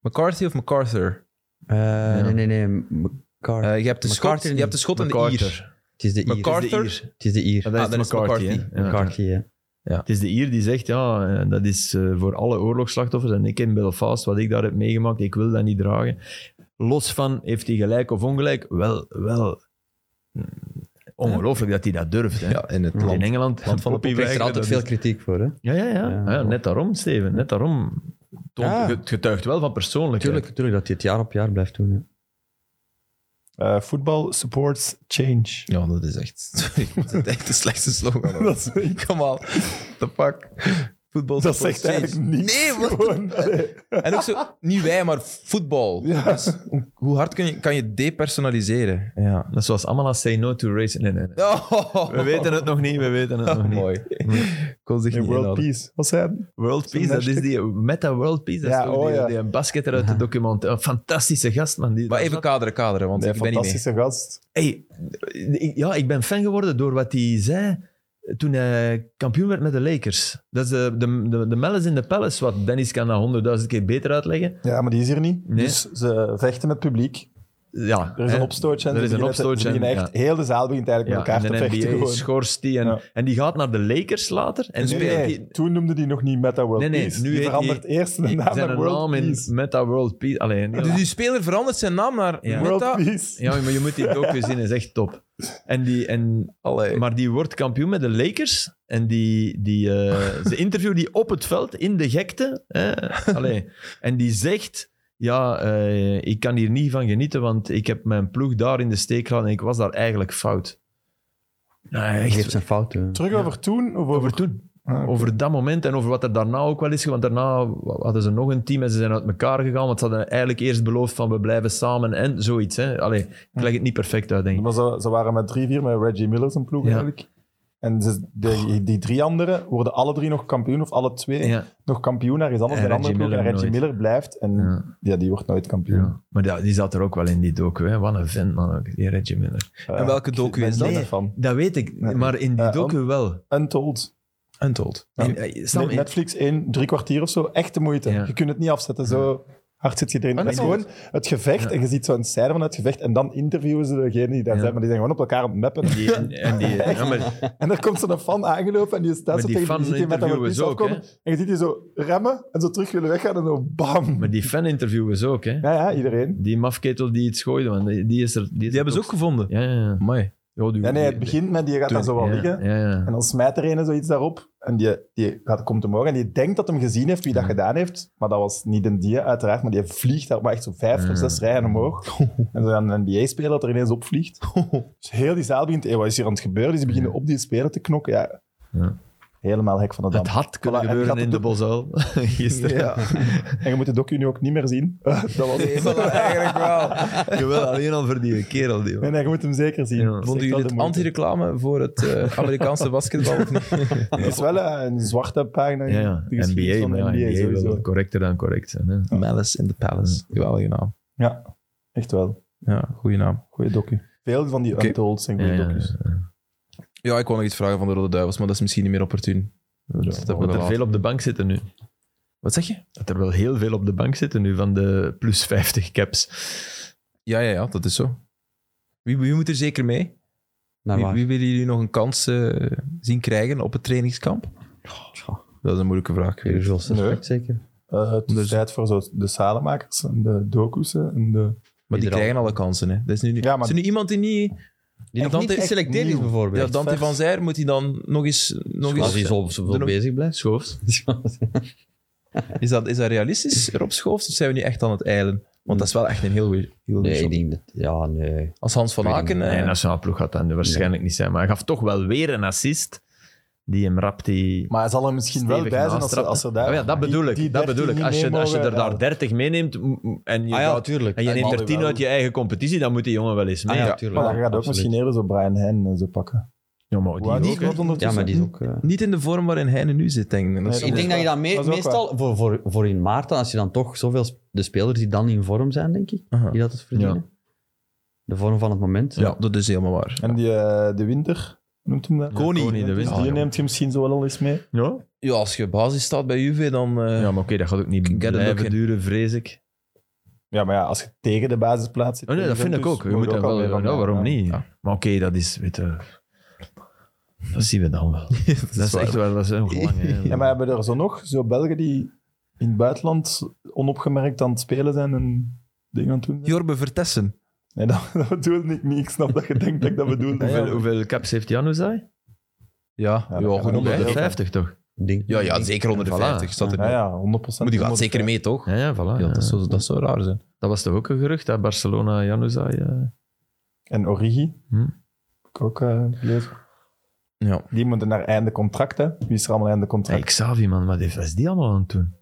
S1: McCarthy of MacArthur?
S3: Eh, Nee, nee, nee. McCarthy.
S1: Eh, je, hebt de
S3: MacArthur
S1: Schot, je
S3: niet.
S1: hebt de Schot en de
S2: MacArthur.
S1: Ier.
S3: het is de Ier.
S1: McCarthy. Arthur?
S2: Het is de Ier.
S3: Het is de Ier.
S2: Ah,
S1: Ah, dan is het McCarthy.
S2: hè. Ja.
S3: McCarthy, hè.
S2: Het is de Ier die zegt, ja, eh, dat is eh, voor alle oorlogsslachtoffers. En ik in Belfast, wat ik daar heb meegemaakt, ik wil dat niet dragen. Los van, heeft hij gelijk of ongelijk? Wel, wel. mm, Ongelooflijk dat hij dat durft. Hè.
S1: Ja, in het
S2: Want in
S1: land.
S2: Engeland,
S1: land van de
S2: poppy
S3: Ik krijg er
S2: weigeren,
S3: altijd
S2: dat
S3: veel
S2: is-
S3: kritiek voor, hè.
S2: Ja, ja, ja.
S3: Ja.
S2: Ah, ja, net daarom, Steven. Net daarom. Toont,
S3: Ja.
S2: Het getuigt wel van persoonlijkheid.
S3: Tuurlijk, tuurlijk dat hij het jaar op jaar blijft doen. hè.
S4: Eh, Voetbal supports change.
S1: Ja, dat is echt... Sorry, maar dat is echt de slechtste slogan. hoor.
S4: Dat is
S1: Kom al, de pak. Voetbal
S4: Dat
S1: support
S4: zegt eigenlijk
S1: change.
S4: niks.
S1: Nee, wat?
S4: Gewoon, allee.
S1: En ook zo, niet wij, maar voetbal.
S4: Ja.
S1: Dus hoe- hoe hard kun je, kan je depersonaliseren? Ja.
S2: Dat is zoals Amala say no to racing. Nee, nee, nee.
S1: Oh,
S2: We weten het nog niet, we weten het nog niet.
S1: mooi. Ik kon zich
S4: In
S1: niet
S4: World
S1: inhouden.
S4: Peace. Wat zei hij?
S2: World
S4: Zo'n
S2: Peace, dat is
S4: hashtag.
S2: die Meta World Peace. Dat
S4: Ja,
S2: is toch
S4: oh
S2: die,
S4: ja.
S2: die basketter uit de document. Een fantastische gast, man. Die
S1: Maar
S2: daar
S1: even kaderen, kaderen, want
S4: Nee,
S1: ik ben niet mee.
S4: fantastische gast.
S2: Hey, ik- ja, ik ben fan geworden door wat hij zei toen hij kampioen werd met de Lakers. Dat is de, de, de, de Malice in the Palace, wat Dennis kan dat honderdduizend keer beter uitleggen.
S4: Ja, maar die is hier niet.
S2: Nee.
S4: Dus ze vechten met het publiek.
S2: ja,
S4: Er is een
S2: hè,
S4: opstootje. en
S2: Er
S4: ze
S2: is een
S4: beginnen te- ze
S2: opstootje. en-
S4: beginnen echt,
S2: ja.
S4: Heel de zaal begint eigenlijk
S2: Ja,
S4: met
S2: en de
S4: elkaar te vechten.
S2: NBA
S4: gewoon.
S2: schorst die en,
S4: Ja.
S2: en die gaat naar de Lakers later en
S4: Nee,
S2: speelt
S4: nee,
S2: die-
S4: toen noemde die nog niet Meta World
S2: Nee, nee,
S4: Peace.
S2: nu
S4: die
S2: heet
S4: verandert eerst de
S2: die-
S4: naam
S2: zijn
S4: naar World
S2: naam in
S4: Peace.
S2: Meta World Peace. Allee, ja.
S1: Dus die speler verandert zijn naam naar
S2: Ja.
S1: Meta.
S4: World Peace.
S2: Ja, maar je moet die docu zien, is echt top. En die, en,
S1: Allee.
S2: maar die wordt kampioen met de Lakers. En die, die, eh, ze interviewen die op het veld, in de gekte. Hè? Allee. En die zegt... Ja, eh, ik kan hier niet van genieten, want ik heb mijn ploeg daar in de steek gelaten en ik was daar eigenlijk fout. Nou,
S3: Hij
S2: echt,
S3: geeft zijn fouten.
S4: Terug over toen? Of over...
S2: over toen.
S4: Ah,
S2: Over dat moment en over wat er daarna ook wel is. Want daarna hadden ze nog een team en ze zijn uit elkaar gegaan. Want ze hadden eigenlijk eerst beloofd van we blijven samen en zoiets. Hè. Allee, ik leg het niet perfect uit, denk ik.
S4: Maar ze, ze waren met drie, vier met Reggie Miller zijn ploeg
S2: Ja.
S4: eigenlijk. En ze, de- die drie anderen worden alle drie nog kampioen, of alle twee
S2: Ja,
S4: nog kampioen naar iets anders.
S2: En
S4: En andere
S2: Reggie
S4: ploeg. En
S2: Miller
S4: Reggie
S2: nooit.
S4: Miller blijft en ja.
S2: ja,
S4: die wordt nooit kampioen.
S2: ja. Maar ja, die zat er ook wel in die docu. Hè. Wat een vent, man. ook, Die Reggie Miller.
S4: Eh,
S1: En welke docu
S4: ik ben
S1: is dat?
S4: niet Van.
S2: Dat weet ik,
S4: Nee.
S2: maar in die
S4: Eh,
S2: docu wel.
S4: Untold.
S1: Untold.
S4: Ja.
S2: En, eh, Sam,
S4: Net- Netflix 1, drie kwartier of zo. Echt de moeite.
S2: Ja.
S4: Je kunt het niet afzetten. Zo hard zit je erin.
S1: Oh,
S2: Ah,
S4: Het is
S2: nee,
S4: gewoon het gevecht.
S2: Ja.
S4: En je ziet zo'n scène van het gevecht. En dan interviewen ze degene die daar
S2: Ja.
S4: zijn. Maar die zijn gewoon op elkaar aan het meppen.
S2: die, en, en die, ja, maar,
S4: En er komt zo'n fan aangelopen en die staat
S2: Maar
S4: zo
S2: die
S4: tegen
S2: fan
S4: die ziet die met dat
S2: interviewen
S4: pistool
S2: ze ook,
S4: afkomen. En je ziet die zo remmen en zo terug willen weggaan en zo bam.
S2: maar die fan-interviewers ook. Hè.
S4: Ja, ja, iedereen.
S2: Die mafketel die iets gooide, want die die is er. Die, is
S1: Die
S2: er
S1: hebben ze
S2: ook.
S1: ook gevonden.
S2: Ja, ja, ja.
S1: Amai.
S2: Ja, die-
S4: Ja, nee, het
S2: die-
S4: begint met die gaat dan zo wel
S2: ja,
S4: liggen.
S2: Ja, ja.
S4: En dan smijt er een zoiets daarop. En die, die gaat, komt omhoog en die denkt dat hem gezien heeft wie dat
S2: Ja.
S4: gedaan heeft. Maar dat was niet een die, uiteraard. Maar die vliegt daar maar echt zo vijf
S2: Ja.
S4: of zes rijen omhoog. En dan een NBA-speler dat er ineens opvliegt. Dus heel die zaal begint, hey, wat is hier aan het gebeuren? Dus die beginnen op die speler te knokken. Ja.
S2: Ja.
S4: Helemaal hek van de dam.
S2: Het had kunnen
S4: Voilà, en gaat
S2: gebeuren
S4: het
S2: in de
S4: ook-
S2: Bosuil gisteren.
S4: Ja. En je moet de docu nu ook niet meer zien. dat was het.
S1: eigenlijk wel.
S2: Jawel, alleen al voor die kerel. Die
S4: Nee, nee, je moet hem zeker zien.
S2: Ja.
S4: Dat is
S1: Vonden
S4: echt wel
S1: jullie het
S4: de moeite.
S1: anti-reclame voor het eh, Amerikaanse basketbal of niet?
S4: Het is wel eh, een zwarte pagina. in
S2: ja, ja.
S4: de geschiedenis
S2: NBA,
S4: van de
S2: maar ja, NBA,
S4: sowieso.
S2: wil correcter dan correct zijn. Hè.
S1: Malice in the Palace. Geweldige naam.
S4: Ja, echt wel.
S1: Ja, goede naam.
S4: Goeie docu. Veel van die
S1: Oké.
S4: Untold zijn
S2: Ja,
S4: goede
S2: ja,
S4: docu's.
S1: Ja, ik wou nog iets vragen van de Rode Duivels, maar dat is misschien niet meer opportun. Dat hebben we
S2: Dat er
S1: wel
S2: veel op de bank zitten nu.
S1: af. Wat zeg je?
S2: Dat er wel heel veel op de bank zitten nu van de plus 50 caps.
S1: Ja, ja, ja, dat is zo. Wie, wie moet er zeker mee?
S3: Naar
S1: Wie,
S3: waar?
S1: wie willen jullie nog een kans eh, zien krijgen op het trainingskamp? Dat is een moeilijke vraag. ik weet het.
S3: Usual suspect, zeker.
S4: Eh, het is
S1: Dus-
S4: tijd voor zo de salemakers en de docu's. hè, En de...
S1: Maar die
S3: Ieder
S1: krijgen alle kansen. Hè. Dat is nu, niet-
S4: Ja, maar-
S1: Is er nu iemand die niet...
S3: Die nog
S1: Dante
S3: niet
S1: echt
S3: geselecteerd is,
S4: nieuw.
S1: Ja,
S3: bijvoorbeeld.
S1: Dante
S4: vers.
S1: van Zijr moet hij dan nog eens... Nog
S2: Ah,
S3: Als hij
S1: eens
S3: zo, zo veel
S1: nog-
S3: bezig blijft.
S2: Schoofs.
S1: is, dat, is dat realistisch, Rob Schoofs? Of zijn we nu echt aan het eilen? Want dat is wel echt een heel goeie- heel goeie
S3: Nee, ik
S1: shot.
S3: denk dat... Ja, nee. Ah,
S1: Als Hans van
S3: Ik weet
S1: Aken...
S3: niet.
S1: eh,
S2: Nee, nationale ploeg gaat dat nu waarschijnlijk niet zijn. Maar hij gaf toch wel weer een assist. Die hem rapt die...
S4: Maar hij zal er misschien wel
S2: stevig
S4: bij zijn als er,
S2: naastrapt,
S4: als er
S2: hè.
S4: daar...
S2: Oh ja, dat
S4: die-
S2: bedoel ik.
S4: die
S2: dat
S4: 13
S2: bedoel ik.
S4: niet
S2: Als je,
S4: mee
S2: als je
S4: mogen,
S2: er daar
S4: ja.
S2: 30 meeneemt mm, mm, en je,
S3: Ah ja,
S2: gaat-
S3: tuurlijk.
S2: en je
S4: Ah,
S2: neemt er
S4: maar
S2: 10
S4: wel.
S2: uit je eigen competitie, dan moet die jongen wel eens mee.
S3: Ah ja,
S1: Ja,
S3: tuurlijk.
S4: Maar dan gaat ook
S3: Absoluut.
S4: misschien eerder zo Brian Hen en zo pakken.
S2: Ja, maar die
S4: Hoe oud is
S2: ook, hè.
S4: Klopt ondertussen.
S3: Ja, maar die is ook... eh,
S1: Niet in de vorm waarin hij nu zit, denk ik. Dat is-
S4: Nee,
S3: ik denk dat je dan me-
S4: Dat is ook
S3: meestal, voor, voor, voor in maart, dan, als je dan toch zoveel sp- de spelers die dan in vorm zijn, denk ik,
S1: Aha.
S3: die dat het verdienen. De vorm van het moment.
S1: Ja, dat is helemaal waar.
S4: En die, eh, de winter, noemt hem dat?
S2: Ja, Koning, de
S4: Dus
S2: winter.
S4: Die neemt je misschien zo wel al eens mee.
S2: Ja?
S1: Ja, als je basis staat bij Juve, dan... eh,
S2: Ja, maar oké, dat gaat ook niet
S1: Ik get it ook
S2: blijven
S1: in.
S2: duren, vrees ik.
S4: Ja, maar ja, als je tegen de basisplaats zit...
S2: Oh nee, dat
S4: tegen
S2: vind ik
S4: Juventus,
S2: ook. Je
S4: moet
S2: moet
S4: er
S2: daar
S4: al
S2: wel,
S4: mee van
S2: ja, waarom
S4: gaan.
S2: niet?
S1: Ja.
S2: Maar oké, dat is, weet je, dat zien we dan wel.
S1: dat is
S2: Dat is
S1: waar.
S2: echt wel, dat is heel belangrijk.
S4: Ja, maar hebben we er zo nog zo Belgen die in het buitenland onopgemerkt aan het spelen zijn en dingen aan het doen zijn?
S1: Jorbe Vertessen.
S4: Nee, dat, dat bedoelde ik niet. Ik snap dat je denkt dat ik dat bedoelde.
S2: hoeveel, hoeveel caps heeft Januzaj?
S1: Ja,
S4: Ja,
S1: ja,
S4: dat kan
S1: genoeg.
S4: ook wel.
S1: hè.
S2: 50 toch?
S3: Ik denk-
S1: Ja, ja, zeker onder de
S2: Voilà.
S1: 50 staat er
S4: Ja,
S1: nu.
S4: ja, 100%.
S1: Maar die gaat zeker mee, toch?
S2: Ja, ja, voilà.
S1: Ja, dat,
S2: ja.
S1: zou, dat zou raar zijn.
S2: Dat was toch ook een gerucht, dat Barcelona Januzaj... eh,
S4: En Origi,
S2: Hm.
S4: ik ook eh, gelezen.
S1: Ja.
S4: Die moeten naar einde contract, hè. Wie is er allemaal einde
S2: Hey,
S4: contract?
S2: Xavi, Ah, man, wat is- wat is die allemaal aan het doen?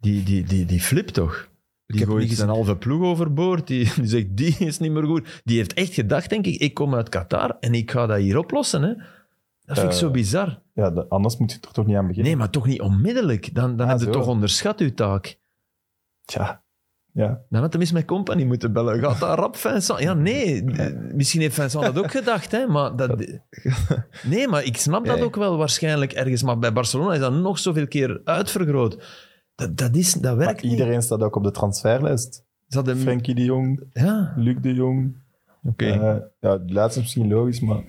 S2: Die, die, die, die flip toch? Die
S1: heb het
S2: gooit
S1: niet
S2: zijn halve ploeg overboord. Die, die zegt, die is niet meer goed. Die heeft echt gedacht, denk ik, ik kom uit Qatar en ik ga dat hier oplossen. Hè? Dat vind ik
S4: Eh,
S2: zo bizar.
S4: Ja, de- anders moet je er toch niet aan beginnen.
S2: Nee, maar toch niet onmiddellijk. Dan, dan
S4: Ah,
S2: had je
S4: zo.
S2: toch onderschat uw taak.
S4: Tja. Ja.
S2: Dan had hij mis met Company moeten bellen. Gaat dat rap Vincent? Ja, nee. D- Misschien heeft Vincent dat ook gedacht, hè. Maar dat... Nee, maar ik snap dat
S1: Ja.
S2: ook wel waarschijnlijk ergens. Maar bij Barcelona is dat nog zoveel keer uitvergroot. Dat, dat, is, dat
S4: Maar
S2: werkt niet.
S4: iedereen staat ook op de transferlijst.
S2: Ze hadden...
S4: Frenkie de Jong,
S2: Ja,
S4: Luc de Jong.
S2: oké.
S4: Eh, ja, de laatste is misschien logisch, maar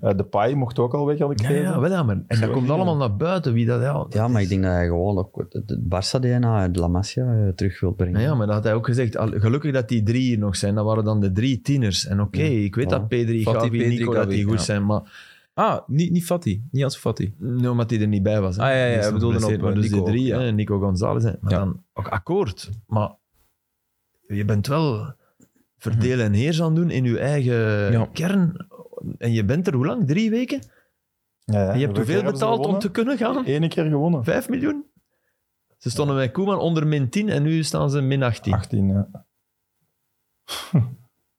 S4: eh, de Pai mocht ook al weg, had ik
S2: ja,
S4: gelezen.
S2: ja, wel ja, maar. En dat
S4: Zo,
S2: komt
S4: ja.
S2: allemaal naar buiten, wie dat... Ja,
S3: Ja, maar ik denk dat hij gewoon ook het- het Barça-DNA uit La Masia eh, terug wil brengen.
S2: Nou ja, maar dat had hij ook gezegd. Al- Gelukkig dat die drie hier nog zijn. Dat waren dan de drie tieners. En oké, ik weet
S3: voilà.
S2: dat P3,
S1: Fati,
S2: Gavi,
S1: P3,
S2: Nico, dat die
S1: Gavi,
S2: goed
S1: ja.
S2: zijn. Maar
S1: Ah, niet, niet Fati. Niet als Fati.
S2: nou, omdat die er niet bij was. hè.
S1: Ah, ja, ja,
S2: Die is
S1: hij
S2: nog
S1: bedoelde
S2: geblesseerd,
S1: op,
S2: maar
S1: eh,
S2: dus die
S1: Nico
S2: drie,
S1: ook,
S2: hè, Nico González. hè. Maar
S1: Ja.
S2: dan ook akkoord. Maar je bent wel verdelen en heers aan het doen in je eigen
S1: Ja.
S2: kern. En je bent er hoe lang? Drie weken?
S4: Ja, ja.
S2: En je hebt
S4: Welke
S2: hoeveel
S4: hebben ze
S2: betaald om
S4: gewonnen?
S2: te kunnen gaan?
S4: Eén keer gewonnen.
S2: Vijf miljoen? Ze stonden bij Koeman onder min 10 en nu staan ze min 18.
S4: 18, ja.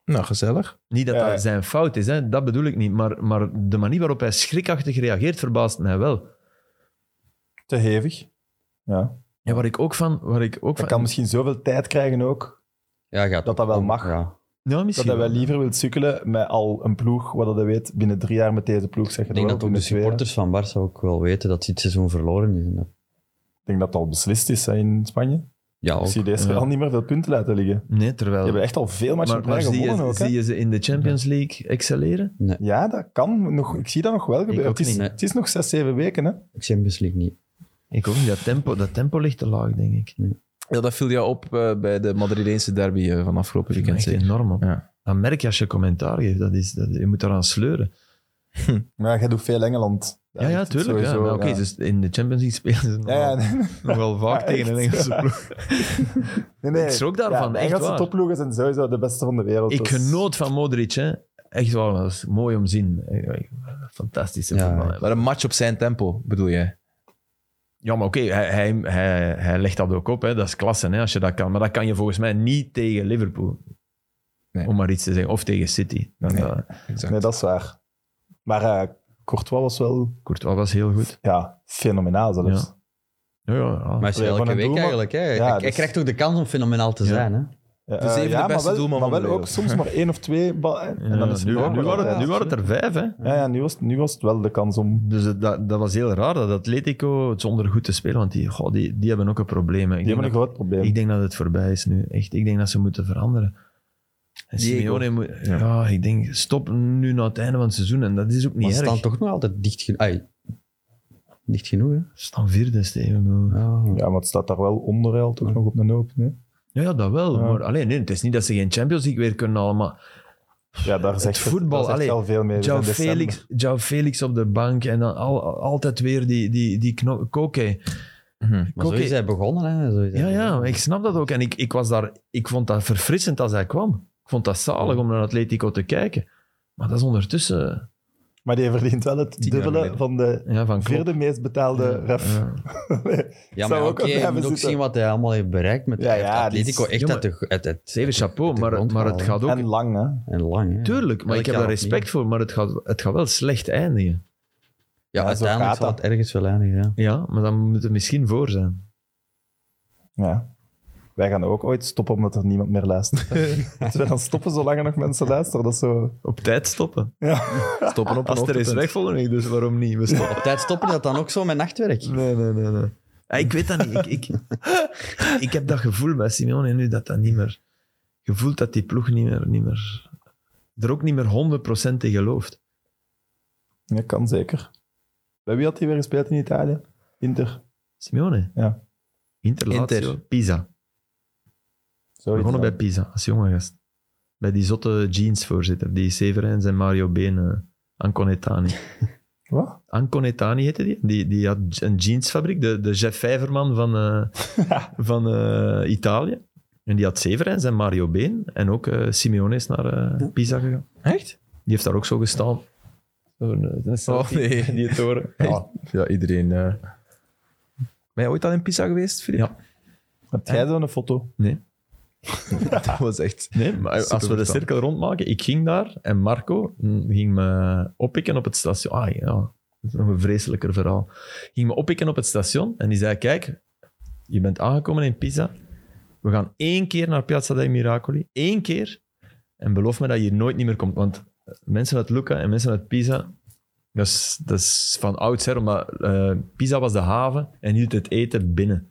S1: Nou, gezellig.
S2: Niet dat
S4: Ja, ja.
S2: dat zijn fout is, hè? dat bedoel ik niet. Maar, maar de manier waarop hij schrikachtig reageert verbaast mij wel.
S4: Te hevig. Ja.
S2: En waar ik ook van... Waar ik ook
S4: Dat
S2: van
S4: kan misschien zoveel tijd krijgen ook,
S3: Ja, gaat
S4: dat dat wel mag.
S3: Ja.
S2: ja,
S4: Dat
S2: Nou, misschien
S4: hij wel
S2: wel.
S4: liever wil sukkelen met al een ploeg, wat hij weet, binnen drie jaar met deze ploeg zeg je
S3: Ik denk
S4: wel,
S3: dat ook de
S4: binnen twee jaar.
S3: supporters van Barça ook wel weten dat dit seizoen verloren is. En dat-
S4: Ik denk dat het al beslist is hè, in Spanje.
S3: Ja,
S4: Ik
S3: ook.
S4: zie deze
S2: ja.
S4: al niet meer veel punten laten liggen.
S2: Nee,
S4: Je
S2: terwijl...
S4: hebt echt al veel matchen op
S2: maar maar
S4: rij
S2: zie,
S4: gewonnen
S2: je,
S4: ook. hè.
S2: zie je ze in de Champions League excelleren?
S4: Ja, dat kan. Nog, ik zie dat nog wel gebeuren.
S2: ook
S4: Het is,
S3: niet, nee.
S4: het is nog zes, zeven weken. Hè?
S3: Champions League niet.
S2: Ik ook niet. Dat tempo, dat tempo ligt te laag, denk ik.
S1: Ja, dat viel jou op eh, bij de Madrideense derby eh, van afgelopen
S2: Ik ken
S1: weekend.
S2: echt
S1: zeker?
S2: enorm op.
S1: Ja.
S2: Dat merk je als je commentaar geeft. Dat is, dat, je moet eraan sleuren.
S4: Maar jij doet veel Engeland.
S2: Ja, ja,
S4: echt,
S2: tuurlijk. Ja.
S4: sowieso,
S2: Maar Oké,
S4: ja.
S2: dus in de Champions League spelen ze
S4: Ja, ja,
S2: nogal,
S4: nee,
S2: nogal vaak
S4: Ja,
S2: tegen een
S4: echt.
S2: Engelse ploeg.
S4: nee, nee.
S2: Ik schrok daarvan,
S4: de
S2: echt
S4: Engelse
S2: waar.
S4: topploegen zijn sowieso de beste van de wereld.
S2: Ik
S4: dus-
S2: genoot van Modric, hè. Echt wel, dat is mooi om te zien. Eh, Fantastische
S3: Ja,
S2: voetbal. hè.
S1: Maar een match op zijn tempo, bedoel jij?
S2: Ja, maar oké, hij, hij, hij, hij legt dat ook op. Hè. Dat is klasse, hè, als je dat kan. Maar dat kan je volgens mij niet tegen Liverpool.
S1: Nee.
S2: Om maar iets te zeggen. Of tegen City. Dan
S1: Nee.
S2: dat-
S1: Exact.
S4: Nee, dat is waar. Maar eh Courtois was wel
S2: Courtois was heel goed.
S4: ja, fenomenaal zelfs.
S2: Ja. Ja, ja, ja.
S3: Maar hij is
S4: Ja, van
S3: elke
S4: een
S3: week
S4: doelman-
S3: eigenlijk. Hè. Hij-
S4: Ja,
S3: hij
S4: dus-
S3: krijgt ook de kans om fenomenaal te
S2: Ja.
S3: zijn. Hè.
S4: Ja,
S1: De zevende
S4: eh, ja,
S1: beste
S4: maar wel,
S1: doelman van
S4: maar wel
S1: de
S4: ook
S1: wereld.
S4: soms maar één of twee. bal- en
S2: Ja,
S4: dan is het
S2: nu,
S4: wel
S2: nu, waren het,
S4: altijd.
S2: nu waren het er vijf, hè.
S4: Ja, ja nu, was, het- nu was het wel de kans om.
S2: Dus het- dat, dat was heel raar dat Atletico het zonder goed te spelen, want die, goh, die, die hebben ook een probleem. hè. Ik
S4: Die hebben
S2: denk
S4: een
S2: dat-
S4: groot probleem.
S2: Ik denk dat het voorbij is nu. Echt, ik denk dat ze moeten veranderen. En
S1: Diego.
S2: Simeone moet...
S1: Ja.
S2: Ja. ik denk, stop nu na het einde van het seizoen. En dat is ook niet
S3: Maar ze
S2: erg.
S3: staan toch nog altijd dicht genoeg. Dicht genoeg, hè?
S2: Ze staan vierde, Steven.
S3: Ja.
S4: Ja, maar het staat daar wel onder hè, toch nog op een hoop. Nee?
S2: Ja, ja, dat wel.
S4: Ja.
S2: Maar alleen, nee, het is niet dat ze geen Champions League weer kunnen halen. Maar
S4: Ja, daar zegt het-
S2: voetbal,
S4: daar zegt
S2: allee,
S4: al veel mee. We
S2: João
S4: zijn december.
S2: Felix, João Felix op de bank en dan al, al- altijd weer die, die, die kno- Koke.
S1: Mhm.
S3: Maar zo
S2: Oké.
S3: is hij begonnen. Hè. Zo is hij
S2: Ja, ja,
S3: begonnen.
S2: maar ik snap dat ook. En ik, ik, was daar, ik vond dat verfrissend als hij kwam. Ik vond dat zalig om naar Atletico te kijken. Maar dat is ondertussen...
S4: Maar die verdient wel het
S1: Tien jaar
S4: dubbele
S1: geleden.
S4: van de
S2: Ja, van Klopp.
S4: vierde meest betaalde ref.
S2: Ja.
S3: Ja,
S4: Zou
S3: maar
S4: ook
S3: oké,
S4: wel
S3: je
S4: blijven
S3: moet ook
S4: zitten.
S3: zien wat hij allemaal heeft bereikt met
S4: Ja,
S3: hij heeft
S4: ja, die is-
S3: Atletico. Echt
S2: Ja,
S3: dat het, het, het,
S2: Zeven chapeau,
S3: de
S2: maar,
S3: grond
S2: maar het
S3: halen.
S2: gaat ook...
S4: En lang, hè?
S3: en lang. Hè.
S2: Tuurlijk, maar
S3: Elk
S2: ik heb
S3: jaar
S2: daar
S3: opnieuw.
S2: respect voor, maar het gaat, het gaat wel slecht eindigen.
S3: Ja,
S4: Ja, zo
S3: uiteindelijk
S4: gaat
S3: zal
S4: dat.
S3: het ergens wel eindigen. Ja.
S2: Ja, maar dan moet er misschien voor zijn.
S4: Ja. Wij gaan ook ooit stoppen omdat er niemand meer luistert. dus we gaan stoppen zolang er nog mensen luisteren. Dat is zo.
S2: Op tijd stoppen.
S4: Ja.
S1: Stoppen op een
S2: Als er is
S1: hoogtepunt.
S2: weg volgende week, dus waarom niet? We stoppen.
S3: Op tijd stoppen dat dan ook zo met nachtwerk.
S2: Nee, nee, nee. nee. Ah, ik weet dat niet. Ik, ik, ik heb dat gevoel bij Simeone nu dat dat niet meer... Gevoeld dat die ploeg niet meer, niet meer... Er ook niet meer 100% in gelooft.
S4: Ja, kan zeker. Bij wie had hij weer gespeeld in Italië? Inter.
S2: Simeone?
S4: Ja.
S2: Inter, Lazio,
S1: Inter.
S2: Pisa.
S4: Zoiets,
S2: begonnen
S4: ja.
S2: bij Pisa, als jonge gast. Bij die zotte jeansvoorzitter, die Severijns en Mario Been, eh, Anconetani.
S4: Wat?
S2: Anconetani heette die. Die, die had een jeansfabriek, de, de Jeff Vijverman van, eh, van eh, Italië. En die had Severijns en Mario Been. En ook eh Simeone is naar eh, Pisa gegaan.
S1: Echt?
S2: Die heeft daar ook zo gestaan. Zo'n, eh, een
S1: Oh,
S2: selfie
S1: nee.
S2: in die toren.
S1: Ja,
S4: Oh,
S1: ja iedereen. eh. Ben jij ooit al in Pisa geweest, Filip?
S2: Ja.
S4: Heb jij zo'n foto?
S1: Dat was echt...
S2: Nee, maar als we de
S1: Superverstand.
S2: cirkel rondmaken, ik ging daar en Marco mm, ging me oppikken op het station. Ah ja, dat is nog een vreselijker verhaal. Ging me oppikken op het station en die zei, kijk, je bent aangekomen in Pisa. We gaan één keer naar Piazza dei Miracoli. Eén keer. En beloof me dat je hier nooit niet meer komt. Want eh, mensen uit Lucca en mensen uit Pisa, dat is, dat is van oudsher, omdat eh, Pisa was de haven en hield het eten binnen.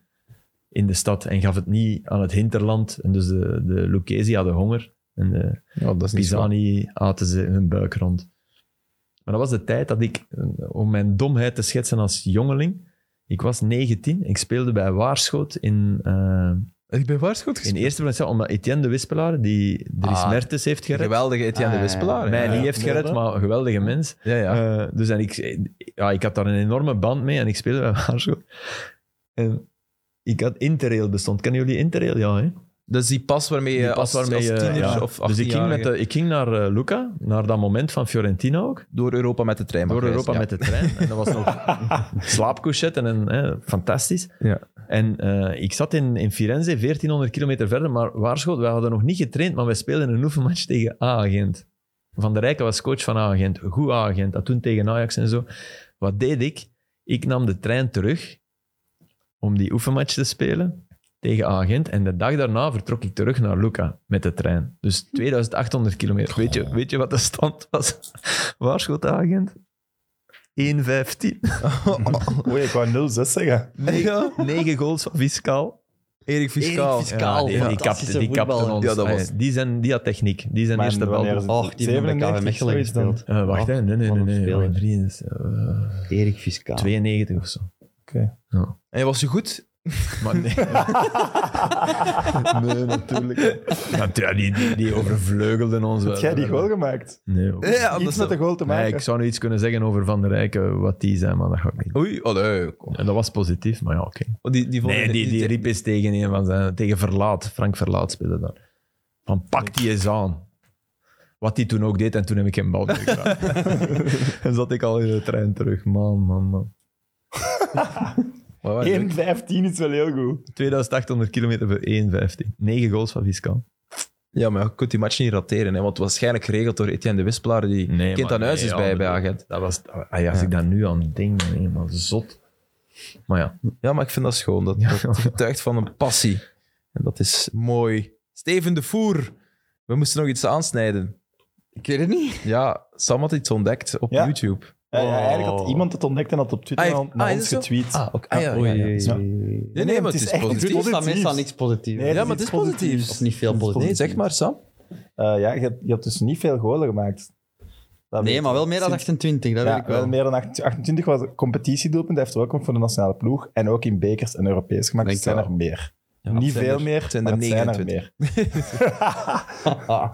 S2: in de stad en gaf het niet aan het hinterland. En dus de, de Lucchesi hadden honger en de
S1: Ja, dat is niet zo.
S2: Pisani aten ze hun buik rond. Maar dat was de tijd dat ik, eh, om mijn domheid te schetsen als jongeling, ik was 19, ik speelde bij Waarschoot in, eh,
S1: Ik ben waarschuwd
S2: in
S1: gespeeld.
S2: eerste plaats, omdat Etienne de Wispelaar, die Dries
S1: Ah,
S2: Mertens heeft gered,
S1: Geweldige Etienne
S3: Ah,
S1: de
S3: ja.
S1: Wispelaar.
S2: mij
S1: ja.
S2: niet heeft gered, maar een geweldige mens.
S1: Ja, ja.
S2: Eh, dus en ik, ja, ik had daar een enorme band mee en ik speelde bij Waarschoot. En ik had Interrail bestond. Kennen jullie Interrail? Ja, hè?
S1: Dat is Dus die pas waarmee je
S2: Die pas
S1: als,
S2: waarmee je-
S1: als tiener
S2: ja.
S1: of
S2: Dus ik ging, met de, ik ging naar eh, Luca, naar dat moment van Fiorentina ook.
S1: door Europa met de trein mag
S2: Door
S1: reizen,
S2: Europa
S1: ja.
S2: met de trein. En dat was nog slaapcouchetten en hè, fantastisch.
S1: Ja.
S2: En eh, ik zat in, in Firenze, 1400 kilometer verder, maar waarschuwd, wij hadden nog niet getraind, maar wij speelden een oefenmatch tegen A-agent. Van der Rijken was coach van A-agent, goed A-agent, dat toen tegen Ajax en zo. Wat deed ik? Ik nam de trein terug om die oefenmatch te spelen tegen A-agent. En de dag daarna vertrok ik terug naar Luca met de trein. Dus 2800 kilometer. Weet
S1: Oh.
S2: je, weet je wat de stand was? Waarschuwt A-agent? 1,15.
S4: Oei, ik wou 06 zeggen.
S2: Negen, negen goals van Fiscaal.
S1: Erik Fiscaal.
S3: Erik Fiscaal,
S2: die, die,
S3: fantastische
S2: kapte, die kapte
S3: voetballer.
S2: ons.
S1: Ja, dat was-
S2: Ah, die, zijn, die had techniek. Die zijn
S4: Maar
S2: eerste bal.
S4: wanneer is het?
S3: Och, die hebben bij KV
S4: 97
S3: Mechelen
S4: zoiets dan.
S3: gespeeld.
S2: Eh, wacht,
S3: Ah,
S2: hè. nee, nee,
S3: wat
S2: nee.
S3: een
S2: nee.
S3: speler.
S2: Mijn vriend is, eh,
S3: Erik Fiscaal.
S2: 92 of zo.
S4: Oké.
S2: Ja.
S1: En was je goed?
S2: Maar nee. nee, natuurlijk. Ja, die, die, die overvleugelden ons wel.
S4: Heb jij die goal gemaakt?
S2: Nee, hoor.
S1: Ja,
S4: Iets met de goal te
S2: nee,
S4: maken.
S2: ik zou nu iets kunnen zeggen over Van der Rijken, wat die zijn, maar dat ga ik niet doen.
S1: Oei, allee. kom.
S2: En dat was positief, maar ja, oké.
S1: Oh, Die, die vonden-
S2: Nee, die, die riep eens tegen een van zijn... Tegen Verlaat, Frank Verlaat speelde daar. Van pak die eens aan. Wat die toen ook deed en toen heb ik geen bal meer gedaan. en zat ik al in de trein terug. Man, man, man.
S1: Maar waar,
S4: 1-15 is wel heel goed.
S2: 2800 kilometer voor 1,15. 9 goals van Viskan.
S1: Ja, maar je kunt die match niet rateren, hè, want waarschijnlijk geregeld door Etienne de Wispelaar, die
S2: Nee,
S1: kind
S2: maar
S1: aan huis
S2: nee,
S1: is
S2: ja,
S1: bij, bij
S2: bedoel-
S1: agent.
S2: Dat was... ah ja, als ik daar nu aan denk, nee, maar zot. Maar ja.
S1: Ja, maar ik vind dat schoon. Dat,
S2: Ja.
S1: dat getuigt van een passie. En dat is mooi. Steven de Voer. We moesten nog iets aansnijden.
S3: Ik weet het niet.
S1: Ja, Sam had iets ontdekt op
S4: Ja.
S1: YouTube.
S4: Ja, ja, eigenlijk
S3: Oh.
S4: had iemand het ontdekt en had op Twitter
S1: Ah,
S4: naar
S1: heeft-
S4: naar
S1: ah, is
S4: ons
S1: het zo?
S4: getweet.
S1: Ah, oké. Ah, ja, ja,
S3: Oei,
S1: ja.
S3: oei,
S4: Ja.
S3: oei.
S1: Nee, nee, maar het is
S4: echt iets
S1: positief.
S3: Doet ons dat
S4: positiefs.
S3: meestal niks positiefs.
S4: Nee,
S1: Ja,
S4: dat
S1: maar het is
S4: iets
S1: positiefs.
S3: Of niet veel
S4: Het is
S3: positiefs.
S1: Nee, zeg maar, Sam.
S4: Eh, ja, je, hebt- je hebt dus niet veel golen gemaakt. Dat weet
S3: Nee,
S4: ik.
S3: maar wel meer dan
S4: Sinds-
S3: 28, dat
S4: ja,
S3: weet ik
S4: wel.
S3: wel.
S4: meer dan 28, 28 was het competitiedoelpunt. Hij heeft er ook nog voor de nationale ploeg. En ook in bekers en Europees gemaakt.
S1: Denk
S4: Dus het zijn er
S1: wel.
S4: meer.
S1: Ja,
S4: niet
S1: het zijn
S4: veel
S1: er-
S4: meer,
S1: het zijn
S4: maar
S1: er
S4: het zijn er
S1: 29.
S4: meer.
S3: Wauw.
S4: Ah.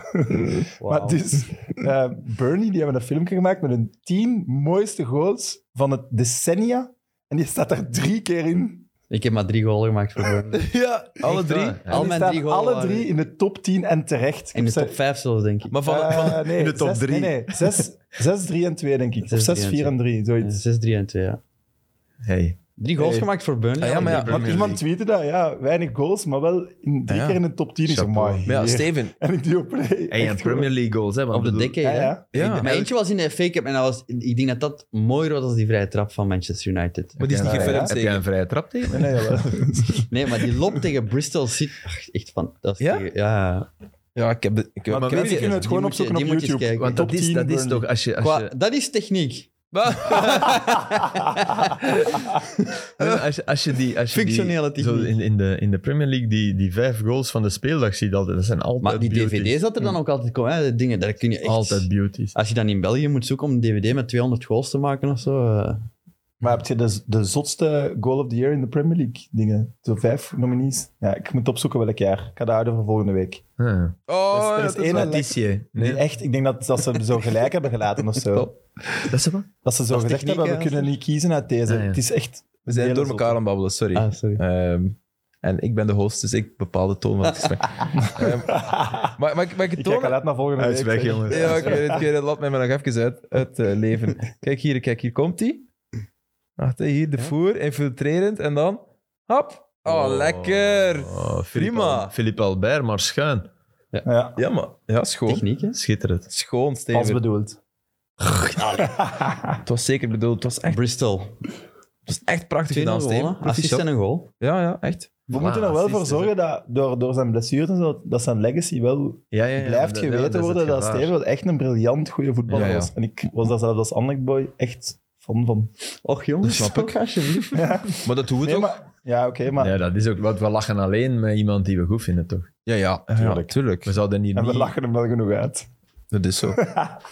S4: Maar dus, eh, Bernie, die hebben een filmpje gemaakt met hun tien mooiste goals van het decennia. En die staat er drie keer in.
S3: Ik heb maar drie goals gemaakt voor Burnley.
S1: Ja, alle
S2: Echt
S1: drie.
S2: waar?
S4: En
S3: Al
S4: die
S3: mijn
S4: staan
S3: drie goals
S4: alle
S3: waren-
S4: drie in de top 10 en terecht. Ik
S3: In de
S4: heb ze-
S3: top 5 zelfs, denk ik.
S1: Maar van, van,
S4: Eh, nee,
S2: in de top
S4: zes-
S2: drie.
S4: Nee, nee, 6, 3 en 2, denk ik. Of
S3: Zes,
S4: 6,
S3: drie en
S4: 4 en 3,
S3: Ja,
S4: zoiets.
S3: 6, 3 en 2, ja.
S2: Hey.
S3: Drie goals
S4: Hey.
S3: gemaakt voor Burnley.
S1: Ah, ja, maar ja,
S3: Ik denk
S1: want
S4: Want
S3: Premier
S4: iemand tweette dat, ja, weinig goals, maar wel in, drie
S1: Ja, ja.
S4: keer in de top 10. Ik zeg,
S2: Chapeau.
S4: maar
S1: maar ja,
S4: hier.
S1: Steven.
S4: En ik doe op play.
S2: Hey, en
S4: Echt goed.
S2: Premier League goals, hè. want
S3: League. Op de
S2: bedoel-
S3: decade,
S4: Ja,
S3: hè.
S4: ja.
S1: Ja.
S3: Maar eentje was in de FA Cup en dat was, ik denk dat dat mooier was dan die vrije trap van Manchester United.
S1: Maar die is niet
S4: Ja, ja.
S1: gefilmd,
S2: Heb
S1: zeker?
S2: jij een vrije trap tegen?
S4: Nee, nee, wel.
S3: Nee, maar die lop tegen Bristol City. Ach, echt van. Dat is
S1: Ja?
S3: tegen- ja.
S1: Ja, ik heb... de- Ik heb
S4: Maar
S1: ik
S4: mensen
S1: heb-
S4: kunnen het
S3: die
S4: gewoon
S3: moet je-
S4: opzoeken op
S3: die moet je eens
S4: YouTube.
S3: kijken.
S2: Want dat
S4: Top
S2: is,
S4: 10
S2: dat is
S4: Burnley.
S2: toch... Als je, als
S3: Qua-
S2: je,
S3: dat is techniek.
S2: Nee, maar als, je, als je die... Als je
S3: Functionele
S2: die,
S3: techniek.
S2: zo in, in, de, in de Premier League, die, die vijf goals van de speeldag ziet, altijd, dat zijn altijd
S3: Maar die
S2: beauties.
S3: dvd's dat er dan ook altijd komen, hè, de dingen, daar kun je echt...
S2: Altijd beauties.
S3: Als je dan in België moet zoeken om een dvd met 200 goals te maken of zo... eh,
S4: Maar heb je de, de zotste goal of the year in de Premier League dingen? Zo vijf nominees. Ja, ik moet opzoeken welk jaar. Ik ga dat houden voor volgende week.
S2: Ah.
S1: Oh,
S4: Er is- er is
S1: dat is
S4: één
S1: wel-
S4: en-
S2: Letitie.
S4: Die
S2: Nee,
S4: Echt, ik denk dat, dat ze zo gelijk hebben gelaten of zo.
S2: dat is wat?
S4: Dat ze zo
S3: Dat is
S4: gezegd
S3: techniek,
S4: hebben, we
S3: hè,
S4: kunnen niet kiezen uit deze.
S2: Ah, ja.
S4: Het is echt...
S1: We zijn door elkaar aan het babbelen, sorry.
S3: Ah, sorry.
S1: Ehm, en ik ben de host, dus ik bepaal de toon van het gesprek. Ehm, maar, maar, maar ik het
S4: Ik kijk al
S1: tonen?
S4: uit naar volgende
S2: Hij
S4: week.
S2: is weg,
S4: zeg.
S2: jongen.
S1: Ja, ik weet het, ik weet het. Laat mij maar nog even uit, uit eh, leven. Kijk hier, kijk, hier komt hij. Wacht, hè, hier de voer, infiltrerend en dan... Hop! Oh, lekker!
S2: Oh, Philippe
S1: Prima.
S2: Al- Philippe Albert, maar schuin.
S4: Ja,
S1: Ja, maar... Ja, schoon.
S3: Techniek, hè?
S2: Schitterend.
S1: Schoon,
S4: als
S1: Steven.
S4: bedoeld.
S1: Het was zeker bedoeld. Het was echt,
S3: Bristol.
S1: het was echt prachtig
S3: 2
S1: gedaan,
S3: goal,
S1: Steven.
S3: hè? assist en
S1: Proficiat.
S3: een goal.
S1: Ja, ja, echt.
S4: We
S2: Voilà,
S4: moeten er wel
S2: assist
S4: voor
S2: is
S4: zorgen dat door, door zijn blessures en zo, dat zijn legacy wel
S2: Ja, ja, ja,
S4: blijft
S2: dat- ja,
S4: geweten
S2: dat is het
S4: worden dat
S2: gevaar.
S4: Steven wel echt een briljant goede voetballer
S1: Ja, ja.
S4: was. En ik was daar zelfs als Anlek boy echt fan van.
S3: Och jongens,
S1: Dat snap ik.
S3: toch, alsjeblieft.
S1: Maar dat doen we
S4: Nee,
S1: toch?
S4: maar, ja, oké, maar...
S2: Ja, dat is ook wat. We lachen alleen met iemand die we goed vinden, toch?
S1: Ja, ja,
S4: Tuurlijk.
S1: ja, tuurlijk.
S2: We zouden hier
S4: En
S2: niet...
S4: we lachen hem wel genoeg uit.
S1: Dat is zo.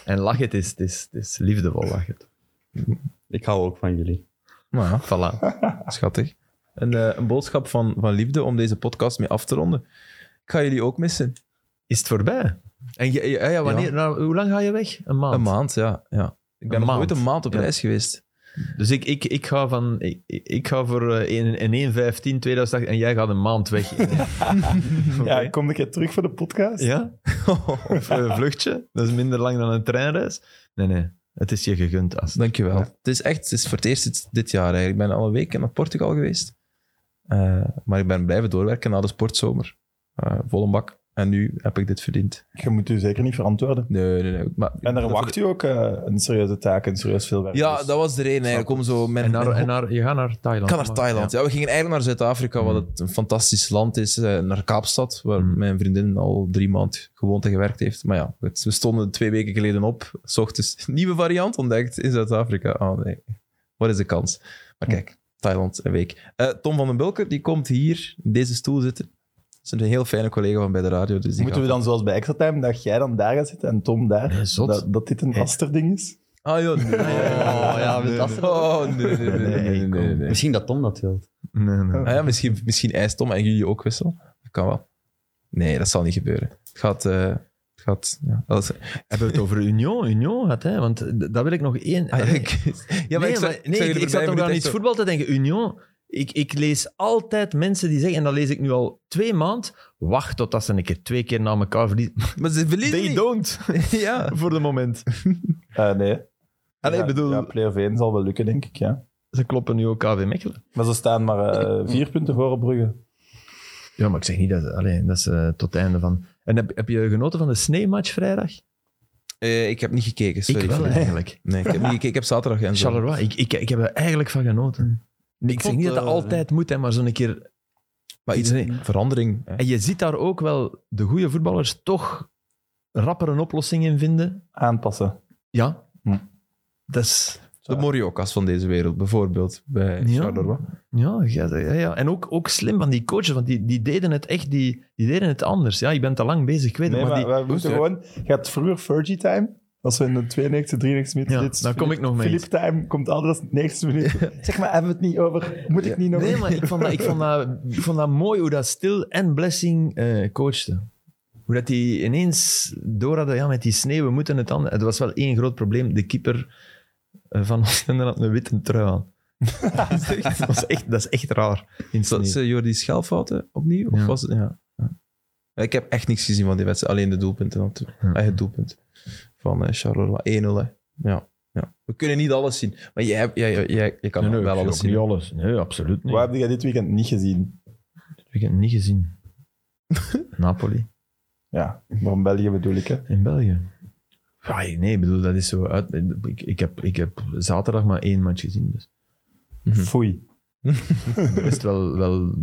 S2: En lachen, het is, het is, het is liefdevol lachen. toch?
S3: Ik hou ook van jullie.
S1: Nou ja,
S2: Voilà.
S1: schattig. Een, eh, een boodschap van, van liefde om deze podcast mee af te ronden. Ik ga jullie ook missen.
S2: Is het voorbij? En je- ja, ja, wanneer,
S1: eh, Ja.
S2: nou, hoe lang ga je weg? Een maand.
S1: Een maand, ja. ja. Ik ben
S2: Een
S1: nog
S2: maand.
S1: nooit een maand op
S2: Ja.
S1: reis geweest.
S2: Dus ik, ik, ik, ga van, ik, ik ga voor eh, in, in 115 2008 en jij gaat een maand weg.
S4: Ja, ik kom een keer terug voor de podcast.
S2: Ja? Of een vluchtje? Dat is minder lang dan een treinreis. Nee, nee. Het is je gegund, As.
S1: Dankjewel. Het is echt, het is voor het eerst dit, dit jaar eigenlijk. Ik ben al een week naar Portugal geweest. Eh, maar ik ben blijven doorwerken na de sportzomer. Eh volle bak. En nu heb ik dit verdiend.
S4: Je moet u zeker niet verantwoorden.
S1: Nee, nee, nee. Maar,
S4: En daar wacht u ook eh, een serieuze taak, een serieus veel werk.
S1: Ja,
S4: Dus-
S1: dat was de reden eigenlijk. Om zo mijn,
S2: En, naar,
S1: mijn
S2: en naar, je gaat naar Thailand.
S1: Ik ga naar Thailand. Ja. we gingen eigenlijk naar Zuid-Afrika, wat
S2: Mhm.
S1: het een fantastisch land is. eh, Naar Kaapstad, waar
S2: Mhm.
S1: mijn vriendin al drie maanden gewoond en gewerkt heeft. Maar ja, goed, we stonden twee weken geleden op. S ochtends nieuwe variant ontdekt in Zuid-Afrika. Oh nee, wat is de kans? Maar kijk, Thailand een week. Eh, Tom van den Bulke, die komt hier in deze stoel zitten. Dat is een heel fijne collega van bij de radio. Dus die
S4: Moeten we
S1: gaat-
S4: dan zoals bij Extra Time, dat jij dan daar gaat zitten en Tom daar,
S2: Nee, zot.
S4: dat, dat dit een
S2: Hey.
S4: asterding is?
S1: Ah ja, nee.
S3: Oh, ja, we tasten dat
S1: Oh nee, nee, nee, nee, nee, nee, nee, nee.
S3: Misschien dat Tom dat wil.
S2: Nee, nee.
S1: Ah ja, misschien, misschien eist Tom en jullie ook wissel. Dat kan wel. Nee, dat zal niet gebeuren. Het gaat... eh, het gaat ja, dat is-
S2: Hebben we het over Union? Union gehad, hè? Want d- dat wil ik nog één...
S1: Ah, ja, ik- ja, maar
S2: nee,
S1: ik,
S2: maar- nee, ik, ik zat nog aan iets
S1: voor.
S2: voetbal te denken. Union, ik, ik lees altijd mensen die zeggen, en dat lees ik nu al twee maanden, wacht totdat ze een keer twee keer na elkaar verliezen.
S1: Maar ze verliezen
S2: They
S1: niet.
S2: don't,
S1: Ja.
S2: voor de moment.
S4: Eh, nee.
S2: Allee,
S4: ja,
S2: Ah, ik bedoel,
S4: Ja, play-off 1 zal wel lukken, denk ik, ja.
S2: ze kloppen nu ook KV Mechelen.
S4: Maar ze staan maar eh, vier punten voor op Brugge.
S2: Ja, maar ik zeg niet dat, alleen, dat is eh, tot het einde van... En heb, heb je genoten van de sneeuwmatch vrijdag?
S1: Eh, ik heb niet gekeken, sorry.
S2: ik wel,
S1: Filip.
S2: eigenlijk.
S1: Nee, ik heb niet gekeken. Ik heb zaterdag en zo.
S2: Charleroi, ik, ik, ik heb er eigenlijk van genoten. Ik, zeg
S3: vond,
S2: niet dat dat
S3: eh,
S2: altijd moet, hè, maar zo'n keer...
S1: Maar iets,
S2: Nee.
S1: verandering. hè.
S2: En je ziet daar ook wel de goede voetballers toch rapper een oplossing in vinden.
S4: Aanpassen.
S2: Ja.
S4: Hm.
S2: Dat is...
S1: De Moriokas van deze wereld, bijvoorbeeld, bij
S2: Ja.
S1: Charleroi.
S2: Ja, ja, ja, ja. en ook, ook slim van die coaches, want die, die deden het echt die, die deden het anders. Ja, je bent te lang bezig, ik weet het,
S4: Nee, maar,
S2: maar, die...
S4: we moeten
S1: Ja.
S4: gewoon... Gaat vroeger Fergie time? Als we in de 92, 93 minuten
S2: Ja,
S4: dit
S2: daar kom ik nog mee
S4: Philip time komt altijd als 90 minuten. Zeg maar, hebben we het niet over? Moet ik niet nog...
S2: Nee, maar ik vond, dat, ik, vond dat, ik vond dat mooi hoe dat Stil en Blessing eh coachte. Hoe dat die ineens door hadden, ja, met die sneeuw, we moeten het anders. Het was wel één groot probleem. De keeper eh, van Oostende had een witte trui aan. dat, was echt, dat is echt raar. In
S1: Is dat
S2: sneeuw.
S1: eh, Jordi Schelfouten opnieuw? Of
S2: Ja.
S1: was het, ja. Ja. Ik heb echt niks gezien van die wedstrijd. Alleen de doelpunten. dan toe.
S2: Ja.
S1: Eigen doelpunt van eh, Charleroi. 1-0. hè. Ja. ja. We kunnen niet alles zien. Maar jij, hebt- jij, jij, jij, jij kan
S2: Nee, nee,
S1: wel
S2: ik zie
S1: alles
S2: ook
S1: zien.
S2: niet alles. Nee, absoluut niet.
S4: Waar heb je dit weekend niet gezien?
S2: Ik heb het niet gezien. Napoli.
S4: Ja, van België bedoel ik, hè.
S2: In België. Ja, nee, ik bedoel, dat is zo uit. Ik, ik, heb, ik heb zaterdag maar één match gezien. Dus
S4: Mhm.
S1: Hm.
S4: Foei.
S2: best wel, wel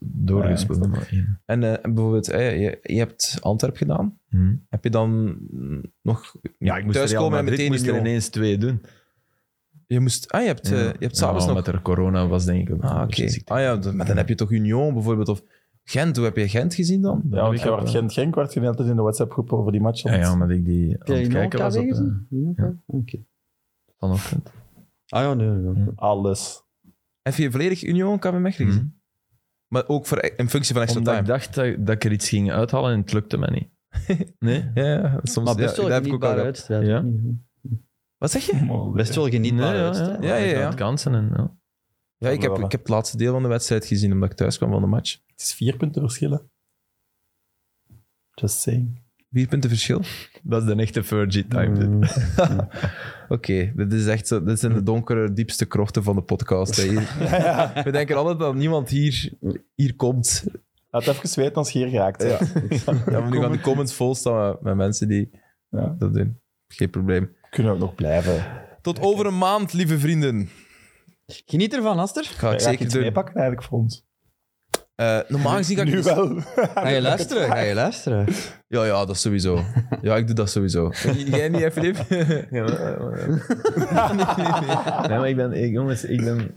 S2: doorgespeeld.
S4: Ja,
S2: maar één.
S1: En eh, bijvoorbeeld, eh, je, je hebt Antwerp gedaan.
S2: Hm.
S1: Heb je dan mm, nog
S2: Ja, ik moest
S1: thuis
S2: Real
S1: komen en
S2: Madrid
S1: meteen
S2: moest er
S1: Union?
S2: ineens twee doen.
S1: Je moest... Ah, je hebt, eh, je hebt s'avonds
S2: Ja,
S1: nog...
S2: Omdat er corona was, denk ik.
S1: Ah, oké. Ah ja, d- maar dan heb je toch Union bijvoorbeeld of Gent. Hoe heb je Gent gezien dan?
S4: Ja, want jij
S1: eh,
S4: werd Gent Genk, werd je net in de WhatsApp-groep over die match. aan
S2: Ja,
S4: het-
S2: ja, omdat ik die aan het kijken was op, eh,
S3: Oké.
S2: vanochtend.
S3: Ah ja, nee. nee.
S4: Alles.
S1: Heb je volledig Union KV Mechelen gezien?
S2: Hm.
S1: Maar ook voor, e- in functie van extra
S2: Omdat
S1: time?
S2: ik dacht dat, dat ik er iets ging uithalen en het lukte mij niet. Nee?
S1: Ja, soms
S3: Maar best
S1: ja,
S3: wel
S1: dat heb ik ook al
S3: genietbare
S1: gehad.
S3: wedstrijd.
S2: Ja.
S1: Wat zeg je?
S3: Best wel
S2: Nee,
S3: genietbare
S2: ja,
S3: wedstrijd.
S1: Ja, ja,
S2: Ik
S1: ja.
S2: had kansen en... Ja.
S1: Ja, ik heb, ik heb het laatste deel van de wedstrijd gezien, omdat ik thuis kwam van de match.
S4: Het is vier punten verschillen. Just saying. Mm.
S1: Vier punten verschil.
S2: Dat is de echte Fergie time. dit.
S1: Oké, dit is echt zo, dit zijn de donkere, diepste krochten van de podcast. hè. Hier- We denken altijd dat niemand hier, hier komt.
S4: Had even geweten als je hier geraakt. hè.
S1: Ja. Ja, maar nu gaan de comments vol staan met, met mensen die
S4: Ja.
S1: dat doen. Geen probleem.
S4: Kunnen ook nog blijven.
S1: Tot over een maand, lieve vrienden.
S3: Geniet ervan, Aster.
S1: Ga ik
S4: Ga ik
S1: zeker
S4: iets
S1: doen.
S4: meepakken eigenlijk voor ons?
S1: Eh, normaal gezien ga ik...
S4: nu
S1: dus-
S4: wel.
S3: Ga je luisteren? Ga je luisteren?
S1: Ja, ja, dat sowieso. Ja, ik doe dat sowieso. Jij niet, hè, Filip?
S2: Ja, maar- maar- nee, maar ik ben... Ik, jongens, ik ben...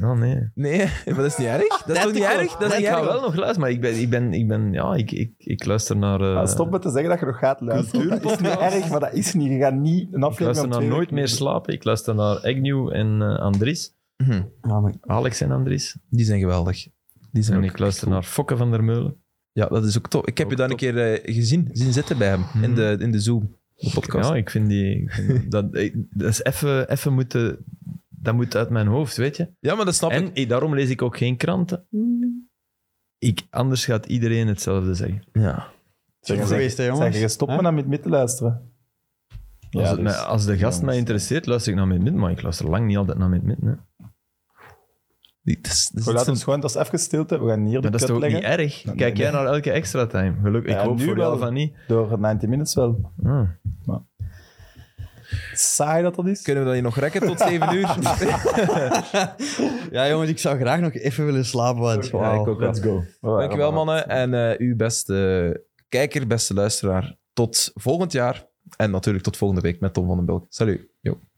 S2: Oh, nee.
S1: Nee, maar dat is niet erg. Dat is toch niet erg? Dat is
S2: ik
S1: niet
S2: ga
S1: erg?
S2: wel nog luisteren, maar ik ben... Ik ben, ik ben ja, ik, ik, ik luister naar... eh,
S4: Ah, stop met te zeggen dat je nog gaat luisteren. Dat is niet erg, maar dat is niet. Je gaat niet een
S2: Ik
S4: aflevering
S2: luister
S4: om
S2: naar
S4: twee
S2: Nooit
S4: weken-
S2: Meer Slapen. Ik luister naar Agnew en eh, Andries.
S1: Mhm.
S3: Ja, Ah, maar
S2: Alex en Andries.
S1: Die zijn geweldig. Die zijn
S2: En
S1: ook
S2: ik luister naar Fokke van der Meulen.
S1: Ja, dat is ook Mhm. tof. Ik heb
S2: Ook
S1: je daar een
S2: tof.
S1: keer eh, gezien, zien zitten bij hem in, de, in de Zoom, de podcast.
S2: Ja, ik vind die... ik vind dat, ik- dat is even, even moeten... Dat moet uit mijn hoofd, weet je.
S1: Ja, maar dat snap ik.
S2: En ik- daarom lees ik ook geen kranten. Ik, anders gaat iedereen hetzelfde zeggen.
S1: Ja.
S4: Zeg,
S3: Goed
S4: zeg,
S3: geweest, hè, jongens?
S4: Zeg, je stopt
S3: Hè?
S4: me dan met mee te luisteren.
S2: Als, het
S4: dus-
S2: mij- als de gast mij
S4: jongens.
S2: interesseert, luister ik naar Mid-Mid, maar ik luister lang niet altijd naar Mid-Mid. hè.
S1: Die- dat is- dat is-
S4: We laten ons gewoon, dat is even stilte. We gaan hier
S2: Maar
S4: de
S2: dat is
S4: kut
S2: toch ook
S4: leggen.
S2: niet erg?
S4: Nee,
S2: Kijk
S4: nee.
S2: jij naar elke extra time? Gelukkig,
S4: Ja,
S2: ik hoop
S4: nu
S2: voor
S4: wel.
S2: jou van niet.
S4: Door 90 Minutes wel.
S2: Ah.
S4: Saai dat dat is.
S1: Kunnen we dat hier nog rekken tot 7 uur?
S3: Ja, jongens, ik zou graag nog even willen slapen. Want,
S1: Ja, ik ook wel.
S4: Let's go.
S1: Dankjewel, mannen. En eh uw beste kijker, beste luisteraar. Tot volgend jaar. En natuurlijk tot volgende week met Tom van den Bulk. Salut. Yo.